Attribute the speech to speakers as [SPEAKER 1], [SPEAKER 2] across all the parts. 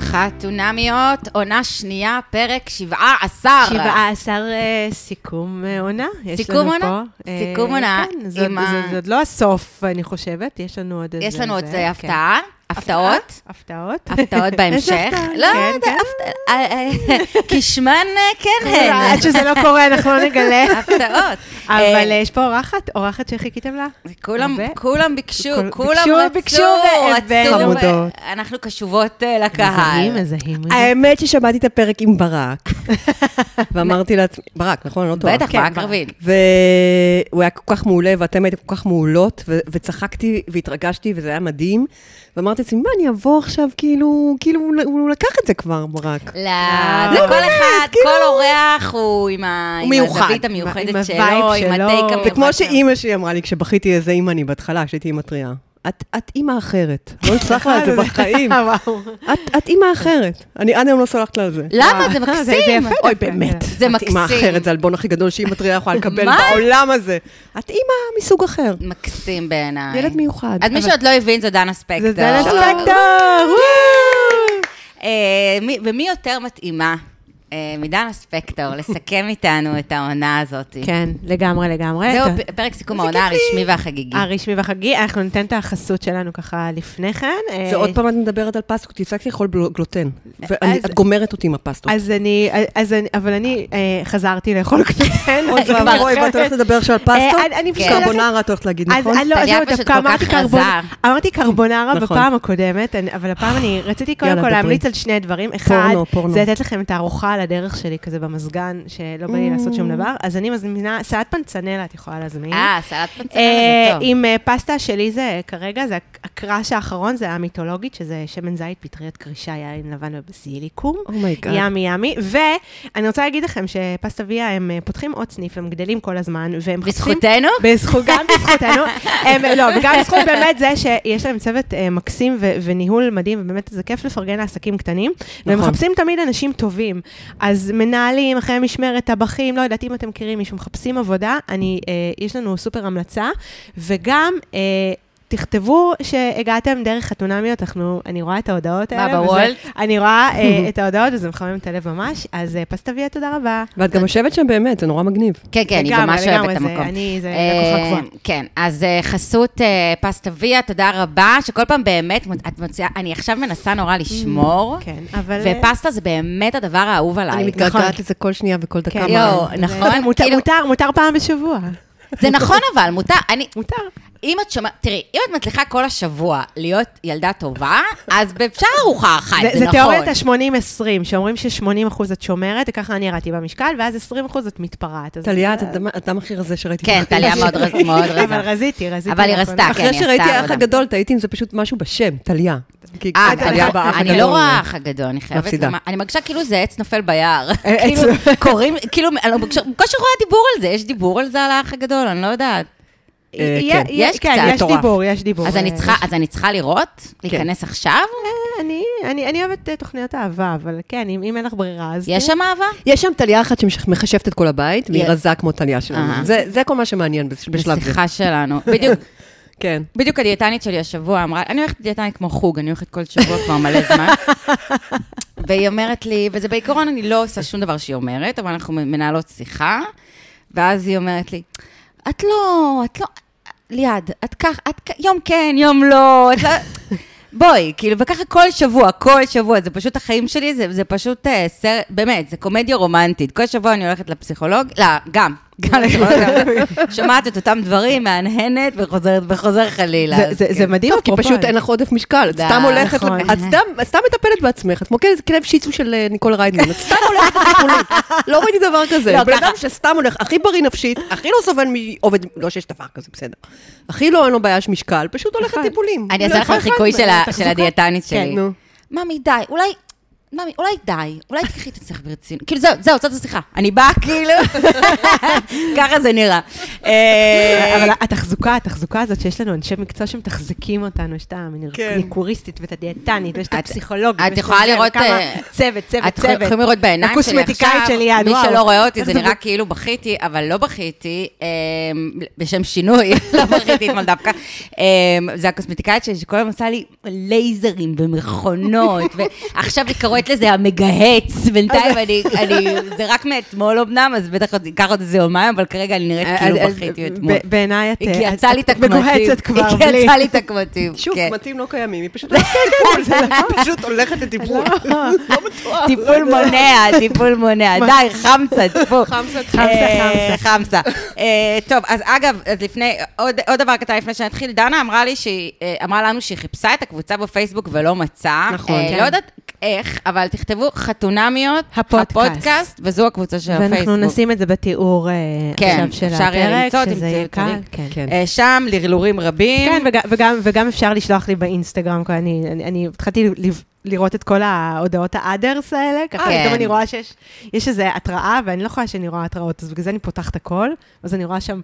[SPEAKER 1] חתונמיות, עונה שנייה, פרק 17.
[SPEAKER 2] 17 אה, סיכום אה, עונה. יש
[SPEAKER 1] סיכום
[SPEAKER 2] לנו
[SPEAKER 1] עונה?
[SPEAKER 2] פה. אה,
[SPEAKER 1] סיכום עונה
[SPEAKER 2] כן,
[SPEAKER 1] עם
[SPEAKER 2] זה עוד-
[SPEAKER 1] ה-
[SPEAKER 2] זה- זה עוד לא הסוף, אני חושבת. יש לנו עוד איזה...
[SPEAKER 1] יש לנו עוד
[SPEAKER 2] זה,
[SPEAKER 1] אה,
[SPEAKER 2] כן.
[SPEAKER 1] הפתעה,
[SPEAKER 2] אה,
[SPEAKER 1] הפתעות.
[SPEAKER 2] הפתעות.
[SPEAKER 1] הפתעות בהמשך.
[SPEAKER 2] הפתעה?
[SPEAKER 1] לא,
[SPEAKER 2] כן,
[SPEAKER 1] אתה-
[SPEAKER 2] כן.
[SPEAKER 1] הפת- אה, אה, קשמן אה, כן הן.
[SPEAKER 2] עד שזה לא קורה, אנחנו לא נגלה.
[SPEAKER 1] אה, הפתעות.
[SPEAKER 2] אבל
[SPEAKER 1] אה,
[SPEAKER 2] אה, יש פה אורחת, אורחת שחיכיתם לה?
[SPEAKER 1] כולם,
[SPEAKER 2] הרבה.
[SPEAKER 1] כולם ביקשו,
[SPEAKER 2] כל-
[SPEAKER 1] כולם
[SPEAKER 2] ביקשו,
[SPEAKER 1] רצו,
[SPEAKER 2] ביקשו והבאנו.
[SPEAKER 1] רצו.
[SPEAKER 2] חמודות.
[SPEAKER 1] אנחנו קשובות אה, לקהל.
[SPEAKER 2] מזהים, מזהים.
[SPEAKER 3] האמת ששמעתי את הפרק עם ברק, ואמרתי לעצמי, ברק, נכון? אני לא טועה.
[SPEAKER 1] בטח,
[SPEAKER 2] כן,
[SPEAKER 1] ברק
[SPEAKER 2] ברק.
[SPEAKER 1] רביד.
[SPEAKER 3] והוא היה כל כך מעולה, ואתם הייתם כל כך מעולות, ו- וצחקתי והתרגשתי, וזה היה מדהים. ואמרתי לעצמי, מה, אני אבוא עכשיו, כאילו, כאילו, הוא- הוא לקח את זה כבר, ברק.
[SPEAKER 1] לא, זה כל אחד,
[SPEAKER 3] כאילו-
[SPEAKER 1] כל אורח הוא עם ה- עם
[SPEAKER 3] מיוחד.
[SPEAKER 1] הזווית
[SPEAKER 3] עם ה-
[SPEAKER 1] המיוחדת
[SPEAKER 2] עם הווייב
[SPEAKER 1] שלו, עם
[SPEAKER 2] שלו.
[SPEAKER 1] הטייק המיוחד.
[SPEAKER 3] זה
[SPEAKER 1] שלו.
[SPEAKER 3] כמו שאימא שלי אמרה לי, כשבכיתי איזה אימא אני בהתחלה, כשהייתי אימא טריה. את, את אימא אחרת. לא אצלח לה את זה בחיים.
[SPEAKER 2] אה, וואו.
[SPEAKER 3] את, את אימא אחרת. אני עד היום לא סולחת לה על זה.
[SPEAKER 1] למה? זה
[SPEAKER 2] אה, זה- זה יפה
[SPEAKER 1] מקסים. אה.
[SPEAKER 2] דווקא. כן.
[SPEAKER 3] אוי, באמת.
[SPEAKER 1] זה
[SPEAKER 3] את אימא
[SPEAKER 1] מקסים.
[SPEAKER 3] אחרת, זה העלבון הכי גדול שאימא טריה יכולה לקבל
[SPEAKER 1] מה?
[SPEAKER 3] בעולם הזה. את אימא מסוג אחר.
[SPEAKER 1] מקסים בעיניי.
[SPEAKER 3] ילד מיוחד.
[SPEAKER 1] אז מי
[SPEAKER 3] אבל-
[SPEAKER 1] שעוד לא הבין זו דנה ספקטור.
[SPEAKER 2] זה דנה
[SPEAKER 1] שלום.
[SPEAKER 2] ספקטור! וואו.
[SPEAKER 1] אה, מי- ומי יותר מתאימה אה, מדנה ספקטור לסכם איתנו את העונה הזאת?
[SPEAKER 2] כן, לגמרי, לגמרי.
[SPEAKER 1] זהו
[SPEAKER 2] טוב.
[SPEAKER 1] פ- פרק סיכום העונה הרשמי והחגיגי.
[SPEAKER 2] הרשמי והחגי, אנחנו ניתן את החסות שלנו ככה לפני כן.
[SPEAKER 3] זה
[SPEAKER 2] אה,
[SPEAKER 3] עוד פעם את מדברת על פסטות, הפסקתי לאכול בלו- גלוטן.
[SPEAKER 2] אז-
[SPEAKER 3] ואת גומרת אותי עם הפסטות.
[SPEAKER 2] אז אני, אז אני, אבל אני אה, חזרתי לאכול גלוטן.
[SPEAKER 3] אוי
[SPEAKER 1] כבר-
[SPEAKER 3] ואבוי, ואת
[SPEAKER 2] לא
[SPEAKER 3] הולכת לדבר עכשיו על
[SPEAKER 2] אה,
[SPEAKER 3] פסטות?
[SPEAKER 2] אני- אני פשוט הולכת-
[SPEAKER 3] קרבונרה את הולכת להגיד,
[SPEAKER 2] אז
[SPEAKER 3] נכון?
[SPEAKER 2] אני לא, אז
[SPEAKER 1] טליה
[SPEAKER 2] זהו,
[SPEAKER 1] פשוט
[SPEAKER 2] דווקא
[SPEAKER 1] כל כך
[SPEAKER 2] אמרתי קרבונרה,
[SPEAKER 1] רזה.
[SPEAKER 2] אמרתי קרבונרה
[SPEAKER 3] נכון.
[SPEAKER 2] בפעם הקודמת, אני- אבל הפעם אני רציתי קודם
[SPEAKER 3] יאללה,
[SPEAKER 2] כל
[SPEAKER 3] דברי.
[SPEAKER 2] להמליץ על שני דברים. אחד,
[SPEAKER 3] פורנו, פורנו.
[SPEAKER 2] זה לתת לכם את הארוחה על הדרך שלי, כזה במזגן, שלא בא לי לעשות שום דבר. אז אני מזמינה, סלט פנצנלה את יכולה להזמין.
[SPEAKER 1] אה, סלט פצצה,
[SPEAKER 2] אה,
[SPEAKER 1] זה טוב.
[SPEAKER 2] עם אה, פסטה שלי זה כרגע, זה הק- הקרש האחרון, זה המיתולוגית, שזה שמן זית, פטריות קרישה, יין לבן ובזיליקום.
[SPEAKER 3] אומייגאד.
[SPEAKER 2] ימי ימי. ואני רוצה להגיד לכם שפסטה ויה, הם אה, פותחים עוד סניף, הם גדלים כל הזמן, והם חושפים...
[SPEAKER 1] בזכותנו?
[SPEAKER 2] בזכות, גם בזכותנו, הם, לא, וגם בזכות באמת זה שיש להם צוות אה, מקסים ו- וניהול מדהים, ובאמת זה כיף לפרגן לעסקים קטנים, והם
[SPEAKER 3] נכון.
[SPEAKER 2] מחפשים תמיד אנשים טובים. אז מנהלים, אחרי משמרת, טבחים, לא יודעת אם אתם מכירים מישהו, מחפשים עבודה, אני, אה, יש לנו סופר המלצה, וגם... אה, תכתבו שהגעתם דרך חתונמיות, אנחנו, אני רואה את ההודעות
[SPEAKER 1] מה,
[SPEAKER 2] האלה. וזה-
[SPEAKER 1] בוולט?
[SPEAKER 2] אני רואה אה, את ההודעות וזה מחמם את הלב ממש, אז אה, פסטביה, תודה רבה.
[SPEAKER 3] ואת גם יושבת שם באמת, זה נורא מגניב.
[SPEAKER 1] כן, כן, אני
[SPEAKER 2] לגמרי,
[SPEAKER 1] ממש אוהבת
[SPEAKER 2] לגמרי,
[SPEAKER 1] את
[SPEAKER 2] זה-
[SPEAKER 1] המקום.
[SPEAKER 2] אני, זה
[SPEAKER 1] אה,
[SPEAKER 2] לקוחה גבוהה.
[SPEAKER 1] כן, אז אה, חסות אה, פסטה ויה, תודה רבה, שכל פעם באמת, מוצ- את מוציאה, אני עכשיו מנסה נורא לשמור,
[SPEAKER 2] Mm, כן, אבל... אה,
[SPEAKER 1] ופסטה זה באמת הדבר האהוב
[SPEAKER 3] אני
[SPEAKER 1] עליי. נכון.
[SPEAKER 3] מתגעגעת לזה כל שנייה וכל דקה.
[SPEAKER 2] כן.
[SPEAKER 1] יואו,
[SPEAKER 3] מה-
[SPEAKER 1] נכון?
[SPEAKER 2] מותר,
[SPEAKER 1] כאילו,
[SPEAKER 2] מותר, מותר פעם בשבוע.
[SPEAKER 1] זה נכון אבל, מותר, אני,
[SPEAKER 2] מותר.
[SPEAKER 1] אם את שומעת, תראי, אם את מצליחה כל השבוע להיות ילדה טובה, אז אפשר ארוחה אחת,
[SPEAKER 2] זה,
[SPEAKER 1] זה
[SPEAKER 2] זה
[SPEAKER 1] נכון.
[SPEAKER 2] תיאוריית ה-80-20, שאומרים ש-80% את שומרת, וככה אני ירדתי במשקל, ואז 20% את מתפרעת. אז-
[SPEAKER 3] טליה, את האדם- האדם הכי רזה שראיתי.
[SPEAKER 1] כן,
[SPEAKER 3] בחיים.
[SPEAKER 1] טליה מאוד רז- מאוד
[SPEAKER 2] אבל
[SPEAKER 1] רזה.
[SPEAKER 2] רזיתי, רזיתי.
[SPEAKER 1] אבל היא
[SPEAKER 2] נכון.
[SPEAKER 1] רזתה, כן,
[SPEAKER 3] אחרי
[SPEAKER 1] היא עשתה
[SPEAKER 3] שראיתי האח
[SPEAKER 1] עבודה.
[SPEAKER 3] הגדול, תהיתי אם זה פשוט משהו בשם, טליה. כי-
[SPEAKER 1] אה,
[SPEAKER 3] כי טליה
[SPEAKER 1] אני-
[SPEAKER 3] באח
[SPEAKER 1] אני
[SPEAKER 3] הגדול.
[SPEAKER 1] לא רואה אח הגדול, אני חייבת
[SPEAKER 3] מפסידה.
[SPEAKER 1] לומר. אני מרגישה כאילו זה עץ נופל ביער.
[SPEAKER 2] אה,
[SPEAKER 1] כאילו,
[SPEAKER 2] עץ-
[SPEAKER 1] קוראים, כאילו, אני לא- בקושי רואה דיבור על זה. יש דיבור על זה על האח הגדול? אני לא יודעת.
[SPEAKER 2] יהיה-
[SPEAKER 1] אה,
[SPEAKER 3] כן.
[SPEAKER 2] אה, יהיה-
[SPEAKER 1] יש
[SPEAKER 2] כן,
[SPEAKER 1] קצת.
[SPEAKER 2] יש
[SPEAKER 3] מטורף.
[SPEAKER 2] דיבור, יש כן. דיבור.
[SPEAKER 1] אז אני
[SPEAKER 2] אה,
[SPEAKER 1] צריכה- אז אני צריכה לראות? להיכנס עכשיו?
[SPEAKER 2] אה, אני- אני אני אוהבת אה, תוכניות אהבה, אבל כן, אם אם אין לך ברירה, אז...
[SPEAKER 1] יש שם אהבה?
[SPEAKER 3] יש שם טליה אחת שמחשבת את כל הבית, והיא
[SPEAKER 1] יא-
[SPEAKER 3] רזה כמו טליה שלנו.
[SPEAKER 1] אה.
[SPEAKER 3] זה- זה כל מה שמעניין בש- בשלב זה.
[SPEAKER 1] בשיחה שלנו. בדיוק,
[SPEAKER 3] כן.
[SPEAKER 1] בדיוק הדיאטנית שלי השבוע אמרה, אני הולכת דיאטנית כמו חוג, אני הולכת כל שבוע כבר מלא זמן. והיא אומרת לי, וזה בעיקרון, אני לא עושה שום דבר שהיא אומרת, אבל אנחנו מנהלות שיחה, ואז היא אומרת לי, את לא, את לא, ליעד, את כך, את כ- יום כן, יום לא, את לא... בואי, כאילו, וככה כל שבוע, כל שבוע, זה פשוט החיים שלי, זה, זה פשוט אה, סרט, באמת, זה קומדיה רומנטית. כל שבוע אני הולכת לפסיכולוג, לא, גם, גם לפסיכולוג, גם- שומעת את אותם דברים, מהנהנת וחוזרת, וחוזר חלילה.
[SPEAKER 2] זה-
[SPEAKER 1] אז
[SPEAKER 2] זה- זה
[SPEAKER 1] כן.
[SPEAKER 2] מדהים,
[SPEAKER 3] טוב, כי
[SPEAKER 2] אפרופו.
[SPEAKER 3] פשוט אין לך עודף משקל, את
[SPEAKER 1] די,
[SPEAKER 3] סתם הולכת,
[SPEAKER 2] נכון.
[SPEAKER 3] את סתם- את סתם מטפלת בעצמך, את כמו כאיזה כלב שיצו של אה, ניקול ריידמן, את סתם הולכת לטיפולים. לא ראיתי דבר כזה.
[SPEAKER 1] לא,
[SPEAKER 3] בן
[SPEAKER 1] ככה.
[SPEAKER 3] אדם שסתם הולך, הכי בריא נפשית, הכי לא סובל מעובד, לא שיש דבר כזה, בסדר. הכי לא, אין לו בעיה של משקל,
[SPEAKER 1] נכון.
[SPEAKER 3] פשוט הולך לטיפולים. לא
[SPEAKER 1] אני אעשה לך חיקוי של ה- של הדיאטנית שלי.
[SPEAKER 3] נו.
[SPEAKER 1] ממי, די, אולי... מאמי, אולי די, אולי תקחי את עצמך ברצינות. כאילו, זהו, זהו, זאת השיחה. אני באה, כאילו, ככה זה נראה. אה,
[SPEAKER 2] אבל התחזוקה, התחזוקה הזאת שיש לנו אנשי מקצוע שמתחזקים אותנו, יש את
[SPEAKER 3] כן.
[SPEAKER 2] הניקוריסטית ואת הדיאטנית, ויש את
[SPEAKER 1] את-
[SPEAKER 2] הפסיכולוגית.
[SPEAKER 1] את
[SPEAKER 2] ויש
[SPEAKER 1] יכולה
[SPEAKER 2] לנו
[SPEAKER 1] לראות,
[SPEAKER 2] כמה-
[SPEAKER 1] אה,
[SPEAKER 2] צוות, צוות,
[SPEAKER 1] את יכולים- יכולים
[SPEAKER 2] צוות.
[SPEAKER 1] לראות בעיניים שלי עכשיו,
[SPEAKER 2] הקוסמטיקאית שלי, יד,
[SPEAKER 1] מי
[SPEAKER 2] וואו.
[SPEAKER 1] שלא רואה אותי, זה
[SPEAKER 2] איך זה
[SPEAKER 1] נראה
[SPEAKER 2] ב-
[SPEAKER 1] כאילו בכיתי, אבל לא בכיתי, אה, בשם שינוי, לא בכיתי אתמול דווקא. אה, זה הקוסמטיקאית שלי, שכל היום עושה לי לייזרים ומכונות, ועכשיו היא קוראת לזה המגהץ, בינתיים אני, אני- זה רק מאתמול אמנם, אז בטח עוד- ייקח עוד איזה יומיים, אבל כרגע אני נראית כאילו
[SPEAKER 2] אז- אז-
[SPEAKER 1] בכיתי
[SPEAKER 2] אה, ב-
[SPEAKER 1] אתמול.
[SPEAKER 2] בעיניי את...
[SPEAKER 1] היא
[SPEAKER 2] אה,
[SPEAKER 1] קייצה לי את הקמטים.
[SPEAKER 2] מגוהצת כבר, בלי...
[SPEAKER 1] היא קייצה לי את הקמטים,
[SPEAKER 3] שוב,
[SPEAKER 1] כן.
[SPEAKER 3] קמטים לא קיימים, היא פשוט הולכת לטיפול, זה לא- פשוט הולכת לטיפול. לא מתואר.
[SPEAKER 1] טיפול מונע, טיפול מונע. די, חמסה, טפו.
[SPEAKER 2] חמסה,
[SPEAKER 1] אה,
[SPEAKER 2] חמסה,
[SPEAKER 1] חמסה. אה, טוב, אז אגב, אז לפני, עוד עוד דבר קטן לפני שנתחיל, דנה אמרה לי שהיא, אה, אמרה לנו שהיא חיפשה את הקבוצה בפייסבוק ולא מצאה.
[SPEAKER 3] נכון,
[SPEAKER 1] אה,
[SPEAKER 2] כן.
[SPEAKER 1] לא יודעת איך, אבל תכתבו חתונמיות,
[SPEAKER 2] הפודקאסט.
[SPEAKER 1] וזו הקבוצה של הפייסבוק.
[SPEAKER 2] ואנחנו נשים את זה בתיאור אה,
[SPEAKER 1] כן,
[SPEAKER 2] עכשיו של
[SPEAKER 1] אפשר יהיה
[SPEAKER 2] הפרק,
[SPEAKER 1] למצוא,
[SPEAKER 2] שזה יהיה
[SPEAKER 1] תמצאו את
[SPEAKER 2] קל.
[SPEAKER 1] הלינק.
[SPEAKER 2] כן.
[SPEAKER 3] כן.
[SPEAKER 1] אה, שם לרלורים רבים.
[SPEAKER 2] כן, וג- וגם, וגם אפשר לשלוח לי באינסטגרם, כי אני, אני, אני התחלתי לב- לראות את כל ההודעות האדרס האלה, ככה
[SPEAKER 1] כן.
[SPEAKER 2] פתאום אני רואה שיש יש איזו התראה, ואני לא יכולה שאני רואה התראות, אז בגלל זה אני פותחת הכל, אז אני רואה שם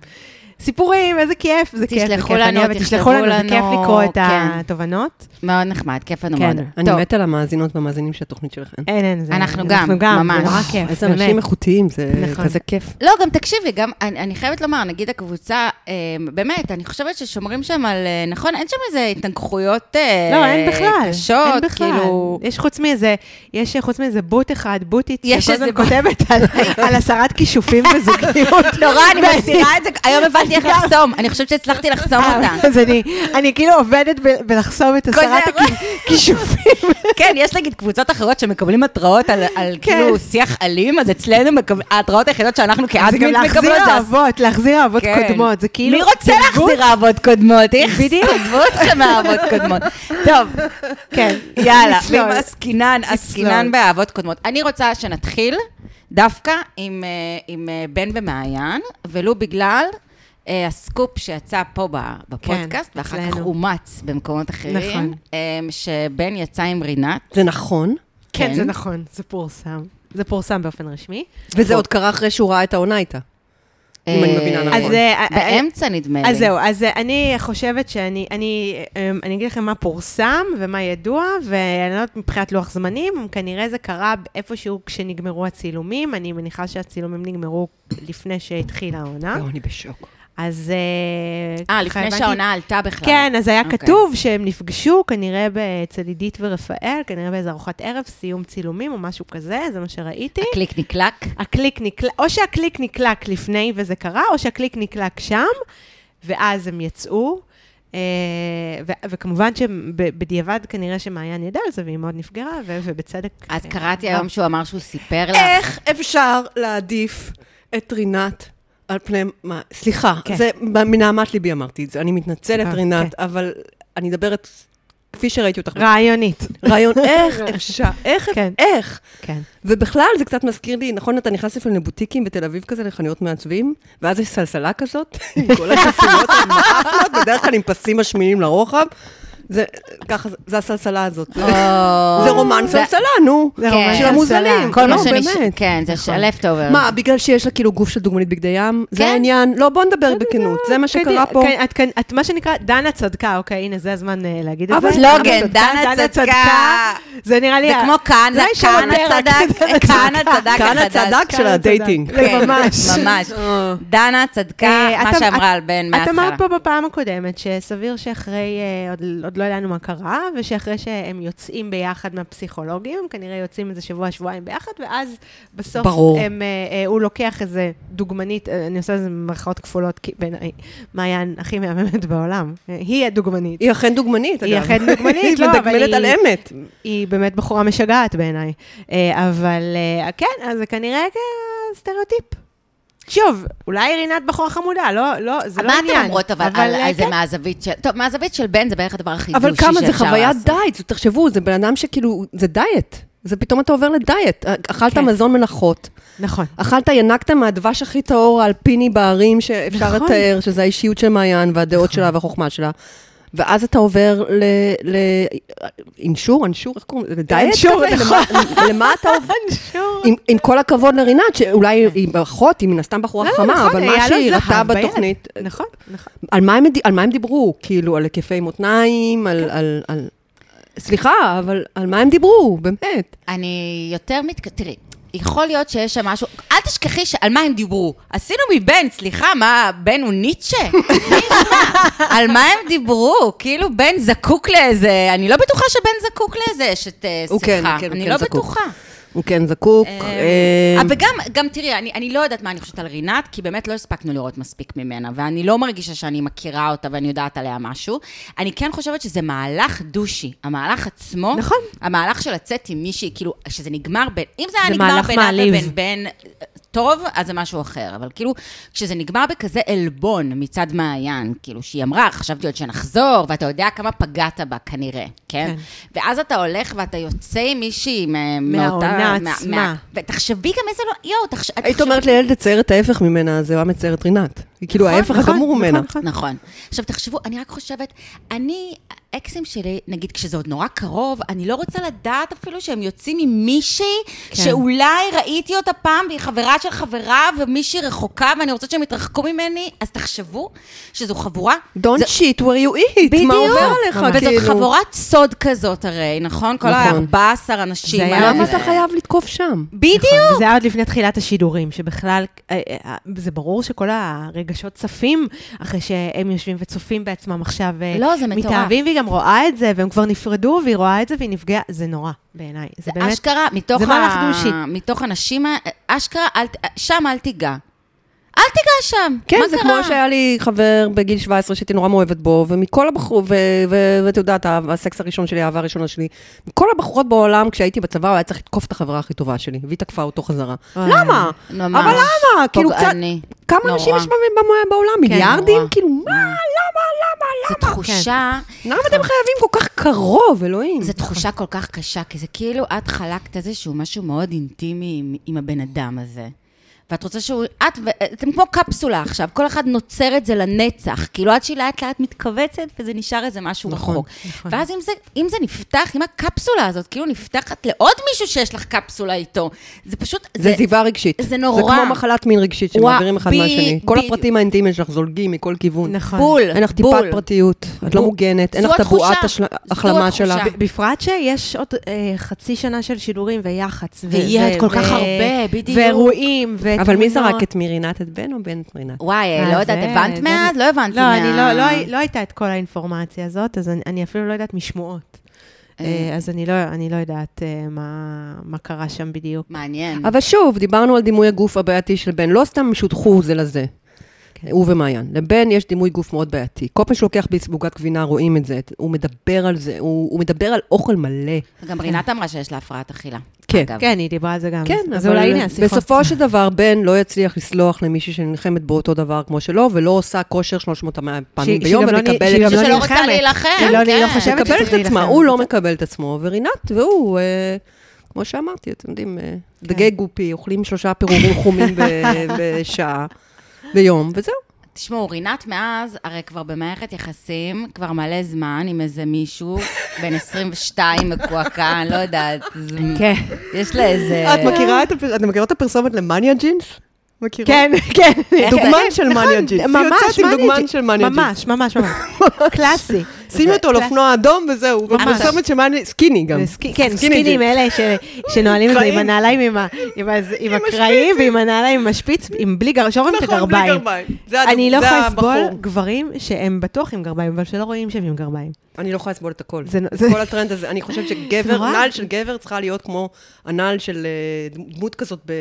[SPEAKER 2] סיפורים, איזה כיף, זה כיף, זה
[SPEAKER 1] תשלחו
[SPEAKER 2] כיף,
[SPEAKER 1] לנו,
[SPEAKER 2] אני אוהבת,
[SPEAKER 1] תכתבו
[SPEAKER 2] תשלחו לנו, זה
[SPEAKER 1] לנו,
[SPEAKER 2] כיף לקרוא את
[SPEAKER 1] כן.
[SPEAKER 2] התובנות.
[SPEAKER 1] מאוד נחמד, כיף לנו
[SPEAKER 2] כן.
[SPEAKER 1] מאוד.
[SPEAKER 3] אני
[SPEAKER 1] טוב,
[SPEAKER 3] מתה למאזינות והמאזינים של התוכנית שלכם.
[SPEAKER 2] אין, אין, זה...
[SPEAKER 1] אנחנו גם,
[SPEAKER 2] זה
[SPEAKER 1] ממש.
[SPEAKER 2] נורא כיף,
[SPEAKER 3] איזה אנשים
[SPEAKER 2] באמת.
[SPEAKER 3] איכותיים, זה
[SPEAKER 2] נכון.
[SPEAKER 3] כזה כיף.
[SPEAKER 1] לא, גם תקשיבי, גם אני, אני חייבת לומר, נגיד הקבוצה, אה, באמת, אני חושבת ששומרים שם על, אה, נכון, אין שם איזה התנגחויות אה,
[SPEAKER 2] לא, אין בכלל,
[SPEAKER 1] קשות,
[SPEAKER 2] אין בכלל.
[SPEAKER 1] כאילו...
[SPEAKER 2] יש חוץ מאיזה, יש חוץ מאיזה בוט אחד, בוטית,
[SPEAKER 1] יש
[SPEAKER 2] שכל הזמן
[SPEAKER 1] איזה בוט.
[SPEAKER 2] כותבת על- על הסרת כישופים וזוגיות.
[SPEAKER 1] נורא, אני
[SPEAKER 2] ואני-
[SPEAKER 1] מסירה את זה, היום הבנתי איך
[SPEAKER 2] לא.
[SPEAKER 1] לחסום, אני חושבת שהצלחתי לחסום אותה.
[SPEAKER 2] אז אני, אני כאילו עובדת ב- בלחסום את הסרת
[SPEAKER 1] כל זה-
[SPEAKER 2] הכישופים.
[SPEAKER 1] כן, יש נגיד קבוצות אחרות שמקבלים התראות על- על
[SPEAKER 2] כן.
[SPEAKER 1] כאילו שיח אלים, אז אצלנו מקב- ההתראות היחידות שאנחנו
[SPEAKER 2] זה גם
[SPEAKER 1] כאדמינס
[SPEAKER 2] להחזיר
[SPEAKER 1] מקבלות, זה
[SPEAKER 2] אהבות, להחזיר אהבות
[SPEAKER 1] כן.
[SPEAKER 2] קודמות, זה כאילו...
[SPEAKER 1] מי רוצה
[SPEAKER 2] זה גוט.
[SPEAKER 1] להחזיר אהבות קודמות? איך?
[SPEAKER 2] בדיוק.
[SPEAKER 1] עזבו אתכם מהאהבות קודמות. טוב,
[SPEAKER 2] כן.
[SPEAKER 1] יאללה,
[SPEAKER 2] נצלול.
[SPEAKER 1] ואם עסקינן, עסקינן באהבות קודמות. אני רוצה שנתחיל דווקא עם, אה, עם אה, בן במעיין, ולו בגלל אה, הסקופ שיצא פה ב- בפודקאסט,
[SPEAKER 2] כן,
[SPEAKER 1] ואחר כך
[SPEAKER 2] אצלנו.
[SPEAKER 1] אומץ במקומות אחרים,
[SPEAKER 2] נכון.
[SPEAKER 1] אה, שבן יצא עם רינת.
[SPEAKER 3] זה נכון,
[SPEAKER 2] כן,
[SPEAKER 1] כן.
[SPEAKER 2] זה נכון, זה פורסם. זה פורסם באופן רשמי.
[SPEAKER 3] וזה
[SPEAKER 2] נכון.
[SPEAKER 3] עוד קרה אחרי שהוא ראה את העונה איתה. אם אני
[SPEAKER 1] אה,
[SPEAKER 3] מבינה נכון.
[SPEAKER 2] אז אה, אה,
[SPEAKER 1] באמצע נדמה לי.
[SPEAKER 2] אז זהו, אז אה, אני חושבת שאני, אני, אמ, אני אגיד לכם מה פורסם ומה ידוע, ואני לא יודעת מבחינת לוח זמנים, כנראה זה קרה איפשהו כשנגמרו הצילומים, אני מניחה שהצילומים נגמרו לפני שהתחילה העונה.
[SPEAKER 3] לא, אני בשוק.
[SPEAKER 2] אז...
[SPEAKER 1] אה, לפני שהעונה עלתה בכלל.
[SPEAKER 2] כן, אז היה
[SPEAKER 1] אוקיי.
[SPEAKER 2] כתוב שהם נפגשו כנראה ב- אצל עידית ורפאל, כנראה באיזו ארוחת ערב, סיום צילומים או משהו כזה, זה מה שראיתי.
[SPEAKER 1] קליק נקלק.
[SPEAKER 2] הקליק נקלק, או שהקליק נקלק לפני וזה קרה, או שהקליק נקלק שם, ואז הם יצאו. אה, ו- וכמובן שבדיעבד כנראה שמעיין ידע על זה, והיא מאוד נפגרה, ו- ובצדק.
[SPEAKER 1] אז
[SPEAKER 2] אה,
[SPEAKER 1] קראתי
[SPEAKER 2] אה,
[SPEAKER 1] היום שהוא אמר שהוא סיפר לך.
[SPEAKER 3] איך אפשר להעדיף את רינת על פני... מה- סליחה,
[SPEAKER 2] כן.
[SPEAKER 3] זה מנהמת ליבי אמרתי את זה. אני מתנצלת,
[SPEAKER 2] אה,
[SPEAKER 3] רינת, אבל אני מדברת כפי שראיתי אותך.
[SPEAKER 2] רעיונית,
[SPEAKER 3] רעיון, איך אפשר? איך?
[SPEAKER 2] כן.
[SPEAKER 3] איך?
[SPEAKER 2] כן.
[SPEAKER 3] ובכלל, זה קצת מזכיר לי, נכון, אתה נכנס לפעמים לבוטיקים בתל אביב כזה, לחנויות מעצבים, ואז יש סלסלה כזאת, עם כל החסויות המאפלות, בדרך כלל עם פסים משמינים לרוחב. זה ככה, זה- זה הסלסלה הזאת.
[SPEAKER 1] או.
[SPEAKER 3] זה רומן סלסלה, נו.
[SPEAKER 2] אה. זה
[SPEAKER 1] כן.
[SPEAKER 2] רומן
[SPEAKER 1] של
[SPEAKER 3] המוזלים.
[SPEAKER 1] כל מה
[SPEAKER 3] לא,
[SPEAKER 1] שנש...
[SPEAKER 3] באמת.
[SPEAKER 1] כן, זה
[SPEAKER 2] נכון.
[SPEAKER 1] של לפטובר.
[SPEAKER 3] מה, בגלל שיש לה כאילו גוף של דוגמנית בגדי ים? זה
[SPEAKER 1] כן.
[SPEAKER 3] העניין? לא, בוא נדבר בכנות, זה מה שקרה
[SPEAKER 2] כן,
[SPEAKER 3] פה.
[SPEAKER 2] כן, את, כן, את מה שנקרא, דנה צדקה, אוקיי, הנה, זה הזמן אה, להגיד את זה.
[SPEAKER 3] אבל
[SPEAKER 1] סלוגן, דנה צדקה.
[SPEAKER 2] זה נראה לי...
[SPEAKER 1] זה
[SPEAKER 2] ה-
[SPEAKER 1] כמו כאן, זה
[SPEAKER 2] אולי של
[SPEAKER 1] כאן
[SPEAKER 2] הפרק, דנה
[SPEAKER 1] הצדק, כאן הצדק
[SPEAKER 3] כאן
[SPEAKER 1] החדש.
[SPEAKER 3] הצדק של
[SPEAKER 2] כאן
[SPEAKER 3] הדייטינג.
[SPEAKER 2] הצדק. זה
[SPEAKER 1] כן,
[SPEAKER 2] ממש.
[SPEAKER 1] ממש. דנה צדקה,
[SPEAKER 2] אה,
[SPEAKER 1] מה
[SPEAKER 2] את-
[SPEAKER 1] שאמרה
[SPEAKER 2] את-
[SPEAKER 1] על בן
[SPEAKER 2] את
[SPEAKER 1] מההתחלה.
[SPEAKER 2] אמרת פה בפעם הקודמת שסביר שאחרי, אה, עוד, עוד לא ידענו מה קרה, ושאחרי שהם יוצאים ביחד מהפסיכולוגים, הם כנראה יוצאים איזה שבוע, שבועיים ביחד, ואז בסוף
[SPEAKER 3] ברור.
[SPEAKER 2] הם, אה, אה, הוא לוקח איזה דוגמנית, אה, אני עושה איזה מירכאות כפולות, כי בעיניי מעיין הכי מהממת בעולם. אה, היא הדוגמנית.
[SPEAKER 3] היא אכן דוגמנית, אגב.
[SPEAKER 2] היא אכן דוגמנית, לא, אבל
[SPEAKER 3] היא מדגמנת
[SPEAKER 2] היא-
[SPEAKER 3] על אמת.
[SPEAKER 2] היא באמת בחורה משגעת בעיניי. אה, אבל אה, כן, אז זה כנראה אה, סטריאוטיפ. שוב, אולי רינת בחורה חמודה, לא, לא, זה לא
[SPEAKER 1] מה
[SPEAKER 2] עניין.
[SPEAKER 1] אתן אומרות אבל על
[SPEAKER 2] אה,
[SPEAKER 1] על זה
[SPEAKER 2] כן.
[SPEAKER 1] מהזווית של... טוב, מהזווית של בן זה בערך הדבר הכי דושי
[SPEAKER 2] כאילו
[SPEAKER 3] אבל
[SPEAKER 1] שאפשר לעשות.
[SPEAKER 3] כמה זה חוויית דייט, זה- תחשבו, זה בן אדם שכאילו, זה דייט. זה פתאום אתה עובר לדיאט. אכלת
[SPEAKER 2] כן.
[SPEAKER 3] מזון מנחות,
[SPEAKER 2] נכון.
[SPEAKER 3] אכלת, ינקת מהדבש הכי טהור האלפיני בערים שאפשר
[SPEAKER 2] נכון.
[SPEAKER 3] לתאר, שזה האישיות של מעיין והדעות שלה והחוכמה שלה. ואז אתה עובר ל... ל... אינשור, אנשור, איך קוראים לזה? לדיאט
[SPEAKER 2] אינשור,
[SPEAKER 3] כזה?
[SPEAKER 2] נכון.
[SPEAKER 3] למה, למה אתה עובר?
[SPEAKER 2] שור.
[SPEAKER 3] עם, עם כל הכבוד לרינת, שאולי היא אחות, היא מן הסתם בחורה
[SPEAKER 2] לא,
[SPEAKER 3] חמה,
[SPEAKER 2] נכון,
[SPEAKER 3] אבל
[SPEAKER 2] היה
[SPEAKER 3] מה
[SPEAKER 2] לו
[SPEAKER 3] שהיא
[SPEAKER 2] זהב
[SPEAKER 3] ראתה
[SPEAKER 2] ביד.
[SPEAKER 3] בתוכנית,
[SPEAKER 2] נכון, נכון.
[SPEAKER 3] על מה, הם, מד- על מה הם דיברו? כאילו, על היקפי מותניים,
[SPEAKER 2] כן.
[SPEAKER 3] על, על, על... סליחה, אבל על מה הם דיברו? באמת.
[SPEAKER 1] אני יותר מתק... תראי, יכול להיות שיש שם משהו... אל תשכחי שעל מה הם דיברו. עשינו מבן, סליחה, מה, בן הוא ניטשה? מי ישמע? על מה הם דיברו? כאילו בן זקוק לאיזה... אני לא בטוחה שבן זקוק לאיזה אשת אה,
[SPEAKER 3] הוא כן,
[SPEAKER 1] שמחה.
[SPEAKER 3] כן, הוא
[SPEAKER 1] אני
[SPEAKER 3] כן
[SPEAKER 1] לא
[SPEAKER 3] זקוק.
[SPEAKER 1] בטוחה.
[SPEAKER 3] הוא כן זקוק.
[SPEAKER 2] אמ,
[SPEAKER 1] אה,
[SPEAKER 3] אה,
[SPEAKER 1] וגם, גם תראי, אני, אני לא יודעת מה אני חושבת על רינת, כי באמת לא הספקנו לראות מספיק ממנה, ואני לא מרגישה שאני מכירה אותה ואני יודעת עליה משהו. אני כן חושבת שזה מהלך דושי, המהלך עצמו,
[SPEAKER 2] נכון.
[SPEAKER 1] המהלך של לצאת עם מישהי, כאילו, שזה נגמר בין, אם זה היה
[SPEAKER 2] זה
[SPEAKER 1] נגמר
[SPEAKER 2] מהלך
[SPEAKER 1] בין את
[SPEAKER 2] מעליב.
[SPEAKER 1] ובין בן אה, טוב, אז זה משהו אחר, אבל כאילו, כשזה נגמר בכזה עלבון מצד מעיין, כאילו, שהיא אמרה, חשבתי עוד שנחזור, ואתה יודע כמה פגעת בה, כנראה, כן?
[SPEAKER 2] כן.
[SPEAKER 1] ואז אתה הולך ואתה יוצא עם מישהי מ-
[SPEAKER 2] מהעונה
[SPEAKER 1] מאותה- מה-
[SPEAKER 2] עצמה.
[SPEAKER 1] מה- ותחשבי גם איזה לא... יואו, תחשבי...
[SPEAKER 3] היית אומרת לילד לצייר את ההפך ממנה, אז הוא היה מצייר את רינת. היא כאילו
[SPEAKER 2] נכון,
[SPEAKER 3] ההפך
[SPEAKER 2] נכון,
[SPEAKER 3] הגמור
[SPEAKER 2] נכון,
[SPEAKER 3] ממנה.
[SPEAKER 2] נכון.
[SPEAKER 1] נכון. עכשיו, תחשבו, אני רק חושבת, אני, האקסים שלי, נגיד, כשזה עוד נורא קרוב, אני לא רוצה לדעת אפילו שהם יוצאים עם מישהי
[SPEAKER 2] כן.
[SPEAKER 1] כן. שאולי ראיתי אותה פעם, והיא חברה של חברה, ומישהי רחוקה, ואני רוצה שהם יתרחקו ממני, אז תחשבו שזו חבורה...
[SPEAKER 3] Don't shit where you eat, מה עובר עליך,
[SPEAKER 1] וזאת
[SPEAKER 3] כאילו?
[SPEAKER 1] חבורת סוד כזאת הרי, נכון? כל
[SPEAKER 3] נכון. לא
[SPEAKER 1] ה-14 אנשים
[SPEAKER 2] זה היה-
[SPEAKER 1] האלה.
[SPEAKER 3] למה אתה חייב לתקוף שם?
[SPEAKER 1] בדיוק.
[SPEAKER 2] זה היה עוד לפני תחילת השידורים, שבכלל, אה, אה, זה ברור שכל הרגשות צפים אחרי שהם יושבים וצופים בעצמם עכשיו. אה,
[SPEAKER 1] לא, זה מטורף.
[SPEAKER 2] מתאהבים, והיא גם רואה את זה, והם כבר נפרדו, והיא רואה את זה, והיא נפגעה. זה נורא, בעיניי. זה באמת...
[SPEAKER 1] אשכרה, מתוך,
[SPEAKER 2] זה מהלך דושי.
[SPEAKER 1] מתוך הנשים, ה- אשכרה, אל, ת- שם אל תיגע. אל תיגע שם,
[SPEAKER 3] כן,
[SPEAKER 1] מה
[SPEAKER 3] זה
[SPEAKER 1] קרה?
[SPEAKER 3] כמו שהיה לי חבר בגיל 17 שהייתי נורא מאוהבת בו, ומכל הבחור, ו- ו- ואת יודעת, ה- הסקס הראשון שלי, האהבה הראשונה שלי, מכל הבחורות בעולם, כשהייתי בצבא, הוא היה צריך לתקוף את החברה הכי טובה שלי, והיא תקפה אותו חזרה.
[SPEAKER 2] וואי.
[SPEAKER 3] למה?
[SPEAKER 1] ממש.
[SPEAKER 3] אבל למה? כאילו קצת...
[SPEAKER 1] פוגעני.
[SPEAKER 3] כמה
[SPEAKER 1] נורא. כן,
[SPEAKER 3] אנשים יש במ- במ- בעולם? מיליארדים?
[SPEAKER 1] נורא. Mm.
[SPEAKER 3] כאילו, מה? למה? למה?
[SPEAKER 1] זו
[SPEAKER 3] למה?
[SPEAKER 1] תחושה,
[SPEAKER 3] למה אתם חייבים כל כך קרוב, אלוהים?
[SPEAKER 1] זו תחושה כל כך קשה, כי זה כאילו את חלקת איזשהו משהו מאוד אינטימי עם, עם הבן אדם הזה. ואת רוצה שהוא, את, ו- אתם כמו קפסולה עכשיו, כל אחד נוצר את זה לנצח, כאילו עד שהיא לאט לאט מתכווצת וזה נשאר איזה משהו
[SPEAKER 3] נכון,
[SPEAKER 1] רחוק.
[SPEAKER 2] נכון.
[SPEAKER 1] ואז אם זה, אם זה נפתח, אם הקפסולה הזאת כאילו נפתחת לעוד מישהו שיש לך קפסולה איתו, זה פשוט,
[SPEAKER 3] זה עזיבה רגשית.
[SPEAKER 1] זה נורא.
[SPEAKER 3] זה כמו מחלת מין רגשית
[SPEAKER 1] וואו,
[SPEAKER 3] שמעבירים אחד
[SPEAKER 1] ב-
[SPEAKER 3] מהשני. כל
[SPEAKER 1] ב-
[SPEAKER 3] הפרטים האינטימיים שלך זולגים מכל כיוון.
[SPEAKER 2] נכון.
[SPEAKER 1] בול,
[SPEAKER 3] אין לך טיפת
[SPEAKER 1] בול.
[SPEAKER 3] פרטיות, את לא
[SPEAKER 1] בול.
[SPEAKER 3] מוגנת, אין
[SPEAKER 1] זו
[SPEAKER 3] לך את הבועת
[SPEAKER 1] התחושה.
[SPEAKER 3] השל-
[SPEAKER 1] זו
[SPEAKER 3] החלמה
[SPEAKER 1] התחושה.
[SPEAKER 3] שלך.
[SPEAKER 1] ב-
[SPEAKER 2] בפרט שיש עוד אה, חצי שנה של שידורים ויח"צ. ו-
[SPEAKER 1] ויהיה
[SPEAKER 2] ו-
[SPEAKER 1] עוד כל כך
[SPEAKER 2] ו-
[SPEAKER 1] הרבה, בדיוק.
[SPEAKER 2] ואירועים, ותמונות.
[SPEAKER 3] אבל מי זרק את מירינת? את בן או בן את מירינת?
[SPEAKER 1] וואי,
[SPEAKER 2] אה,
[SPEAKER 1] לא יודעת,
[SPEAKER 2] זה-
[SPEAKER 1] הבנת
[SPEAKER 2] זה-
[SPEAKER 1] מאז? לא הבנתי
[SPEAKER 2] לא,
[SPEAKER 1] מה...
[SPEAKER 2] אני לא, לא, לא הייתה את כל האינפורמציה הזאת, אז אני, אני אפילו לא יודעת משמועות. אה, אז אני לא, אני לא יודעת אה, מה, מה קרה שם בדיוק.
[SPEAKER 1] מעניין.
[SPEAKER 3] אבל שוב, דיברנו על דימוי הגוף הבעייתי של בן, לא סתם שותחו זה לזה.
[SPEAKER 2] כן.
[SPEAKER 3] הוא ומעיין. לבן יש דימוי גוף מאוד בעייתי. כל פעם שהוא לוקח בעוגת גבינה, רואים את זה, הוא מדבר על זה, הוא הוא מדבר על אוכל מלא.
[SPEAKER 1] גם רינת אמרה שיש לה הפרעת אכילה.
[SPEAKER 3] כן.
[SPEAKER 1] אגב.
[SPEAKER 2] אוקיי. כן, היא דיברה על זה גם.
[SPEAKER 3] כן,
[SPEAKER 2] אז
[SPEAKER 3] אבל
[SPEAKER 2] אולי הנה השיחות.
[SPEAKER 3] בסופו של דבר, בן לא יצליח לסלוח למישהי שנלחמת באותו דבר כמו שלו, ולא עושה כושר 300 פעמים
[SPEAKER 2] שהיא-
[SPEAKER 3] ביום
[SPEAKER 2] שהיא גם לא נ-
[SPEAKER 3] ומקבלת
[SPEAKER 2] שהיא גם
[SPEAKER 1] מישהי
[SPEAKER 2] לא
[SPEAKER 1] שלא רוצה
[SPEAKER 2] נלחמת.
[SPEAKER 1] להילחם,
[SPEAKER 2] היא לא- היא לא
[SPEAKER 1] כן.
[SPEAKER 2] חושבת
[SPEAKER 3] מקבל
[SPEAKER 2] שצריך
[SPEAKER 3] את עצמה,
[SPEAKER 2] להילחם.
[SPEAKER 3] הוא לא מקבל את עצמו, ורינת, והוא, אה, כמו שאמרתי, אתם יודעים, אה, דגי גופי, אוכלים שלושה פירורים חומים ב- בשעה, ביום, וזהו.
[SPEAKER 1] תשמעו, רינת מאז, הרי כבר במערכת יחסים, כבר מלא זמן עם איזה מישהו, בן 22 מקועקע, אני לא יודעת. זה-
[SPEAKER 2] כן.
[SPEAKER 1] יש לה איזה...
[SPEAKER 3] אה, את מכירות את הפרסומת למאניה ג'ינס? מכירה?
[SPEAKER 2] כן, כן.
[SPEAKER 3] דוגמן
[SPEAKER 2] כן,
[SPEAKER 3] של
[SPEAKER 2] נכון,
[SPEAKER 3] מניה ג'ינס. היא
[SPEAKER 2] ממש
[SPEAKER 3] יוצאת עם
[SPEAKER 2] מניה
[SPEAKER 3] דוגמן
[SPEAKER 2] ג'ינס.
[SPEAKER 3] של מניה
[SPEAKER 2] ממש, ממש, ממש. קלאסי.
[SPEAKER 3] שימי אותו על אופנוע אדום וזהו,
[SPEAKER 2] בפרסומת
[SPEAKER 3] של מאניה, סקיני גם.
[SPEAKER 2] זה סקי- כן, סקינים אלה ש- שנועלים את זה עם
[SPEAKER 3] קרעים.
[SPEAKER 2] הנעליים, עם ה- עם ה- עם הקרעים ועם הנעליים עם השפיץ, עם בלי גר- שרואים את הגרביים.
[SPEAKER 3] נכון, זה הדוג-
[SPEAKER 2] אני לא
[SPEAKER 3] זה
[SPEAKER 2] יכולה לסבול
[SPEAKER 3] הבחור.
[SPEAKER 2] גברים שהם בטוח עם גרביים, אבל שלא רואים שהם עם גרביים.
[SPEAKER 3] אני לא יכולה לסבול את הכל.
[SPEAKER 2] זה- זה-
[SPEAKER 3] כל הטרנד הזה. אני חושבת
[SPEAKER 2] זה
[SPEAKER 3] שגבר,
[SPEAKER 2] נורא.
[SPEAKER 3] נעל של גבר צריכה להיות כמו הנעל של אה, דמות כזאת ב-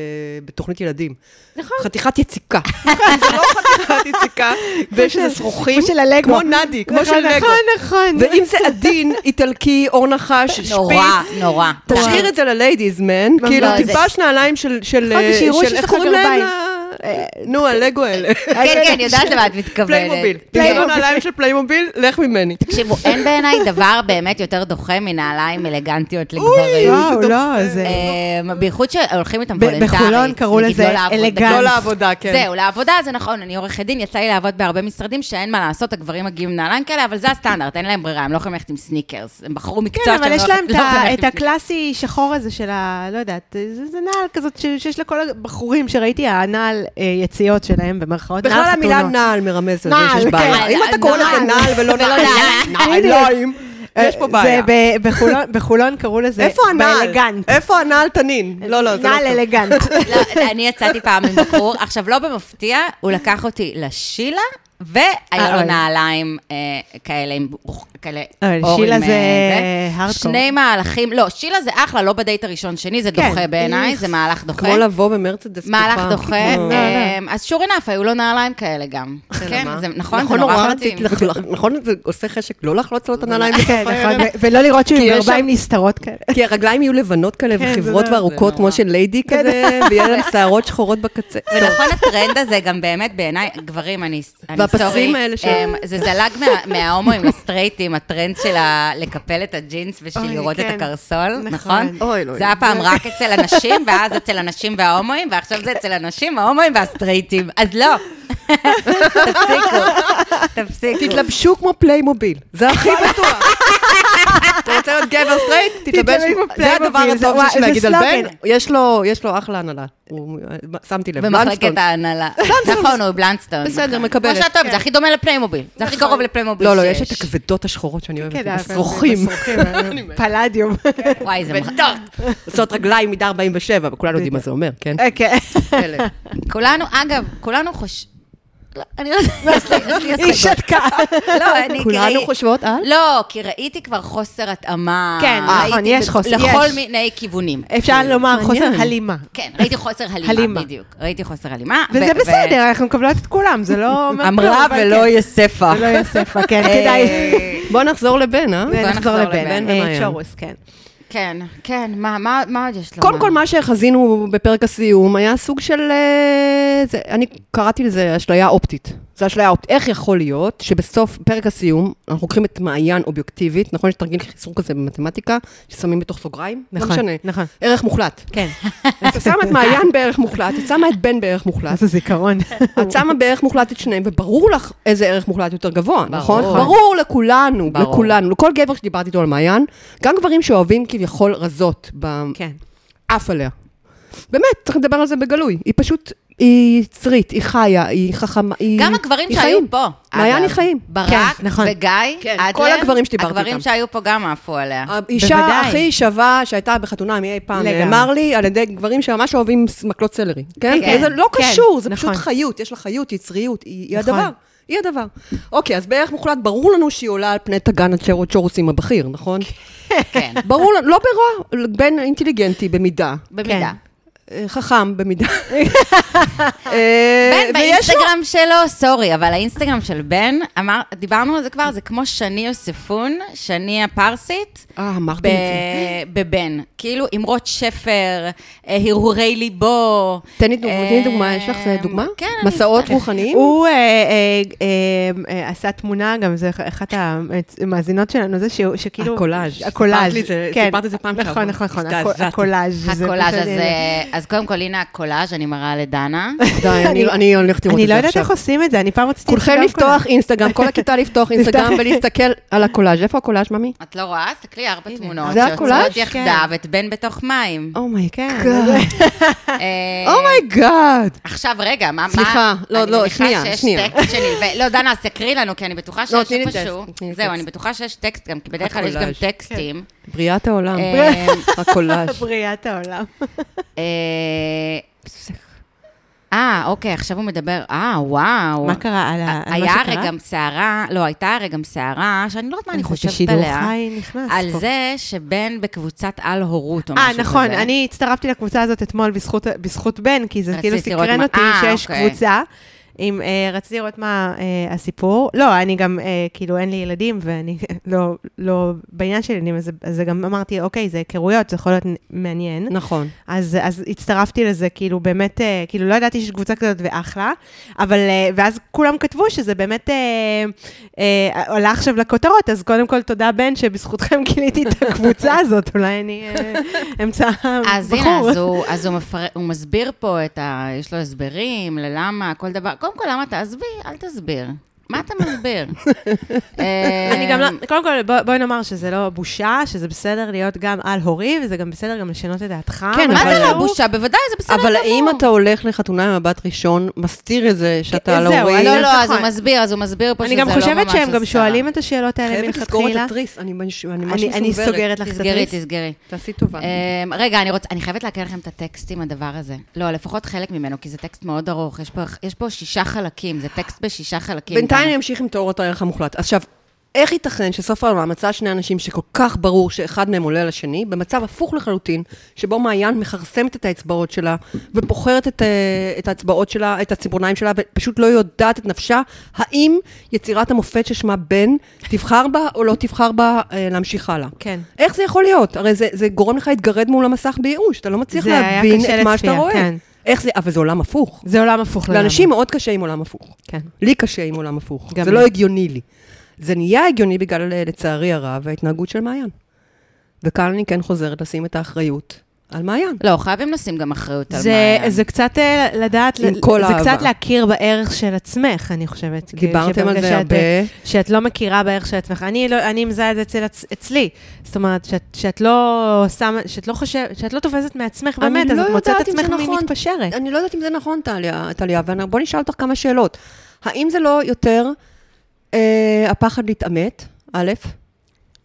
[SPEAKER 3] בתוכנית ילדים. נכון. חתיכת יציקה. זה לא חתיכת יציקה, ויש איזה שרוכים.
[SPEAKER 2] כמו של הלגו.
[SPEAKER 3] כמו נדי, כמו
[SPEAKER 2] נכון,
[SPEAKER 3] של לגו.
[SPEAKER 2] נכון, נכון.
[SPEAKER 3] ואם זה עדין, איטלקי, אור נחש,
[SPEAKER 1] נורא,
[SPEAKER 3] שפיץ,
[SPEAKER 1] נורא.
[SPEAKER 3] תשאיר את זה לליידיז מן, כאילו
[SPEAKER 1] לא, זה-
[SPEAKER 3] טיפש נעליים של, של,
[SPEAKER 2] נכון,
[SPEAKER 3] אה,
[SPEAKER 2] שיראו
[SPEAKER 3] של
[SPEAKER 2] שיש
[SPEAKER 3] איך
[SPEAKER 2] לך
[SPEAKER 3] קוראים להם?
[SPEAKER 2] גרביים.
[SPEAKER 3] ל-
[SPEAKER 2] אה,
[SPEAKER 3] נו, הלגו האלה.
[SPEAKER 1] כן, כן, יודעת למה את מתכוונת.
[SPEAKER 3] פליימוביל.
[SPEAKER 2] פליימוביל.
[SPEAKER 3] פליימוביל. נעליים של פליימוביל, לך ממני. לא
[SPEAKER 1] תקשיבו, אין בעיניי דבר באמת יותר דוחה מנעליים אלגנטיות לגברים.
[SPEAKER 2] וואו, לא, זה...
[SPEAKER 1] אמ, בייחוד שהולכים איתם
[SPEAKER 2] ב-
[SPEAKER 1] וולנטרית.
[SPEAKER 2] בחולון קראו
[SPEAKER 1] נגיד,
[SPEAKER 2] לזה
[SPEAKER 1] לא לעבוד
[SPEAKER 2] אלגנט.
[SPEAKER 1] בגן.
[SPEAKER 3] לא לעבודה, כן.
[SPEAKER 1] זהו, לעבודה זה נכון, אני עורכת דין, יצא לי לעבוד בהרבה משרדים שאין מה לעשות, הגברים מגיעים עם נעליים כאלה, אבל זה הסטנדרט, אין להם ברירה, הם לא יכולים ללכת עם סניקרס, הם בחרו מקצוע
[SPEAKER 2] כן,
[SPEAKER 1] שהם
[SPEAKER 2] אבל
[SPEAKER 1] לא-
[SPEAKER 2] יש להם
[SPEAKER 1] לא
[SPEAKER 2] את ה-
[SPEAKER 1] יכולים ללכת
[SPEAKER 2] את
[SPEAKER 1] עם
[SPEAKER 2] הקלאסי שחור הזה של ה... לא יודעת, זה זה נעל כזאת ש- שיש לכל הבחורים שראיתי, הנעל אה, יציאות שלהם, במרכאות, נעל
[SPEAKER 3] בכלל
[SPEAKER 2] חתונות.
[SPEAKER 3] המילה נעל מרמזת על זה
[SPEAKER 2] נעל,
[SPEAKER 3] שיש בעיה.
[SPEAKER 2] כן.
[SPEAKER 3] אם אתה קורא לזה
[SPEAKER 2] נעל.
[SPEAKER 3] נעל ולא
[SPEAKER 1] ולא
[SPEAKER 3] נעליים,
[SPEAKER 2] נעל.
[SPEAKER 3] נעליים, יש פה
[SPEAKER 2] אה,
[SPEAKER 3] בעיה.
[SPEAKER 2] זה ב- בחולון- בחולון קראו לזה...
[SPEAKER 3] איפה הנעל?
[SPEAKER 2] באלגנט.
[SPEAKER 3] איפה הנעל תנין? לא, לא, זה לא
[SPEAKER 2] נעל
[SPEAKER 3] טוב.
[SPEAKER 2] אלגנט.
[SPEAKER 1] לא, אני יצאתי פעם עם בחור, עכשיו לא במפתיע, הוא לקח אותי לשילה, והיה לו
[SPEAKER 2] אוי.
[SPEAKER 1] נעליים אה, כאלה עם כאלה
[SPEAKER 2] אוי,
[SPEAKER 1] אור
[SPEAKER 2] שילה
[SPEAKER 1] עם,
[SPEAKER 2] זה
[SPEAKER 1] אה, זה.
[SPEAKER 2] hardcore.
[SPEAKER 1] שני מהלכים, לא, שילה זה אחלה, לא בדייט הראשון-שני, זה
[SPEAKER 2] כן,
[SPEAKER 1] דוחה בעיניי,
[SPEAKER 2] איך.
[SPEAKER 1] זה מהלך דוחה.
[SPEAKER 3] כמו לבוא במרצדס פתוחה.
[SPEAKER 1] מהלך דוחה.
[SPEAKER 3] אה.
[SPEAKER 1] אה, אז sure enough, היו לו נעליים כאלה גם. כן,
[SPEAKER 3] למה?
[SPEAKER 1] זה נכון, זה נורא מתאים.
[SPEAKER 3] רציתי לח- נכון, זה עושה חשק לא לחלוץ לו את הנעליים בסוף
[SPEAKER 2] כן,
[SPEAKER 3] הערב?
[SPEAKER 2] נכון, ו- ולא לראות שהוא
[SPEAKER 3] כי
[SPEAKER 2] עם
[SPEAKER 3] יש
[SPEAKER 2] גרביים
[SPEAKER 3] שם-
[SPEAKER 2] נסתרות כאלה.
[SPEAKER 3] כי הרגליים יהיו לבנות כאלה
[SPEAKER 2] כן,
[SPEAKER 3] וחברות
[SPEAKER 2] זה לא-
[SPEAKER 3] וארוכות,
[SPEAKER 1] זה
[SPEAKER 3] כמו
[SPEAKER 1] נורא.
[SPEAKER 3] של ליידי כזה, ויהיה להם שערות שחורות בקצה. טוב.
[SPEAKER 1] ונכון הטרנד הזה גם באמת בעיניי, גברים, אני אני
[SPEAKER 3] והפסים
[SPEAKER 1] סורי,
[SPEAKER 3] האלה ש-
[SPEAKER 1] אמ, זה זלג מה- מההומואים לסטרייטים, הטרנד של ה- לקפל את הג'ינס
[SPEAKER 2] אוי,
[SPEAKER 1] בשביל לראות את
[SPEAKER 2] כן.
[SPEAKER 1] הקרסול,
[SPEAKER 2] נכון.
[SPEAKER 1] נכון?
[SPEAKER 3] אוי, אלוהים.
[SPEAKER 1] זה היה פעם רק אצל הנשים, ואז אצל הנשים וההומואים, ועכשיו זה אצל הנשים, ההומואים והסטרייטים. אז לא. תפסיקו, תפסיקו.
[SPEAKER 3] תתלבשו כמו פליימוביל, זה הכי בטוח. אתה רוצה להיות גבר סטרייט? תתלבש
[SPEAKER 2] כמו
[SPEAKER 3] כמו זה
[SPEAKER 2] פליימוביל,
[SPEAKER 3] הדבר
[SPEAKER 2] זה-
[SPEAKER 3] הטוב
[SPEAKER 2] וואי,
[SPEAKER 3] שיש
[SPEAKER 2] זה
[SPEAKER 3] להגיד על בן.
[SPEAKER 2] סלוגן.
[SPEAKER 3] יש לו- יש לו אחלה הנהלה. הוא- שמתי לב,
[SPEAKER 1] במחלקת
[SPEAKER 3] בלנסטון.
[SPEAKER 1] ההנהלה. נכון, הוא בלנסטון.
[SPEAKER 3] בסדר,
[SPEAKER 1] נכון.
[SPEAKER 3] מקבלת.
[SPEAKER 1] כמו
[SPEAKER 2] כן.
[SPEAKER 1] שאתה אוהב, זה הכי דומה לפליימוביל. זה הכי
[SPEAKER 2] נכון.
[SPEAKER 1] קרוב לפליימוביל
[SPEAKER 3] לא, לא, יש את הכבדות השחורות שאני אוהבת,
[SPEAKER 2] כן,
[SPEAKER 3] בסרוכים.
[SPEAKER 2] בסרוכים, אה, פלדיום.
[SPEAKER 1] וואי, זה מח...
[SPEAKER 3] עושות רגליים מידה 47, וכולנו יודעים מה זה אומר, כן?
[SPEAKER 1] אה,
[SPEAKER 2] כן.
[SPEAKER 1] כולנו, אגב, כולנו חוש... לא, אני לא יודעת, יש לי- יש לי
[SPEAKER 2] היא
[SPEAKER 1] השגות.
[SPEAKER 2] שתקה.
[SPEAKER 1] לא, אני
[SPEAKER 3] כולנו
[SPEAKER 1] כראי-
[SPEAKER 3] חושבות על?
[SPEAKER 1] לא, כי ראיתי כבר חוסר התאמה.
[SPEAKER 2] כן,
[SPEAKER 1] ראיתי
[SPEAKER 2] נכון, יש
[SPEAKER 1] ב-
[SPEAKER 2] חוסר,
[SPEAKER 1] לכל
[SPEAKER 2] יש.
[SPEAKER 1] מיני כיוונים.
[SPEAKER 2] אפשר לומר חוסר
[SPEAKER 3] מעניין.
[SPEAKER 2] הלימה.
[SPEAKER 1] כן, ראיתי חוסר הלימה,
[SPEAKER 2] הלימה.
[SPEAKER 1] בדיוק. ראיתי חוסר הלימה. ו-
[SPEAKER 2] וזה
[SPEAKER 1] ו-
[SPEAKER 2] בסדר, אנחנו מקבלות את כולם, זה לא... אומר כלום,
[SPEAKER 1] אמרה
[SPEAKER 2] אבל
[SPEAKER 1] ולא
[SPEAKER 2] כן.
[SPEAKER 1] יהיה ספח.
[SPEAKER 2] ולא יהיה ספח, כן, כדאי.
[SPEAKER 1] אה,
[SPEAKER 3] בוא נחזור לבן, אה?
[SPEAKER 1] בוא
[SPEAKER 2] ונחזור
[SPEAKER 1] נחזור
[SPEAKER 2] לבן.
[SPEAKER 1] לבן.
[SPEAKER 2] אה,
[SPEAKER 3] ומעיין.
[SPEAKER 2] צ'ורוס, כן.
[SPEAKER 1] כן, כן, מה- מה מה עוד יש לומר?
[SPEAKER 3] קודם כל, מה שחזינו בפרק הסיום היה סוג של... אה, זה, אני קראתי לזה אשליה אופטית. זה אשליה אופטית. איך יכול להיות שבסוף פרק הסיום, אנחנו לוקחים את מעיין אובייקטיבית, נכון? יש תרגיל חיסור כזה במתמטיקה, ששמים בתוך סוגריים?
[SPEAKER 2] נכון,
[SPEAKER 3] לא משנה.
[SPEAKER 2] נכון.
[SPEAKER 3] ערך מוחלט.
[SPEAKER 2] כן.
[SPEAKER 3] את שמה את מעיין בערך מוחלט, את שמה את בן בערך מוחלט,
[SPEAKER 2] איזה זיכרון.
[SPEAKER 3] את שמה בערך מוחלט את שניהם, וברור לך איזה ערך מוחלט יותר גבוה, נכון?
[SPEAKER 1] ברור.
[SPEAKER 3] ברור לכולנו,
[SPEAKER 1] ברור.
[SPEAKER 3] לכולנו, לכל גבר שדיברתי איתו על מעיין, גם גברים שאוהבים כביכול רזות ב-
[SPEAKER 2] כן.
[SPEAKER 3] עף עליה. באמת, צריך לדבר על זה בגלוי. היא פשוט, היא יצרית, היא חיה, היא חכמה, היא...
[SPEAKER 1] גם הגברים
[SPEAKER 3] היא
[SPEAKER 1] שהיו
[SPEAKER 3] חיים.
[SPEAKER 1] פה.
[SPEAKER 3] מעיין
[SPEAKER 1] אגב.
[SPEAKER 3] היא חיים.
[SPEAKER 1] ברק
[SPEAKER 2] כן, נכון.
[SPEAKER 1] וגיא,
[SPEAKER 3] כן,
[SPEAKER 1] אדלר,
[SPEAKER 3] כל הגברים שדיברתי
[SPEAKER 1] הגברים
[SPEAKER 3] איתם. אה,
[SPEAKER 1] שהיו פה גם עפו עליה.
[SPEAKER 3] האישה
[SPEAKER 2] בוודאי.
[SPEAKER 3] הכי שווה שהייתה בחתונה מאי פעם,
[SPEAKER 2] לגמרי.
[SPEAKER 3] נאמר לי, על ידי גברים שממש אוהבים ס- מקלות סלרי. כן?
[SPEAKER 1] כן.
[SPEAKER 3] זה לא
[SPEAKER 2] כן,
[SPEAKER 3] קשור, זה
[SPEAKER 2] נכון.
[SPEAKER 3] פשוט חיות, יש לה חיות, יצריות, היא היא
[SPEAKER 2] נכון.
[SPEAKER 3] הדבר. היא הדבר. אוקיי, אז בערך מוחלט, ברור לנו שהיא עולה על פני תגן הצ'רות שורוסים הבכיר, נכון?
[SPEAKER 1] כן,
[SPEAKER 3] ברור לנו, לא ברוע, בן אינטליגנטי במידה,
[SPEAKER 1] במידה.
[SPEAKER 3] אה, חכם במידה. אה,
[SPEAKER 1] בן באינסטגרם שלו, סורי, אבל האינסטגרם של בן, אמר, דיברנו על זה כבר, זה כמו שני יוספון, שני הפרסית,
[SPEAKER 3] אה,
[SPEAKER 1] ב-
[SPEAKER 3] אמרתי את זה.
[SPEAKER 1] בבן. כאילו, אמרות שפר, אה, הרהורי ליבו.
[SPEAKER 3] תן לי דוגמה,
[SPEAKER 1] אה,
[SPEAKER 3] תני דוגמה, יש לך אה, דוגמה?
[SPEAKER 1] כן. אני-
[SPEAKER 3] מסעות רוחניים?
[SPEAKER 2] הוא אה, אה, אה, אה, עשה תמונה, גם זה אחת המאזינות שלנו, זה שהוא- שכאילו...
[SPEAKER 3] הקולאז'.
[SPEAKER 2] הקולאז',
[SPEAKER 3] סיפרת לי את זה-
[SPEAKER 2] כן.
[SPEAKER 3] סיפרת את זה פעם שעברה.
[SPEAKER 2] נכון, נכון, נכון,
[SPEAKER 3] הזדעזעתי.
[SPEAKER 2] הקולאז'. זה
[SPEAKER 1] הקולאז'
[SPEAKER 2] פשוט-
[SPEAKER 1] הזה, אז קודם כל, הנה הקולאז', אני מראה לדנה.
[SPEAKER 3] די, אני- אני הולכת לראות
[SPEAKER 2] אני
[SPEAKER 3] את
[SPEAKER 2] לא
[SPEAKER 3] זה
[SPEAKER 2] יודעת
[SPEAKER 3] עכשיו.
[SPEAKER 2] איך עושים את זה, אני פעם רציתי...
[SPEAKER 3] כולכם
[SPEAKER 2] גם
[SPEAKER 3] לפתוח אינסטגרם, כל הכיתה לפתוח אינסטגרם
[SPEAKER 2] לפתוח-
[SPEAKER 3] ולהסתכל על הקולאז'. איפה הקולאז', ממי?
[SPEAKER 1] את לא רואה? אז תסתכלי, ארבע תמונות
[SPEAKER 3] זה הקולאז'?
[SPEAKER 1] שיוצאות
[SPEAKER 3] כן.
[SPEAKER 1] יחדיו, את בן בתוך מים.
[SPEAKER 2] כן,
[SPEAKER 3] אומייגאד.
[SPEAKER 2] זה-
[SPEAKER 1] אה,
[SPEAKER 3] Oh אומייגאד.
[SPEAKER 1] עכשיו, רגע, מה... מה-
[SPEAKER 3] סליחה, לא,
[SPEAKER 1] אני
[SPEAKER 3] לא,
[SPEAKER 1] מניחה
[SPEAKER 3] שנייה,
[SPEAKER 1] שיש
[SPEAKER 3] שנייה. לא,
[SPEAKER 1] טקסט שנלווה- לא, דנה, אז תקריא לנו, כי אני בטוחה שיש
[SPEAKER 3] תני לי טקסט,
[SPEAKER 1] איפשהו...
[SPEAKER 3] תני לי
[SPEAKER 1] זהו,
[SPEAKER 3] טקסט.
[SPEAKER 1] אני בטוחה שיש טקסט גם, כי בדרך כלל יש גם
[SPEAKER 3] הקולאז',
[SPEAKER 1] טקסטים.
[SPEAKER 3] בריאת העולם.
[SPEAKER 1] אה,
[SPEAKER 3] הקולאז'.
[SPEAKER 2] בריאת העולם.
[SPEAKER 3] כן.
[SPEAKER 1] אה, אה, אוקיי, עכשיו הוא מדבר, אה, וואו.
[SPEAKER 2] מה קרה על ה- על מה
[SPEAKER 1] היה
[SPEAKER 2] שקרה?
[SPEAKER 1] הרי גם סערה, לא, הייתה הרי גם סערה, שאני לא יודעת מה אני
[SPEAKER 2] זה
[SPEAKER 1] חושבת
[SPEAKER 2] שידור
[SPEAKER 1] עליה.
[SPEAKER 2] חי נכנס
[SPEAKER 1] על
[SPEAKER 2] פה.
[SPEAKER 1] זה שבן בקבוצת על-הורות או משהו
[SPEAKER 2] אה,
[SPEAKER 1] כזה.
[SPEAKER 2] נכון, אני הצטרפתי לקבוצה הזאת אתמול בזכות, בזכות בן, כי זה
[SPEAKER 1] רצית
[SPEAKER 2] כאילו
[SPEAKER 1] לראות
[SPEAKER 2] סקרן
[SPEAKER 1] מה-
[SPEAKER 2] אותי
[SPEAKER 1] אה,
[SPEAKER 2] שיש
[SPEAKER 1] אוקיי.
[SPEAKER 2] קבוצה. אם אה, רציתי לראות מה אה, הסיפור. לא, אני גם, אה, כאילו, אין לי ילדים, ואני לא, לא בעניין של ילדים, אז, אז גם אמרתי, אוקיי, זה היכרויות, זה יכול להיות מעניין.
[SPEAKER 3] נכון.
[SPEAKER 2] אז, אז הצטרפתי לזה, כאילו, באמת, אה, כאילו, לא ידעתי שיש קבוצה כזאת ואחלה, אבל, אה, ואז כולם כתבו שזה באמת אה, אה, עלה עכשיו לכותרות, אז קודם כל תודה, בן, שבזכותכם גיליתי את הקבוצה הזאת, אולי אני אה, אמצא בחור.
[SPEAKER 1] אז הנה, אז, הוא, אז הוא, מפר... הוא מסביר פה את ה... יש לו הסברים ללמה, כל דבר. קודם כל, למה אתה... עזבי, אל תסביר. מה אתה מסביר? אה,
[SPEAKER 2] אני גם לא, קודם כל, בוא- בואי נאמר שזה לא בושה, שזה בסדר להיות גם על-הורי, וזה גם בסדר גם לשנות את דעתך.
[SPEAKER 3] כן,
[SPEAKER 1] מה
[SPEAKER 3] אבל-
[SPEAKER 1] זה לא בושה? בוודאי, זה בסדר גמור.
[SPEAKER 3] אבל האם אתה הולך לחתונה עם מבט ראשון, מסתיר את זה שאתה על
[SPEAKER 2] אה, זהו,
[SPEAKER 3] ההורים?
[SPEAKER 2] אני
[SPEAKER 1] לא, לא, אז
[SPEAKER 2] נכון.
[SPEAKER 1] הוא מסביר, אז הוא מסביר פה
[SPEAKER 2] אני
[SPEAKER 1] שזה לא
[SPEAKER 2] גם
[SPEAKER 1] ממש
[SPEAKER 2] חושבת שהם גם
[SPEAKER 1] הסתרה.
[SPEAKER 2] שואלים את השאלות האלה
[SPEAKER 3] חייבת לסגור את
[SPEAKER 2] לא- מלכתחילה.
[SPEAKER 3] התריס, אני מש- אני ממש
[SPEAKER 2] אני
[SPEAKER 3] מסונברת.
[SPEAKER 2] אני סוגרת לך אה, את
[SPEAKER 1] תסגרי,
[SPEAKER 2] התריס.
[SPEAKER 1] תסגרי.
[SPEAKER 3] תעשי טובה.
[SPEAKER 1] אמ, רגע, אני רוצה, אני חייבת להקריא לכם את הטקסט עם הדבר הזה. לא, לפחות חלק ממנו, כי זה טקסט מאוד ארוך. יש פה- יש פה שישה חלקים, זה טקסט בשישה חלקים.
[SPEAKER 3] בינתיים
[SPEAKER 1] גם.
[SPEAKER 3] אני אמשיך עם תיאוריית הערך המוחלט. עכשיו, איך ייתכן שסוף העולם מצא שני אנשים שכל כך ברור שאחד מהם עולה על השני, במצב הפוך לחלוטין, שבו מעיין מכרסמת את האצבעות שלה, ופוחרת את, אה, את האצבעות שלה, את הציפורניים שלה, ופשוט לא יודעת את נפשה, האם יצירת המופת ששמה בן, תבחר בה או לא תבחר בה אה, להמשיך הלאה?
[SPEAKER 2] כן.
[SPEAKER 3] איך זה יכול להיות? הרי זה, זה גורם לך להתגרד מול המסך בייאוש, אתה לא מצליח
[SPEAKER 2] זה היה
[SPEAKER 3] להבין
[SPEAKER 2] קשה
[SPEAKER 3] את מה
[SPEAKER 2] לצפייה,
[SPEAKER 3] שאתה רואה.
[SPEAKER 2] כן.
[SPEAKER 3] איך זה, אבל זה עולם הפוך.
[SPEAKER 2] זה עולם הפוך לגמרי.
[SPEAKER 3] לאנשים מאוד קשה עם עולם הפוך.
[SPEAKER 2] כן.
[SPEAKER 3] לי קשה עם עולם הפוך.
[SPEAKER 2] גם
[SPEAKER 3] זה
[SPEAKER 2] לי.
[SPEAKER 3] לא הגיוני לי. זה נהיה הגיוני בגלל, אה, לצערי הרב, ההתנהגות של מעיין. וכאן אני כן חוזרת לשים את האחריות על מעיין.
[SPEAKER 1] לא, חייבים לשים גם אחריות על
[SPEAKER 2] זה,
[SPEAKER 1] מה...
[SPEAKER 2] זה קצת אה, לדעת,
[SPEAKER 3] עם
[SPEAKER 2] ל-
[SPEAKER 3] כל
[SPEAKER 2] זה
[SPEAKER 3] האהבה.
[SPEAKER 2] קצת להכיר בערך של עצמך, אני חושבת. כאילו,
[SPEAKER 3] דיברתם על
[SPEAKER 2] שברגע
[SPEAKER 3] זה
[SPEAKER 2] שאת,
[SPEAKER 3] הרבה.
[SPEAKER 2] אה, שאת לא מכירה בערך של עצמך. אני, לא, אני מזהה את זה אצל, עצ- אצלי. זאת אומרת, שאת, שאת לא שמה, שאת לא חושבת, שאת לא תופסת מעצמך
[SPEAKER 3] אני
[SPEAKER 2] באמת, אז
[SPEAKER 3] לא
[SPEAKER 2] את מוצאת
[SPEAKER 3] יודעת אם זה
[SPEAKER 2] עצמך מי
[SPEAKER 3] נכון.
[SPEAKER 2] מתפשרת.
[SPEAKER 3] אני לא יודעת אם זה נכון, טליה, טליה, אבל בוא נשאל אותך כמה שאלות. האם זה לא יותר אה, הפחד להתעמת, א',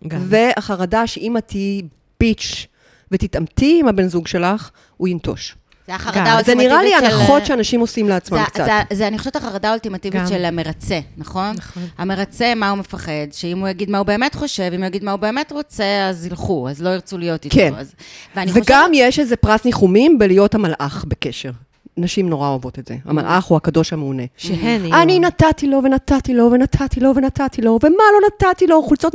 [SPEAKER 3] והחרדה שאם את תהיי ביץ' ותתעמתי עם הבן זוג שלך, הוא ינטוש.
[SPEAKER 1] זה
[SPEAKER 2] גם.
[SPEAKER 1] החרדה
[SPEAKER 3] זה נראה לי
[SPEAKER 1] האולטימטיבית של-
[SPEAKER 3] הנחות שאנשים עושים לעצמם
[SPEAKER 1] זה-
[SPEAKER 3] קצת.
[SPEAKER 1] זה- זה, אני חושבת, החרדה האולטימטיבית
[SPEAKER 2] גם.
[SPEAKER 1] של המרצה, נכון?
[SPEAKER 2] נכון.
[SPEAKER 1] המרצה, מה הוא מפחד? שאם הוא יגיד מה הוא באמת חושב, אם הוא יגיד מה הוא באמת רוצה, אז ילכו, אז לא ירצו להיות איתו.
[SPEAKER 3] כן.
[SPEAKER 1] אז- ואני
[SPEAKER 3] וגם
[SPEAKER 1] חושבת-
[SPEAKER 3] יש איזה פרס ניחומים בלהיות המלאך בקשר. נשים נורא אוהבות את זה, המלאך הוא הקדוש המעונה.
[SPEAKER 2] שהן יהיו.
[SPEAKER 3] אני לא- נתתי לו ונתתי לו ונתתי לו ונתתי לו, ומה לא נתתי לו? חולצות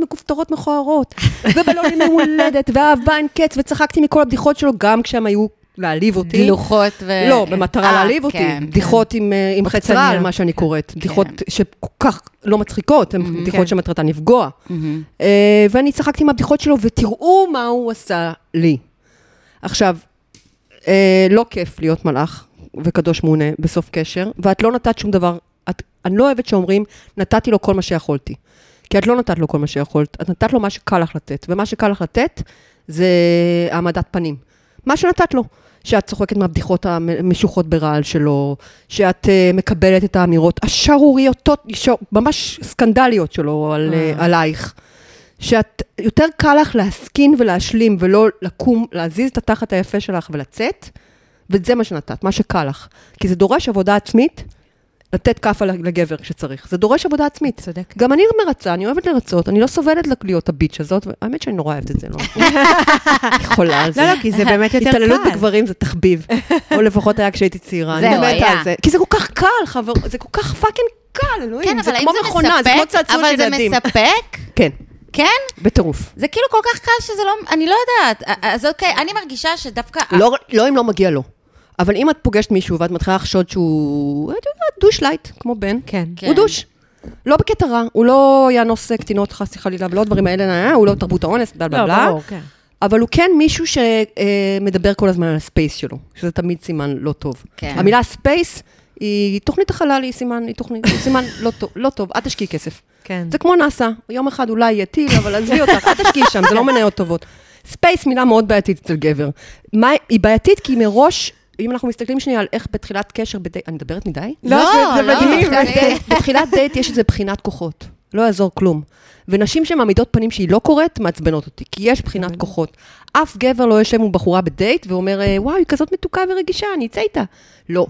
[SPEAKER 3] מכופתרות מכוערות, ובלונים יום הולדת, ואהבה אין קץ, וצחקתי מכל הבדיחות שלו, גם כשהם היו להעליב אותי.
[SPEAKER 1] גילוחות ו...
[SPEAKER 3] לא, במטרה
[SPEAKER 1] אה,
[SPEAKER 3] להעליב אותי.
[SPEAKER 1] כן,
[SPEAKER 3] בדיחות עם, אה, עם חץ
[SPEAKER 2] פחצניות.
[SPEAKER 3] רעל, מה שאני קוראת. בדיחות שכל כך לא מצחיקות,
[SPEAKER 1] Mm-hmm,
[SPEAKER 3] הן
[SPEAKER 2] כן.
[SPEAKER 3] בדיחות שמטרתן לפגוע. אה, ואני צחקתי עם הבדיחות שלו, ותראו מה הוא עשה לי. עכשיו, אה, לא כיף להיות מלאך וקדוש מעונה בסוף קשר, ואת לא נתת שום דבר. את, אני לא אוהבת שאומרים, נתתי לו כל מה שיכולתי. כי את לא נתת לו כל מה שיכולת, את נתת לו מה שקל לך לתת, ומה שקל לך לתת זה העמדת פנים. מה שנתת לו, שאת צוחקת מהבדיחות המשוחות ברעל שלו, שאת uh, מקבלת את האמירות השערוריותות, שע- ממש סקנדליות שלו על, uh, עלייך. שאת, יותר קל לך להסכין ולהשלים ולא לקום, להזיז את התחת היפה שלך ולצאת, וזה מה שנתת, מה שקל לך. כי זה דורש עבודה עצמית, לתת כאפה לגבר כשצריך. זה דורש עבודה עצמית.
[SPEAKER 2] צודקת.
[SPEAKER 3] גם אני מרצה, אני אוהבת לרצות, אני לא סובלת להיות הביץ' הזאת, והאמת שאני נורא אוהבת את זה, לא יכולה על זה.
[SPEAKER 2] לא, לא, כי זה באמת יותר קל.
[SPEAKER 3] התעללות בגברים זה תחביב, או לפחות היה כשהייתי צעירה, אני
[SPEAKER 1] זהו,
[SPEAKER 3] מתה
[SPEAKER 1] היה.
[SPEAKER 3] על זה. כי זה כל כך קל, חבר, זה כל כך פאקינג קל, אלוהים.
[SPEAKER 1] כן, אבל האם
[SPEAKER 3] כמו
[SPEAKER 1] זה
[SPEAKER 3] מכונה, זה כמו
[SPEAKER 1] מספק?
[SPEAKER 3] צעצוע
[SPEAKER 1] אבל
[SPEAKER 3] של
[SPEAKER 1] זה
[SPEAKER 3] ילדים.
[SPEAKER 1] מספק?
[SPEAKER 3] כן,
[SPEAKER 1] כן?
[SPEAKER 3] בטירוף.
[SPEAKER 1] זה כאילו כל כך קל שזה לא... אני לא יודעת. אז אוקיי, אני מרגישה שדווקא...
[SPEAKER 3] לא
[SPEAKER 2] אה.
[SPEAKER 3] לא אם לא מגיע לו. אבל אם את פוגשת מישהו ואת מתחילה לחשוד שהוא, את יודעת, דוש לייט, כמו בן.
[SPEAKER 2] כן.
[SPEAKER 1] כן.
[SPEAKER 3] הוא דוש. לא בקטע רע, הוא לא יאנוס קטינות חס וחלילה, ולא הדברים האלה, אה, הוא לא תרבות האונס, בלה בלה
[SPEAKER 2] לא,
[SPEAKER 3] בלה.
[SPEAKER 2] ברור, כן.
[SPEAKER 3] אבל הוא כן מישהו שמדבר כל הזמן על הספייס שלו, שזה תמיד סימן לא טוב.
[SPEAKER 1] כן.
[SPEAKER 3] המילה ספייס היא תוכנית החלל, היא סימן, היא תוכנית, היא סימן לא טוב, לא טוב, אל תשקיעי כסף.
[SPEAKER 2] כן.
[SPEAKER 3] זה כמו נאסא, יום אחד אולי יהיה טיל, אבל עזבי אותך, אל תשקיעי שם, זה לא מניות טובות. ספייס מילה מאוד בעייתית אצל גבר. מה, היא בעייתית כי מראש, אם אנחנו מסתכלים שנייה על איך בתחילת קשר, בדי, אני מדברת מדי?
[SPEAKER 1] לא,
[SPEAKER 2] זה- זה
[SPEAKER 1] לא,
[SPEAKER 2] מדהים.
[SPEAKER 1] זה-
[SPEAKER 3] בתחילת דייט- בתחילת דייט יש איזה בחינת כוחות, לא יעזור כלום. ונשים שמעמידות פנים שהיא לא קוראת, מעצבנות אותי, כי יש בחינת כוחות. אף גבר לא יושב מול בחורה בדייט ואומר, "אה, וואו, היא כזאת מתוקה ורגישה, אני אצא איתה. לא.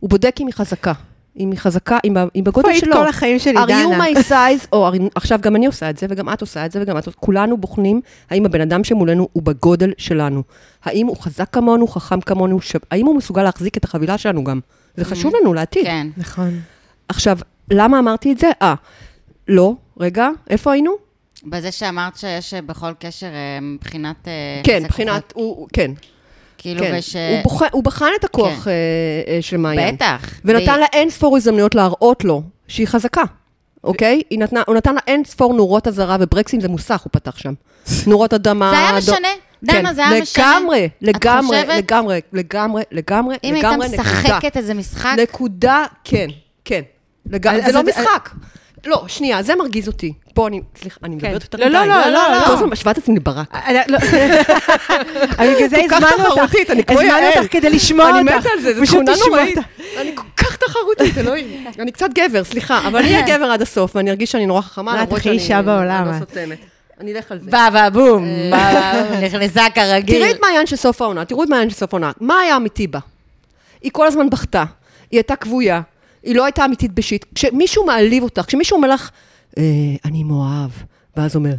[SPEAKER 3] הוא בודק אם היא חזקה. אם היא חזקה, אם ה- אם בגודל
[SPEAKER 2] היית
[SPEAKER 3] שלו.
[SPEAKER 2] כל החיים שלי,
[SPEAKER 3] Are
[SPEAKER 2] דנה?
[SPEAKER 3] you my size, או "Are- עכשיו גם אני עושה את זה, וגם את עושה את זה, וגם את עושה, כולנו בוחנים האם הבן אדם שמולנו הוא בגודל שלנו. האם הוא חזק כמונו, חכם כמונו, ש- האם הוא מסוגל להחזיק את החבילה שלנו גם. זה חשוב לנו לעתיד.
[SPEAKER 1] כן.
[SPEAKER 2] נכון.
[SPEAKER 3] עכשיו, למה אמרתי את זה? אה, לא, רגע, איפה היינו?
[SPEAKER 1] אה, בזה שאמרת שיש אה, בכל קשר אה, מבחינת... אה,
[SPEAKER 3] כן,
[SPEAKER 1] יחסי
[SPEAKER 3] מבחינת,
[SPEAKER 1] כוחות,
[SPEAKER 3] הוא, הוא- כן,
[SPEAKER 1] כאילו,
[SPEAKER 3] כן.
[SPEAKER 1] וש...
[SPEAKER 3] הוא בוחן- הוא בחן את הכוח
[SPEAKER 1] כן.
[SPEAKER 3] אה, אה, של מעיין.
[SPEAKER 1] בטח.
[SPEAKER 3] ונתן
[SPEAKER 1] והיא-
[SPEAKER 3] לה אין ספור הזדמנויות להראות לו שהיא חזקה, אוקיי? היא נתנה, הוא נתן לה אין ספור נורות אזהרה, וברקסים זה מוסך, הוא פתח שם. נורות אדמה.
[SPEAKER 1] זה היה
[SPEAKER 3] דו-
[SPEAKER 1] משנה. דנה,
[SPEAKER 3] כן,
[SPEAKER 1] זה היה משנה.
[SPEAKER 3] לגמרי,
[SPEAKER 1] את
[SPEAKER 3] לגמרי,
[SPEAKER 1] חושבת?
[SPEAKER 3] לגמרי, לגמרי, לגמרי,
[SPEAKER 1] אם הייתה
[SPEAKER 3] לגמרי, נקודה.
[SPEAKER 1] משחקת איזה משחק,
[SPEAKER 3] נקודה, כן, כן. לגמרי,
[SPEAKER 2] אז-
[SPEAKER 3] זה
[SPEAKER 2] אז
[SPEAKER 3] לא
[SPEAKER 2] את-
[SPEAKER 3] משחק. לא, שנייה, זה מרגיז אותי. פה אני, סליחה, אני מדברת יותר
[SPEAKER 2] לא, לא, לא, לא, לא.
[SPEAKER 3] כל הזמן משווה את עצמי לברק.
[SPEAKER 2] אני לא- אני בגלל זה
[SPEAKER 3] אה, כל כך
[SPEAKER 2] הזמנו אותך,
[SPEAKER 3] תחרותית, אני כמו
[SPEAKER 2] הזמנו
[SPEAKER 3] יעל.
[SPEAKER 2] אותך כדי לשמוע אותך.
[SPEAKER 3] אני מתה על זה, זו
[SPEAKER 2] פשוט
[SPEAKER 3] תכונה
[SPEAKER 2] לשמוע
[SPEAKER 3] נוראית.
[SPEAKER 2] אותך.
[SPEAKER 3] אני כל כך תחרותית, אלוהים. אני קצת גבר, סליחה, אבל אני אהיה גבר עד הסוף, ואני ארגיש שאני נורא
[SPEAKER 2] לא,
[SPEAKER 3] חכמה,
[SPEAKER 2] את
[SPEAKER 3] למרות
[SPEAKER 2] הכי
[SPEAKER 3] שאני
[SPEAKER 2] אישה בעולם, אה.
[SPEAKER 3] אני
[SPEAKER 2] את.
[SPEAKER 3] לא סותמת. אני אלך על זה.
[SPEAKER 1] בא בום, בא
[SPEAKER 3] אה,
[SPEAKER 1] בום, נכנסה כרגיל.
[SPEAKER 3] תראי את מעיין של סוף העונה, תראו את מעיין של סוף העונה. מה היה אמיתי בה? היא כל הזמן בכתה, היא הייתה כבויה, היא לא הייתה אמיתית בשיט. כשמישהו מעליב אותך, כשמישהו אומר לך, "אה, אני מואב, ואז אומר,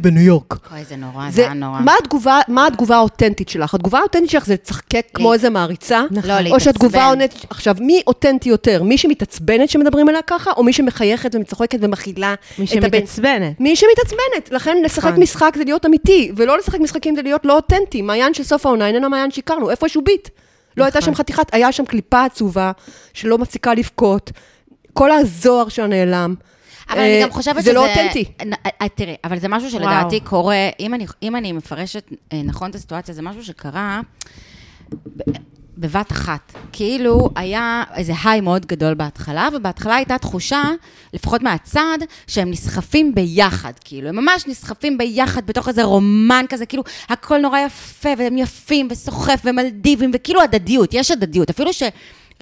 [SPEAKER 3] בניו יורק.
[SPEAKER 1] אוי, זה נורא, זה
[SPEAKER 3] זה,
[SPEAKER 1] היה נורא.
[SPEAKER 3] מה התגובה, מה התגובה האותנטית שלך? התגובה האותנטית שלך זה לצחקק כמו איזה מעריצה?
[SPEAKER 1] נכון. לא,
[SPEAKER 3] או
[SPEAKER 1] להתעצבן.
[SPEAKER 3] שהתגובה האותנטית, עכשיו, מי אותנטי יותר? מי שמתעצבנת שמדברים אליה ככה, או מי שמחייכת ומצחקת ומכילה
[SPEAKER 2] מי
[SPEAKER 3] את הבן?
[SPEAKER 2] שמתעצבנת.
[SPEAKER 3] מי שמתעצבנת. לכן לשחק
[SPEAKER 2] נכון.
[SPEAKER 3] משחק זה להיות אמיתי, ולא לשחק משחקים זה להיות לא אותנטי. מעיין של סוף העונה איננה מעיין שהכרנו, איפשהו ביט. לא הייתה
[SPEAKER 2] נכון.
[SPEAKER 3] שם חתיכת, היה שם קליפה עצובה, שלא מפסיקה לבכות. כל הזוהר שלה נעלם.
[SPEAKER 1] אבל אני
[SPEAKER 3] אה,
[SPEAKER 1] גם חושבת שזה...
[SPEAKER 3] זה לא אותנטי.
[SPEAKER 1] נ- אה, תראי, אבל זה משהו
[SPEAKER 2] וואו.
[SPEAKER 1] שלדעתי קורה, אם אני- אם אני מפרשת אה, נכון את הסיטואציה, זה משהו שקרה ב- בבת אחת. כאילו היה איזה היי מאוד גדול בהתחלה, ובהתחלה הייתה תחושה, לפחות מהצד, שהם נסחפים ביחד, כאילו, הם ממש נסחפים ביחד בתוך איזה רומן כזה, כאילו, הכל נורא יפה, והם יפים, וסוחף, ומלדיבים, וכאילו הדדיות, יש הדדיות, אפילו ש...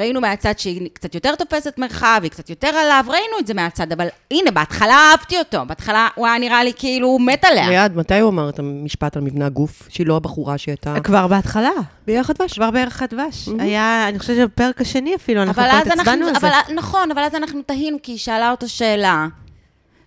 [SPEAKER 1] ראינו מהצד שהיא קצת יותר תופסת מרחב, היא קצת יותר עליו, ראינו את זה מהצד, אבל הנה, בהתחלה אהבתי אותו, בהתחלה הוא היה נראה לי כאילו הוא מת עליה.
[SPEAKER 3] ליעד, מתי הוא אמר את המשפט על מבנה הגוף? שהיא לא הבחורה שהייתה...
[SPEAKER 1] אה.
[SPEAKER 2] כבר בהתחלה,
[SPEAKER 3] ביחד ושווה.
[SPEAKER 2] כבר בערך הדבש. היה, אני חושבת שבפרק השני אפילו, אנחנו
[SPEAKER 1] אבל
[SPEAKER 2] כבר
[SPEAKER 1] אז אנחנו,
[SPEAKER 2] התעצבנו על זה.
[SPEAKER 1] אבל, נכון, אבל אז אנחנו תהינו, כי היא שאלה אותו שאלה,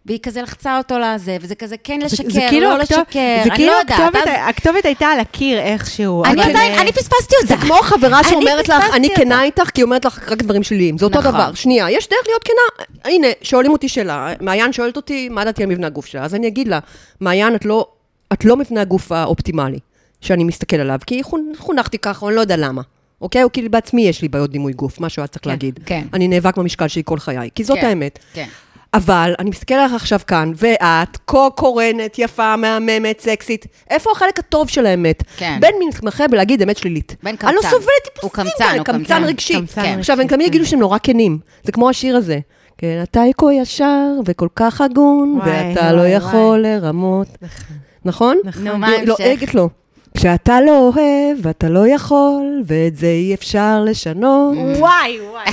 [SPEAKER 1] והיא כזה לחצה אותו לזה, וזה כזה כן
[SPEAKER 2] זה-
[SPEAKER 1] לשקר,
[SPEAKER 2] זה כאילו
[SPEAKER 1] לא
[SPEAKER 2] הכתוב-
[SPEAKER 1] לשקר,
[SPEAKER 2] זה
[SPEAKER 1] אני
[SPEAKER 2] כאילו
[SPEAKER 1] לא יודעת.
[SPEAKER 2] הכתובת-
[SPEAKER 1] אז...
[SPEAKER 2] הכתובת הייתה על הקיר איכשהו.
[SPEAKER 1] אני
[SPEAKER 2] אבל,
[SPEAKER 1] עדיין,
[SPEAKER 2] אה,
[SPEAKER 1] אני פספסתי אותה.
[SPEAKER 3] כמו חברה
[SPEAKER 1] אני
[SPEAKER 3] שאומרת לך,
[SPEAKER 1] פספסתי
[SPEAKER 3] אני
[SPEAKER 1] אותה.
[SPEAKER 3] כנה איתך, כי היא אומרת לך רק דברים שליליים. זה אותו
[SPEAKER 1] נכון.
[SPEAKER 3] דבר. שנייה, יש דרך להיות כנה. הנה, שואלים אותי שאלה. מעיין שואלת אותי, מה דעתי על מבנה הגוף שלה? אז אני אגיד לה, מעיין, את לא, את לא מבנה הגוף האופטימלי שאני מסתכל עליו, כי חונ- חונכתי ככה, אני לא יודע למה. אוקיי? או כאילו בעצמי יש לי בעיות דימוי גוף, מה שאת צריך להגיד.
[SPEAKER 1] כן.
[SPEAKER 3] אני נאבק במשקל שלי כל חיי, כי זאת
[SPEAKER 1] כן,
[SPEAKER 3] האמת.
[SPEAKER 1] כן.
[SPEAKER 3] אבל אני מסתכלת עליך עכשיו כאן, ואת כה קורנת, יפה, מהממת, סקסית. איפה החלק הטוב של האמת?
[SPEAKER 1] כן.
[SPEAKER 3] בין מתמחה בלהגיד אמת שלילית.
[SPEAKER 1] בן
[SPEAKER 3] אני לא
[SPEAKER 1] קמצן.
[SPEAKER 3] סובלת
[SPEAKER 1] הוא
[SPEAKER 3] טיפוסים
[SPEAKER 1] קמצן,
[SPEAKER 3] כאלה,
[SPEAKER 1] הוא
[SPEAKER 3] קמצן
[SPEAKER 1] קמצן.
[SPEAKER 3] רגשי.
[SPEAKER 2] קמצן
[SPEAKER 1] כן.
[SPEAKER 3] עכשיו, הם
[SPEAKER 2] רגשי,
[SPEAKER 3] גם
[SPEAKER 2] כן.
[SPEAKER 3] יגידו שהם נורא כנים. זה כמו השיר הזה. כן, אתה אקו ישר וכל כך הגון,
[SPEAKER 2] וואי,
[SPEAKER 3] ואתה לא
[SPEAKER 2] וואי,
[SPEAKER 3] יכול לרמות. נכון?
[SPEAKER 2] נכון.
[SPEAKER 1] נו, מה
[SPEAKER 3] לא, לא,
[SPEAKER 1] ההמשך?
[SPEAKER 3] אגד לא. כשאתה לא אוהב, אתה לא יכול, ואת זה אי אפשר לשנות.
[SPEAKER 1] Mm.
[SPEAKER 2] וואי, וואי.